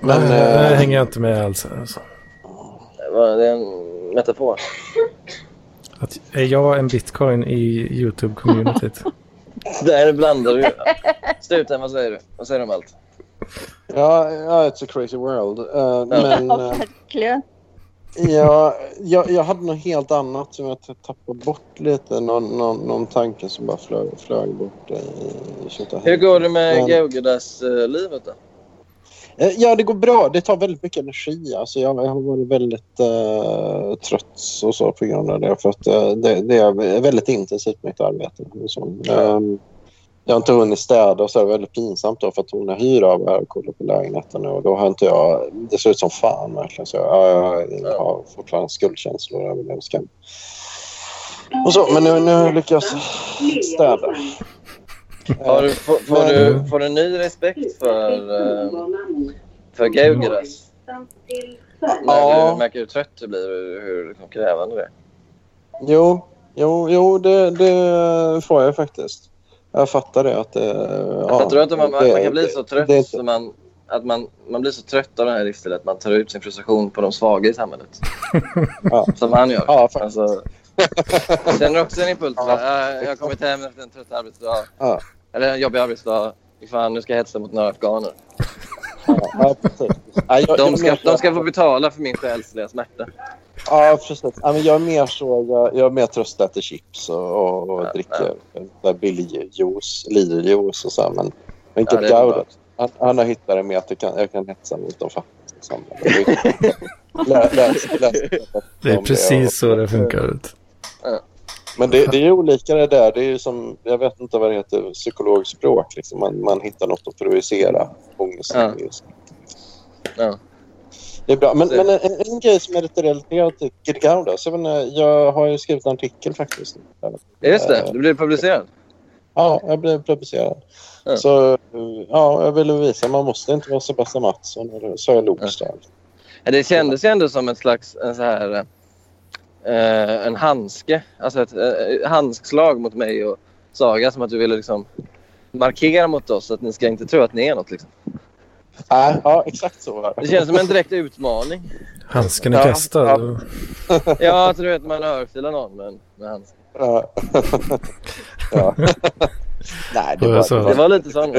[SPEAKER 2] Men
[SPEAKER 4] Men,
[SPEAKER 2] det
[SPEAKER 4] eh,
[SPEAKER 2] hänger jag inte med alls. Alltså.
[SPEAKER 6] Det var- det är en metafor.
[SPEAKER 2] Att, är jag en bitcoin i YouTube-communityt?
[SPEAKER 6] Där blandar du. Struten, vad säger du? Vad säger du om allt?
[SPEAKER 4] Ja, ja it's a crazy world. Eh, Men
[SPEAKER 1] Ja,
[SPEAKER 4] eh,
[SPEAKER 1] verkligen.
[SPEAKER 4] ja, jag, jag hade något helt annat som jag t- tappade bort lite. Någon, någon, någon tanke som bara flög, flög bort. i- i-
[SPEAKER 6] Hur går det med
[SPEAKER 4] Men-
[SPEAKER 6] Gaugadas-livet då?
[SPEAKER 4] Eh, Ja, det går bra. Det tar väldigt mycket energi. Alltså, jag, jag har varit väldigt eh, trött och så på grund av det. För att, eh, det, det är väldigt intensivt mitt arbete. Och så. Ehm, jag har inte hunnit städa och så är det väldigt pinsamt då för att hon hyr av här och kollar på lägenheten nu. och då har inte jag... Det ser ut som fan verkligen. Så jag, jag, jag har fortfarande skuldkänslor över det och skam. Och så, men nu, nu lyckas jag städa.
[SPEAKER 6] Har du, får, får,
[SPEAKER 4] men-
[SPEAKER 6] du, får du ny respekt för, eh, för Gaugadas? När
[SPEAKER 4] Ja.
[SPEAKER 6] du märker hur trött du blir och hur liksom krävande det är.
[SPEAKER 4] Jo, jo, jo det, det får jag faktiskt. Jag fattar det. Att, det- ja,
[SPEAKER 6] Fattar du att man,
[SPEAKER 4] det-
[SPEAKER 6] man kan bli så trött
[SPEAKER 4] Det,
[SPEAKER 6] så
[SPEAKER 4] det,
[SPEAKER 6] man, att man, man blir så trött av den här livsstilen att man tar ut sin frustration på de svaga i samhället?
[SPEAKER 4] Ja.
[SPEAKER 6] Som han gör.
[SPEAKER 4] Ja, faktiskt.
[SPEAKER 6] alltså, känner du också en impuls?
[SPEAKER 4] Ja.
[SPEAKER 6] va? "Ah, Jag har kommit hem efter en trött arbetsdag.
[SPEAKER 4] Ja.
[SPEAKER 6] Eller en jobbig arbetsdag. Fy Fan, nu ska jag hetsa mot några afghaner.
[SPEAKER 4] ja, ja, precis. Ja, jag, jag
[SPEAKER 6] De
[SPEAKER 4] är
[SPEAKER 6] ska,
[SPEAKER 4] mer
[SPEAKER 6] de
[SPEAKER 4] så-
[SPEAKER 6] ska få betala för min själsliga smärta.
[SPEAKER 4] Ja, precis. Ja, men jag är mer så. Jag, jag är mer trött att äta chips och, och, och
[SPEAKER 6] Ja,
[SPEAKER 4] dricker ja. billig juice, Lidl-juice och så. här, Men, men
[SPEAKER 6] Ja,
[SPEAKER 4] ja,
[SPEAKER 6] det är
[SPEAKER 4] Gaudet,
[SPEAKER 6] underbart.
[SPEAKER 4] han, han har hittat det med att jag kan, jag kan hetsa mot de fattiga i samhället. Lä- läs- läs-
[SPEAKER 2] Det är
[SPEAKER 4] om
[SPEAKER 2] precis
[SPEAKER 4] och-
[SPEAKER 2] så det funkar. Ut.
[SPEAKER 4] Men det, det är ju olika det där. Det är ju som, jag vet inte vad det heter, psykologspråk. Liksom. Man, man hittar något att projicera ångesten
[SPEAKER 6] Ja.
[SPEAKER 4] just.
[SPEAKER 6] Ja.
[SPEAKER 4] Det är bra. Men,
[SPEAKER 6] Det-
[SPEAKER 4] men en, en grej som är lite relaterad till Girgaudas. Jag, menar, jag har ju skrivit en artikel faktiskt.
[SPEAKER 6] Ja, Just det, du blev publicerad.
[SPEAKER 4] Ja, jag blev publicerad.
[SPEAKER 6] Ja.
[SPEAKER 4] Så ja, jag ville visa. Man måste inte vara Sebastian Mattsson eller Sara Lokstad.
[SPEAKER 6] Ja, Det kändes ju ändå som en slags en så här, eh, en handske. Alltså ett eh, handskslag mot mig och Saga. Som att du ville liksom markera mot oss att ni ska inte tro att ni är något. Liksom.
[SPEAKER 4] Ja. ja, exakt så var
[SPEAKER 6] Det känns som en direkt utmaning.
[SPEAKER 2] Handsken är
[SPEAKER 4] Ja,
[SPEAKER 2] kastad.
[SPEAKER 4] ja.
[SPEAKER 6] Ja, att du vet man örfilar någon med en med handske.
[SPEAKER 4] Ja. ja. Nej, det
[SPEAKER 2] Och
[SPEAKER 4] var,
[SPEAKER 2] så-
[SPEAKER 4] det var
[SPEAKER 6] Det var lite sån.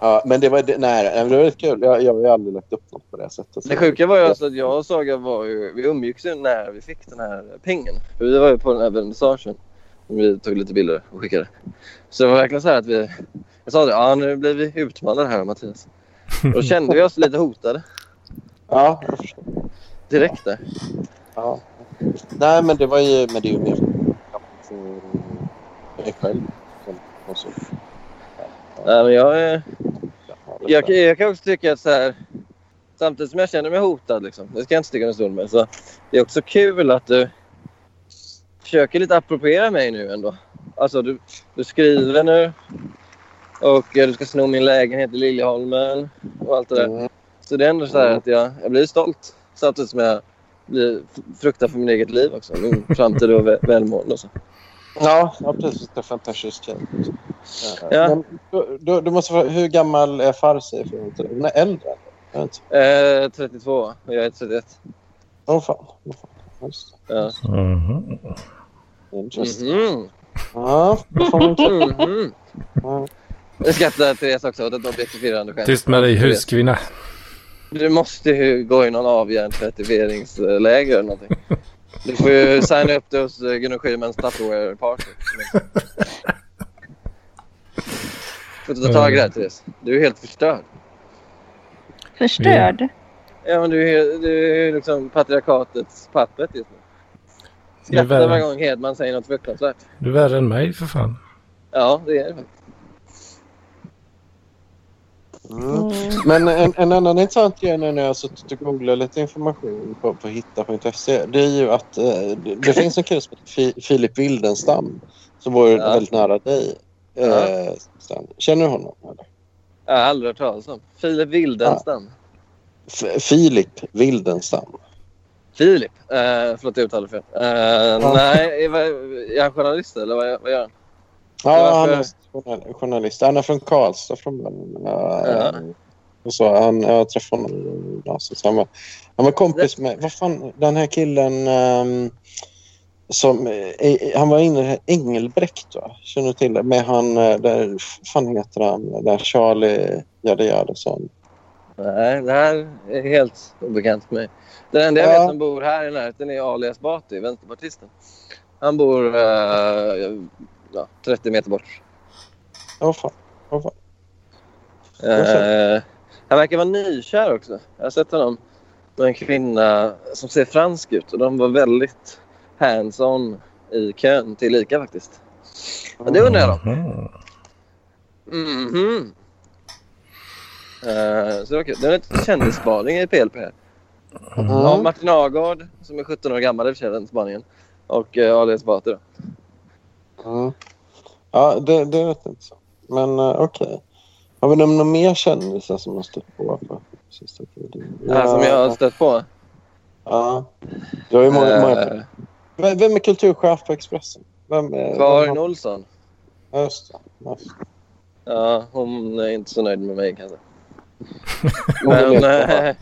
[SPEAKER 4] Ja, men det var, det, nej, nej, men det var väldigt kul. Jag, jag har ju aldrig lagt upp något på det sättet.
[SPEAKER 6] Det sjuka var ju alltså att jag och Saga var ju, vi umgicks ju när vi fick den här pengen. För vi var ju på den här vernissagen. som Vi tog lite bilder och skickade. Så det var verkligen så här att vi... Jag sa det, ja nu blir vi utmanade här Mattias. Då kände vi oss lite hotade
[SPEAKER 4] Ja, jag förstår.
[SPEAKER 6] direkt där.
[SPEAKER 4] ja. Nej, men det var ju... Men det är ju mer... Mm, Jag är själv. som- och så.
[SPEAKER 6] Nej, men jag, eh,
[SPEAKER 4] Ja, det-
[SPEAKER 6] jag, jag kan också tycka att så här... Samtidigt som jag känner mig hotad, liksom, det ska jag inte sticka under stol med, så det är också kul att du försöker lite appropriera mig nu ändå. Alltså du, du skriver nu Och eh, du ska sno min lägenhet i Liljeholmen och allt det där.
[SPEAKER 4] Mm.
[SPEAKER 6] Så det är ändå så här att jag, jag blir stolt samtidigt som jag blir, fruktar för min eget liv också. Min framtid och vä- välmående och så.
[SPEAKER 4] Ja, ja, precis. Det är fantastiskt fint. Eh,
[SPEAKER 6] Ja.
[SPEAKER 4] men Du, du, du måste fråga, hur gammal är Farsi? För jag vet inte. Hon är äldre. eller? Jag vet inte.
[SPEAKER 6] Eh, 32 och jag är 31.
[SPEAKER 4] Åh fan. Åh, fan. Just det.
[SPEAKER 6] Ja.
[SPEAKER 2] Mhm.
[SPEAKER 4] Intressant.
[SPEAKER 6] Mhm.
[SPEAKER 4] Ja, då får man inte-
[SPEAKER 6] Mhm.
[SPEAKER 4] ja.
[SPEAKER 6] Jag skrattar Therese också åt ett objektifierande skämt.
[SPEAKER 2] Tyst med dig, huskvinna.
[SPEAKER 6] Du måste ju gå i någon avhjärnfertiveringsläger eller någonting. Du får ju signa upp dig hos eh, Gunnar Schymans Tupperware Party. Får du ta tag i det här Therese. Du är helt förstörd.
[SPEAKER 1] Förstörd.
[SPEAKER 6] Ja men du är, du är ju liksom patriarkatets pappret just nu.
[SPEAKER 2] Det är
[SPEAKER 6] Skrattar varje
[SPEAKER 2] värre,
[SPEAKER 6] gång Hedman säger något fruktansvärt.
[SPEAKER 2] du är värre än mig för fan.
[SPEAKER 6] Ja det är det faktiskt.
[SPEAKER 4] Mm. Men en, en annan intressant grej när jag har suttit och googlat lite information på, på hitta.se det är ju att eh, det, det finns en kille som heter Fi, Filip Wildenstam som bor
[SPEAKER 6] Ja.
[SPEAKER 4] väldigt nära dig. Eh,
[SPEAKER 6] Ja.
[SPEAKER 4] Stan. Känner du honom? Eller?
[SPEAKER 6] Jag har aldrig hört talas om. Filip Wildenstam.
[SPEAKER 4] F- Filip Wildenstam.
[SPEAKER 6] Filip? Uh, förlåt jag uttalade fel. Eh, Nej, vad- är han journalist eller vad, vad gör han?
[SPEAKER 4] Ja,
[SPEAKER 6] Varför?
[SPEAKER 4] han är journal- journalist. Han är från Karlstad från början.
[SPEAKER 6] Ja.
[SPEAKER 4] Eh, och så, han, jag träffade honom i gymnasiet. så Han var, han var kompis med... Vad fan, den här killen... ehm, som, eh, han var inne Engelbrekt, va? Känner du till det? Med han... eh, Där, fan heter han? Där Charlie Gärdejadeson.
[SPEAKER 6] Nej, det här är helt obekant för mig. Den enda jag
[SPEAKER 4] Ja.
[SPEAKER 6] vet som bor här i närheten är alias Bati, vänsterpartisten. Han bor eh, ja, 30 meter bort.
[SPEAKER 4] Åh, fan.
[SPEAKER 6] Eh,
[SPEAKER 4] Jag
[SPEAKER 6] han verkar vara nykär också. Jag har sett honom med en kvinna som ser fransk ut och de var väldigt hands-on i kön till Ica faktiskt. Men det undrar jag då.
[SPEAKER 2] Mhm.
[SPEAKER 6] Mhm. Eh, så det var kul. Det var lite kändisspaning i PLP här. Ja,
[SPEAKER 4] Mm.
[SPEAKER 6] Martin Agard som är 17 år gammal i och för sig, den spaningen. Och eh, Ali Esbati då.
[SPEAKER 4] Mm. Ja, det, det vet jag inte. så. Men eh, okej. Har vi någon någon mer kändisar som har stött på på sista tiden?
[SPEAKER 6] Ja. Som jag har stött på.
[SPEAKER 4] Ja. Du har ju många, många...
[SPEAKER 6] Eh,
[SPEAKER 4] Vem vem är kulturchef på Expressen? Vem är...
[SPEAKER 6] Karin
[SPEAKER 4] vem har-
[SPEAKER 6] Olsson.
[SPEAKER 4] Ja, Just det. Just det.
[SPEAKER 6] Ja, hon är inte så nöjd med mig kanske.
[SPEAKER 4] Hon
[SPEAKER 6] Men,
[SPEAKER 4] vet
[SPEAKER 6] eh,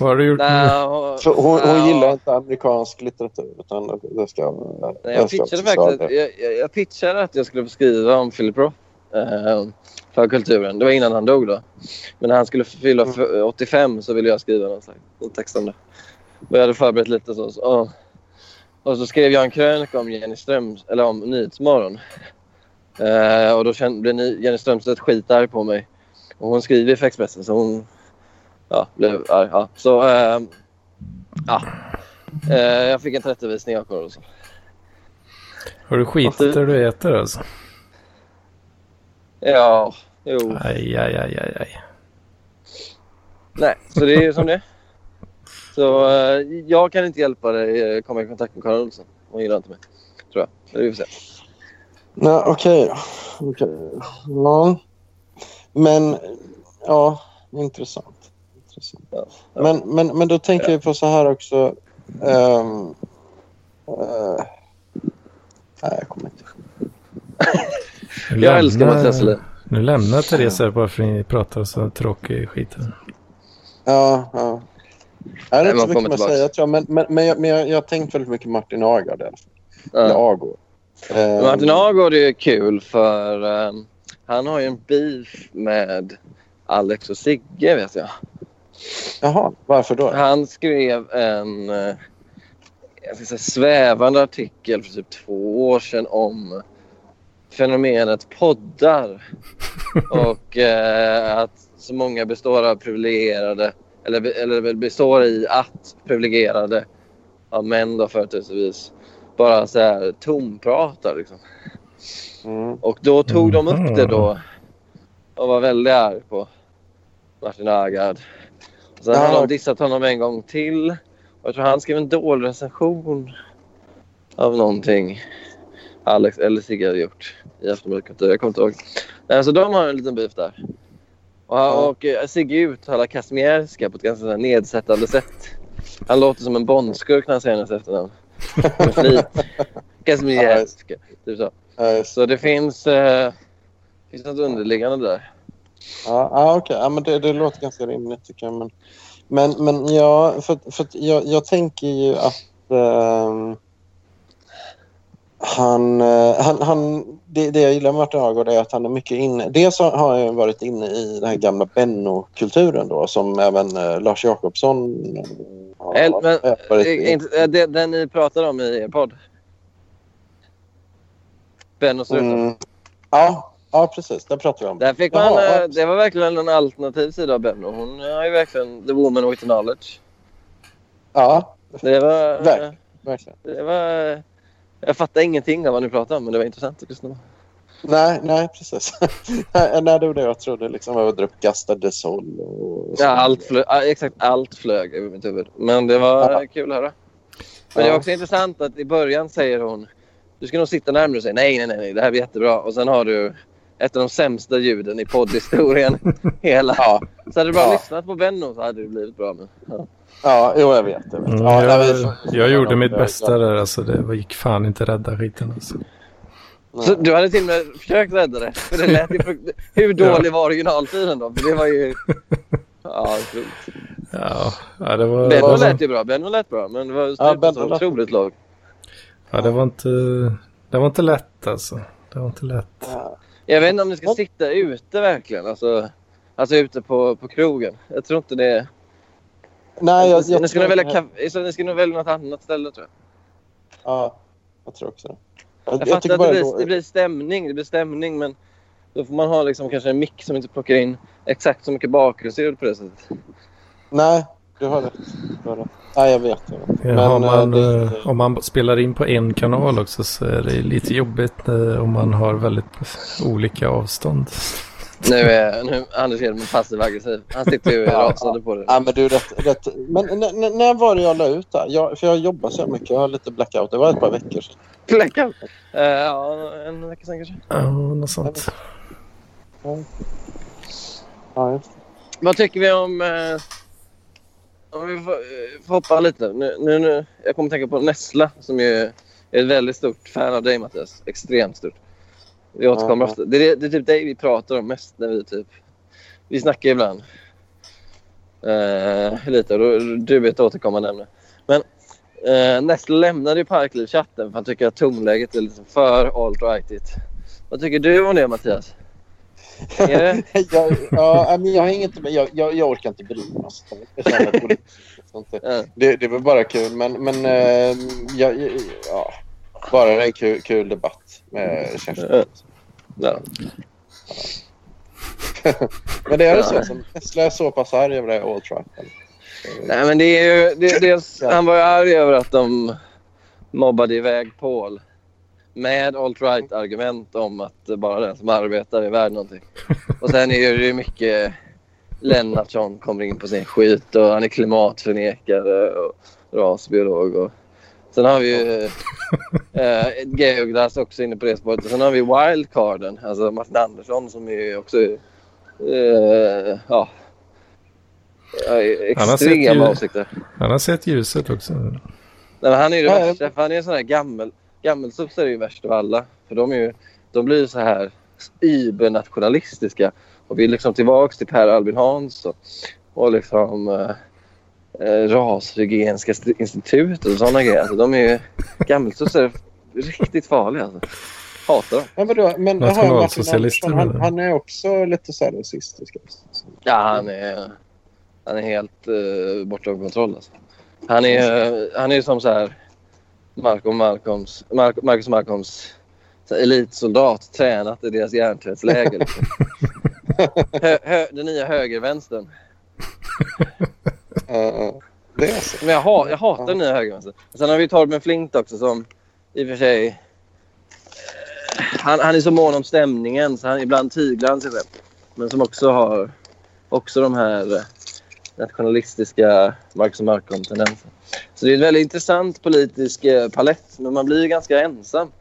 [SPEAKER 2] Vad har du gjort nu?
[SPEAKER 6] nej, hon,
[SPEAKER 4] För hon,
[SPEAKER 6] ja,
[SPEAKER 4] hon gillar inte amerikansk litteratur. Utan det ska,
[SPEAKER 6] Nej,
[SPEAKER 4] Alltså,
[SPEAKER 6] jag pitchade faktiskt jag, jag, jag pitchade att jag skulle få skriva om Philip Roth. eh, för kulturen. Det var innan han dog då. Men när han skulle fylla f- 85 så ville jag skriva någon slags någon text om det. Och jag hade förberett lite så. så åh. Och så skrev jag en krönika om Jenny Ströms, eller om Nyhetsmorgon. Eh, och då kände, blev ni, Jenny Strömstedt skitarg på mig. Och hon skriver för Expressen så hon ja, blev arg. Ja. Så eh, ja. Eh, jag fick en 30-visning av Karlsson.
[SPEAKER 2] Har du skitit där du äter alltså?
[SPEAKER 6] Ja, jo.
[SPEAKER 2] Aj, aj, aj, aj, aj.
[SPEAKER 6] Nej, så det är ju som det är. Så eh, jag kan inte hjälpa dig eh, komma i kontakt med Karin Olsson. Hon gillar inte mig, tror jag. Så det får vi se.
[SPEAKER 4] Nej, okej då. Okej. Ja. Men, ja, intressant. intressant.
[SPEAKER 6] Ja.
[SPEAKER 4] Men, men, men då tänker vi på så här också. Ehm, eh, nej, jag kommer inte ihåg.
[SPEAKER 2] Nu
[SPEAKER 6] Jag älskar Mattias Selin.
[SPEAKER 2] Nu lämnar Therese här bara för att ni pratar så tråkig skit. här.
[SPEAKER 4] Ja, ja. Nej, det är
[SPEAKER 6] Nej,
[SPEAKER 4] inte
[SPEAKER 6] man
[SPEAKER 4] så
[SPEAKER 6] kommer
[SPEAKER 4] mycket att
[SPEAKER 6] tillbaks.
[SPEAKER 4] säga, tror jag. Men, men, men, jag, men jag, jag har tänkt väldigt mycket Martin Agard. i alla fall. Eller
[SPEAKER 6] Ja.
[SPEAKER 4] Agård. Ehm,
[SPEAKER 6] Martin Agård är ju kul för eh, han har ju en beef med Alex och Sigge vet jag.
[SPEAKER 4] Ehm, Jaha, varför då?
[SPEAKER 6] Han skrev en eh, jag ska säga, svävande artikel för typ två år sedan om fenomenet poddar. Och eh, att så många består av privilegierade, eller, eller väl består i att privilegierade av män då företrädesvis bara så här tompratar liksom.
[SPEAKER 4] Mm.
[SPEAKER 6] Och då tog de upp det då
[SPEAKER 2] Mhm.
[SPEAKER 6] och var väldigt arg på Martin Agard. Och sen
[SPEAKER 4] Ja.
[SPEAKER 6] har de dissat honom en gång till. Och jag tror han skrev en dålig recension av någonting. Alex eller Sigge hade gjort i Aftonbladet Kultur. Jag kommer inte ihåg. Eh, Så de har en liten beef där. Och, han, och eh, Sigge uttalar Kazmierska på ett ganska så här nedsättande sätt. Han låter som en bondskurk när han säger hennes efternamn. Med flit. Kazmierska. Typ så.
[SPEAKER 4] Ja, just-
[SPEAKER 6] Så det finns, eh, finns något underliggande där.
[SPEAKER 4] ja, ja, okej. Ja, men det, det låter ganska rimligt tycker jag. Men, men, men ja, för, för att jag, jag tänker ju att ehm, han, eh, han, han det, det jag gillar med Martin Agård är att han är mycket inne. Dels har har han ju varit inne i den här gamla Benno-kulturen då som även eh, Lars Jakobsson har
[SPEAKER 6] El- men-
[SPEAKER 4] varit
[SPEAKER 6] Eh,
[SPEAKER 4] inne
[SPEAKER 6] inte- eh, det- Den ni pratar om i er podd. Ben och struten.
[SPEAKER 4] Mm. Ja, ja, precis. Där pratar vi om.
[SPEAKER 6] Där fick man,
[SPEAKER 4] Jaha,
[SPEAKER 6] eh,
[SPEAKER 4] ja.
[SPEAKER 6] det var verkligen en alternativ sida av Ben. Och hon eh, har ju verkligen the woman with the knowledge.
[SPEAKER 4] Ja,
[SPEAKER 6] Det var... eh,
[SPEAKER 4] Verkligen. verkligen.
[SPEAKER 6] Det var eh, jag fattar ingenting av vad ni pratar om, men det var intressant att lyssna på.
[SPEAKER 4] Nej, nej, precis. nej, nej, det var det jag trodde. Liksom, jag drog Gasta de Sol och... och
[SPEAKER 6] Ja,
[SPEAKER 4] så.
[SPEAKER 6] allt flög, ja, exakt allt flög över mitt huvud. Men det var
[SPEAKER 4] Ja.
[SPEAKER 6] eh, kul att höra. Men det var också intressant att i början säger hon du ska nog sitta närmare och säga nej, nej, nej, nej, det här blir jättebra. Och sen har du ett av de sämsta ljuden i poddhistorien. Hela.
[SPEAKER 4] Ja,
[SPEAKER 6] Så hade du bara
[SPEAKER 4] Ja.
[SPEAKER 6] lyssnat på Benno så hade det blivit bra. Men, ja.
[SPEAKER 4] ja jo, jag vet. Jag, vet.
[SPEAKER 2] Mm,
[SPEAKER 4] ja, nej,
[SPEAKER 2] jag,
[SPEAKER 4] vi får-
[SPEAKER 2] jag gjorde mitt
[SPEAKER 4] Ja,
[SPEAKER 2] bästa där. Alltså, det gick fan inte rädda skiten. Alltså.
[SPEAKER 4] nej.
[SPEAKER 6] Så du hade till och med försökt rädda det. För det lät ju frukt... Hur dålig var originalfilen då? För det var ju... Ja, otroligt.
[SPEAKER 2] Ja, ja, det, var, det,
[SPEAKER 6] Benno
[SPEAKER 2] var,
[SPEAKER 6] lät ju bra, Benno lät bra. Men det var ju
[SPEAKER 4] Ja, Benno
[SPEAKER 6] så
[SPEAKER 4] lät-
[SPEAKER 6] otroligt låg.
[SPEAKER 2] ja, det, var inte, det var inte lätt alltså. Det var inte lätt.
[SPEAKER 4] Ja.
[SPEAKER 6] Jag vet inte om ni ska sitta ute verkligen. Alltså, alltså ute på, på krogen. Jag tror inte det.
[SPEAKER 4] Nej, jag, jag,
[SPEAKER 6] ni, ska nog
[SPEAKER 4] tror-
[SPEAKER 6] välja kaffe, så ni ska nog välja något annat ställe tror jag.
[SPEAKER 4] Ja, jag tror också det. Jag,
[SPEAKER 6] Jag,
[SPEAKER 4] jag,
[SPEAKER 6] fattar
[SPEAKER 4] tycker
[SPEAKER 6] att det
[SPEAKER 4] bara...
[SPEAKER 6] blir, det
[SPEAKER 4] då-
[SPEAKER 6] blir stämning. Det blir stämning men då får man ha liksom kanske en mick som inte plockar in exakt så mycket bakgrundsljud på det sättet.
[SPEAKER 4] Nej, du har rätt. Du har rätt. Nej, jag vet. Jag vet.
[SPEAKER 2] Ja, har
[SPEAKER 4] eh,
[SPEAKER 2] man,
[SPEAKER 4] det-
[SPEAKER 2] eh, om man spelar in på en kanal också så är det lite jobbigt eh, om man har väldigt olika avstånd.
[SPEAKER 6] Nu är nu, är Anders Hedman passiv aggressiv. Han sitter ju och
[SPEAKER 4] Ja,
[SPEAKER 6] rasande på det.
[SPEAKER 4] Ja, men du är rätt, rätt. Men n- n- när var det jag la ut det här? jag, För jag jobbar så mycket. Jag har lite blackout. Det var ett par veckor sedan.
[SPEAKER 6] Läckan. Eh, ja, en vecka sen kanske.
[SPEAKER 2] Ja, något sånt.
[SPEAKER 4] Ja, just det.
[SPEAKER 6] Vad tycker vi om... Eh, om vi får, eh, får hoppa lite. Nu, nu, nu, jag kommer tänka på Nessla som ju är ett väldigt stort fan av dig Mattias. Extremt stort. Vi återkommer
[SPEAKER 4] Ja.
[SPEAKER 6] ofta. Det är, det är typ dig vi pratar om mest när vi typ... Vi snackar ibland. Eh, lite. och Då, du är ett återkommande ämne. Men eh, Nessla lämnade ju Parkliv-chatten för han tycker att tonläget är lite för alt-rightigt. Vad tycker du om det Mattias? Är det?
[SPEAKER 4] jag, ja, nej, men jag, har inget, men jag, jag, jag orkar inte bry mig. alltså. Jag känner att det- sånt där.
[SPEAKER 6] Ja.
[SPEAKER 4] Det, det var bara kul, men, men eh, jag, jag- ja, bara en kul, kul debatt eh, med Kerstin.
[SPEAKER 6] Ja.
[SPEAKER 4] Men det är ju så som Tesla är så pass arg över det här Alltripen.
[SPEAKER 6] Nej, men det är ju... Det, dels, han var ju arg över att de mobbade iväg Paul med alt-right-argument om att bara den som arbetar är värd någonting. Och sen är det ju mycket Lennartsson kommer in på sin skit och han är klimatförnekare och rasbiolog. Och... Sen har vi ju eh, Geogdas också inne på det spåret. Och sen har vi wildcarden, alltså Martin Andersson som är också eh, ja, ja,
[SPEAKER 2] Han har sett ju-
[SPEAKER 6] extrema åsikter.
[SPEAKER 2] Han har sett ljuset också.
[SPEAKER 6] Nej, men han är ju det
[SPEAKER 4] Ja, ja.
[SPEAKER 6] värsta. För han är en sån här gammel... Gammelsossar är ju värst av alla. För de, är ju, de blir ju så här übernationalistiska och vill liksom tillbaka till Per Albin Hansson och liksom eh, eh, Rashygieniska st- institutet och såna grejer. Alltså, de är ju... Gammelsossar är riktigt farliga. Alltså. Hatar dem.
[SPEAKER 4] Men vadå, men jaha, Martin
[SPEAKER 2] Nationalsocialister,
[SPEAKER 4] Andersson,
[SPEAKER 2] menar
[SPEAKER 4] han,
[SPEAKER 2] du?
[SPEAKER 4] han är också lite så här rasistisk. alltså.
[SPEAKER 6] Ja, han är, han är helt eh, bortom kontroll. Alltså. Han är eh, han är som så här Malcolm Malcolms, Mar- Marcus Malcolms så här elitsoldat tränat i deras järntvättsläger. Liksom. Hö, hö, den nya högervänstern.
[SPEAKER 4] Eh, det är så.
[SPEAKER 6] Men jag, ha, jag hatar den nya högervänstern. Sen har vi Torben Flint också som i och för sig... eh, Han, han är så mån om stämningen så han ibland tyglar han sig själv. Men som också har också de här eh, nationalistiska Marcus och Malcolm-tendenserna. Så det är en väldigt intressant politisk eh, palett men man blir ju ganska ensam.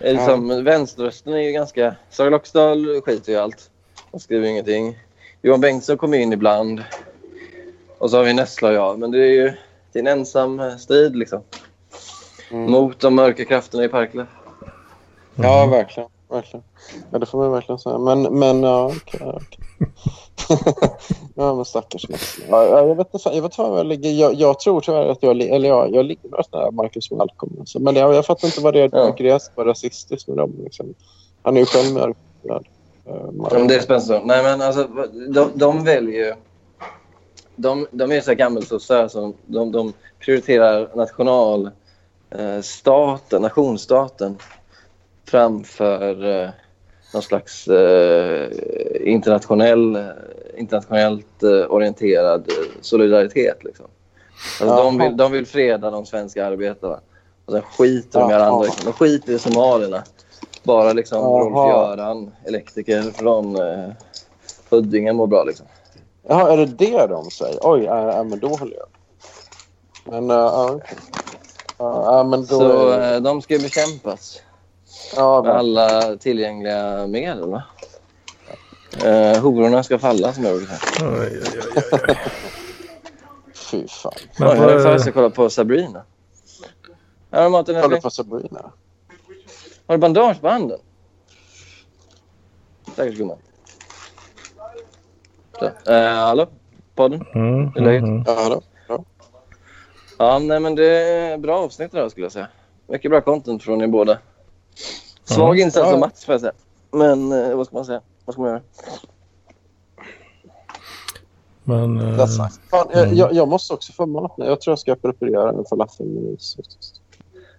[SPEAKER 6] är liksom, Vänsterrösten är ju ganska... Sara Loxdal skiter ju i allt. Hon skriver ju ingenting. Johan Bengtsson kommer in ibland. Och så har vi Nessla och jag. Men det är ju det är en ensam eh, strid liksom.
[SPEAKER 4] Mm.
[SPEAKER 6] Mot de mörka krafterna i Parkle.
[SPEAKER 4] Ja,
[SPEAKER 6] Mm.
[SPEAKER 4] verkligen. verkligen. Ja, det får man verkligen säga. Men, men ja, okej. ja, okej. ja, men stackars Nessla. ja, ja, jag, vet inte fan- jag vet inte vad jag ligger. Jag, jag tror tyvärr att jag, li- eller jag, jag ligger något nära Marcus Malcolm. Alltså. Men jag, jag fattar inte vad det är
[SPEAKER 6] Ja.
[SPEAKER 4] Mark Rees var rasistiskt med dem. Liksom. Han är ju själv mörk. Ja,
[SPEAKER 6] Ja, men det är Spencer. Nej, men alltså, de, de väljer ju... De, de är så här gammelsossar som de, de prioriterar national, eh, staten, nationsstaten framför eh, någon slags eh, internationell, internationellt eh, orienterad eh, solidaritet. Liksom. Alltså,
[SPEAKER 4] Ja.
[SPEAKER 6] de, vill, de vill freda de svenska arbetarna. Och sen skiter de i alla
[SPEAKER 4] Jaha.
[SPEAKER 6] andra. Liksom. De skiter i somalierna. Bara liksom
[SPEAKER 4] Jaha.
[SPEAKER 6] Rolf-Göran, elektriker från eh, Huddinge, mår bra. Liksom.
[SPEAKER 4] Jaha, är det det de säger? Oj, ja, ja, men då håller jag. Men, eh, ja, okej. Ja, ja, men då...
[SPEAKER 6] Så eh, de ska ju bekämpas
[SPEAKER 4] ja,
[SPEAKER 6] med
[SPEAKER 4] men-
[SPEAKER 6] alla tillgängliga medel. Va? Eh, hororna ska falla, som jag brukar säga.
[SPEAKER 2] Oj, oj, oj, oj.
[SPEAKER 4] Fy fan.
[SPEAKER 2] Men
[SPEAKER 6] Oj, Jag är
[SPEAKER 2] vad-
[SPEAKER 6] faktiskt kolla på Sabrina. Här har Martin
[SPEAKER 4] Kolla
[SPEAKER 6] Elfling.
[SPEAKER 4] på Sabrina.
[SPEAKER 6] Har du bandage på handen? Stackars gumman. Så, eh, hallå? Podden?
[SPEAKER 2] Mm,
[SPEAKER 6] Hur är läget?
[SPEAKER 2] mm, mm.
[SPEAKER 4] Ja, då.
[SPEAKER 6] Ja, nej, men det är bra avsnitt det här skulle jag säga. Mycket bra content från er båda. Svag insats
[SPEAKER 4] Ja.
[SPEAKER 6] av Mats får jag säga. Men eh, vad ska man säga? Vad ska man göra?
[SPEAKER 2] Men, eh,
[SPEAKER 6] Mm.
[SPEAKER 4] That's nice. Fan, jag, jag, jag måste också förmana mig. Jag tror jag ska preparera en falafelmeny.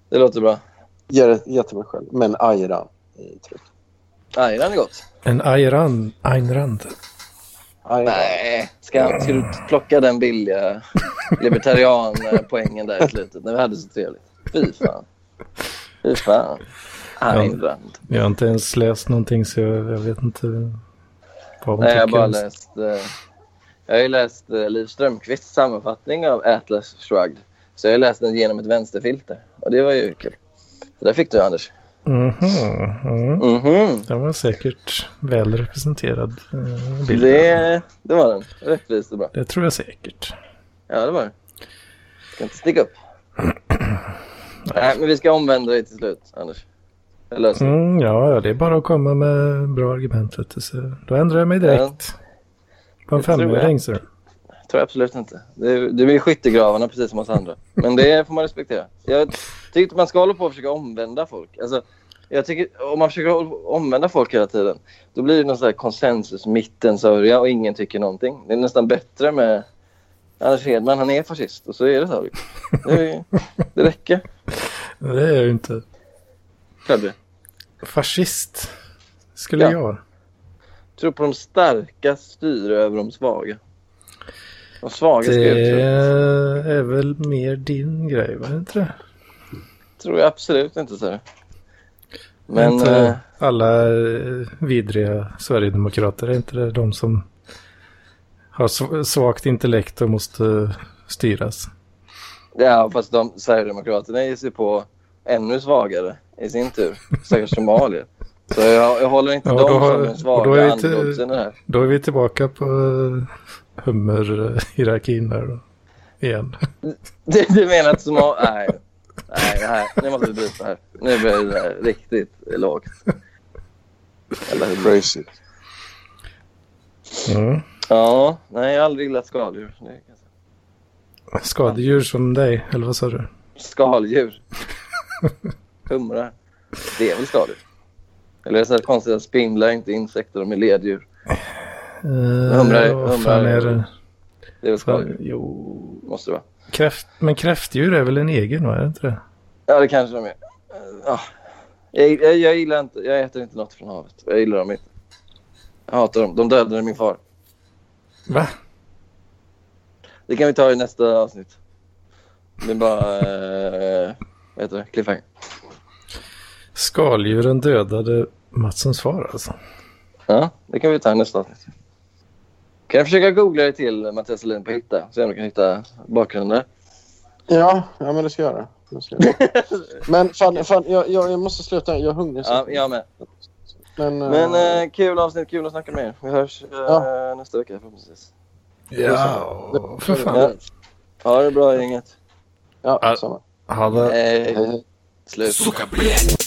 [SPEAKER 6] Det låter bra.
[SPEAKER 4] Ge det ge till mig själv. Men eh, ayran. i tryck.
[SPEAKER 6] Ajran är gott.
[SPEAKER 2] en Ayn Rand. Ayn Rand.
[SPEAKER 4] Ayran.
[SPEAKER 6] Nej, ska, ska du plocka den billiga libertarian-poängen där i slutet när vi hade så trevligt? Fy fan. Fy fan. Ayn Rand.
[SPEAKER 2] Jag har inte ens läst någonting så jag, jag vet inte vad hon
[SPEAKER 6] Nej, jag har
[SPEAKER 2] tycker
[SPEAKER 6] bara
[SPEAKER 2] om-
[SPEAKER 6] läst... Eh, jag har ju läst eh, Liv Strömquists sammanfattning av Atlas Shrugged. Så jag har läst den genom ett vänsterfilter. Och det var ju kul. Så där fick du Anders.
[SPEAKER 2] Mhm, mm.
[SPEAKER 6] Mhm.
[SPEAKER 2] Den var säkert väl representerad. eh, bild.
[SPEAKER 6] Det, det var den. Rättvist och bra.
[SPEAKER 2] det tror jag säkert.
[SPEAKER 6] Ja, det var den. Ska inte sticka upp. Nej, men vi ska omvända dig till slut, Anders. Det löser vi.
[SPEAKER 2] Mm, ja, ja, det är bara att komma med bra argument. Vet du, så då ändrar jag mig direkt. På en
[SPEAKER 6] Det tror jag.
[SPEAKER 2] femöring så.
[SPEAKER 6] tror jag absolut inte. Du, du är i skyttegravarna precis som oss andra. Men det får man respektera. Jag tycker inte man ska hålla på och försöka omvända folk. Alltså, jag tycker, om man försöker hålla- omvända folk hela tiden, då blir det någon sån här konsensus, mittens sörja och ingen tycker någonting. Det är nästan bättre med Anders Hedman, han är fascist och så är det så. liksom. Det, är- det räcker.
[SPEAKER 2] Det är jag ju inte.
[SPEAKER 6] Klart det.
[SPEAKER 2] Fascist skulle
[SPEAKER 6] Ja.
[SPEAKER 2] jag vara.
[SPEAKER 6] Tror på de starka styr över de svaga. De svaga ska
[SPEAKER 2] Det
[SPEAKER 6] ut.
[SPEAKER 2] är väl mer din grej, va? Inte det?
[SPEAKER 6] tror jag absolut inte. Så. Men...
[SPEAKER 2] inte
[SPEAKER 6] eh,
[SPEAKER 2] alla eh, vidriga sverigedemokrater, är inte det de som har sv- svagt intellekt och måste eh, styras?
[SPEAKER 6] Ja, fast de, Sverigedemokraterna ger sig på ännu svagare i sin tur. Stackars somalier. Så jag, jag håller inte
[SPEAKER 2] Ja,
[SPEAKER 6] dem
[SPEAKER 2] då har-
[SPEAKER 6] som den
[SPEAKER 2] och då är
[SPEAKER 6] svaga
[SPEAKER 2] det inte-
[SPEAKER 6] andedsen här.
[SPEAKER 2] Då är vi tillbaka på eh, hummerhierarkin där då. igen.
[SPEAKER 6] Du, du menar att somal... Nej. Nej, det här, nu måste vi bryta här. Nu blir det här riktigt lågt.
[SPEAKER 4] Eller hur? Crazy.
[SPEAKER 2] Mm.
[SPEAKER 6] Ja, nej, jag har aldrig gillat skaldjur. Det kan jag säga.
[SPEAKER 2] Skadedjur som dig, eller vad sa du?
[SPEAKER 6] Skaldjur. Humrar. Det är väl skaldjur? Eller är det så här konstigt att spindlar är inte insekter, de är leddjur.
[SPEAKER 2] Eh,
[SPEAKER 6] Humrar-
[SPEAKER 2] vad fan
[SPEAKER 6] humrar-
[SPEAKER 2] är det?
[SPEAKER 6] Det är väl
[SPEAKER 2] Fan,
[SPEAKER 6] skaldjur?
[SPEAKER 2] jo.
[SPEAKER 6] Måste det vara.
[SPEAKER 2] Kräft, men kräftdjur är väl en egen, va? Är det inte det?
[SPEAKER 6] Ja, det kanske de är. Eh, ah. Jag, jag, jag gillar inte, jag äter inte något från havet. Jag gillar dem inte. Jag hatar dem. De dödade min far.
[SPEAKER 2] Va?
[SPEAKER 6] Det kan vi ta i nästa avsnitt. Det är bara, eh, vad heter det, cliffhanger.
[SPEAKER 2] Skaldjuren dödade Matssons far alltså.
[SPEAKER 6] Ja, det kan vi ta i nästa avsnitt. Kan jag försöka googla det till Mattias Selin på Hitta? Så jag kan hitta bakgrunden där.
[SPEAKER 4] Ja, ja, men det ska jag göra. Nu ska jag- Men fan, fan jag, jag, jag måste sluta. Jag är hungrig. så-
[SPEAKER 6] Ja, jag med.
[SPEAKER 4] Men, eh,
[SPEAKER 6] Men eh, kul avsnitt, kul att snacka med er. Vi hörs eh,
[SPEAKER 4] Ja.
[SPEAKER 6] nästa vecka förhoppningsvis.
[SPEAKER 2] Ja, för
[SPEAKER 6] Ja.
[SPEAKER 2] fan.
[SPEAKER 6] Ha det bra gänget.
[SPEAKER 4] ja,
[SPEAKER 2] Ja.
[SPEAKER 4] samma.
[SPEAKER 2] Ha det.
[SPEAKER 6] Hej.
[SPEAKER 4] Hej, hej.
[SPEAKER 6] Slut.
[SPEAKER 5] Сука, блядь!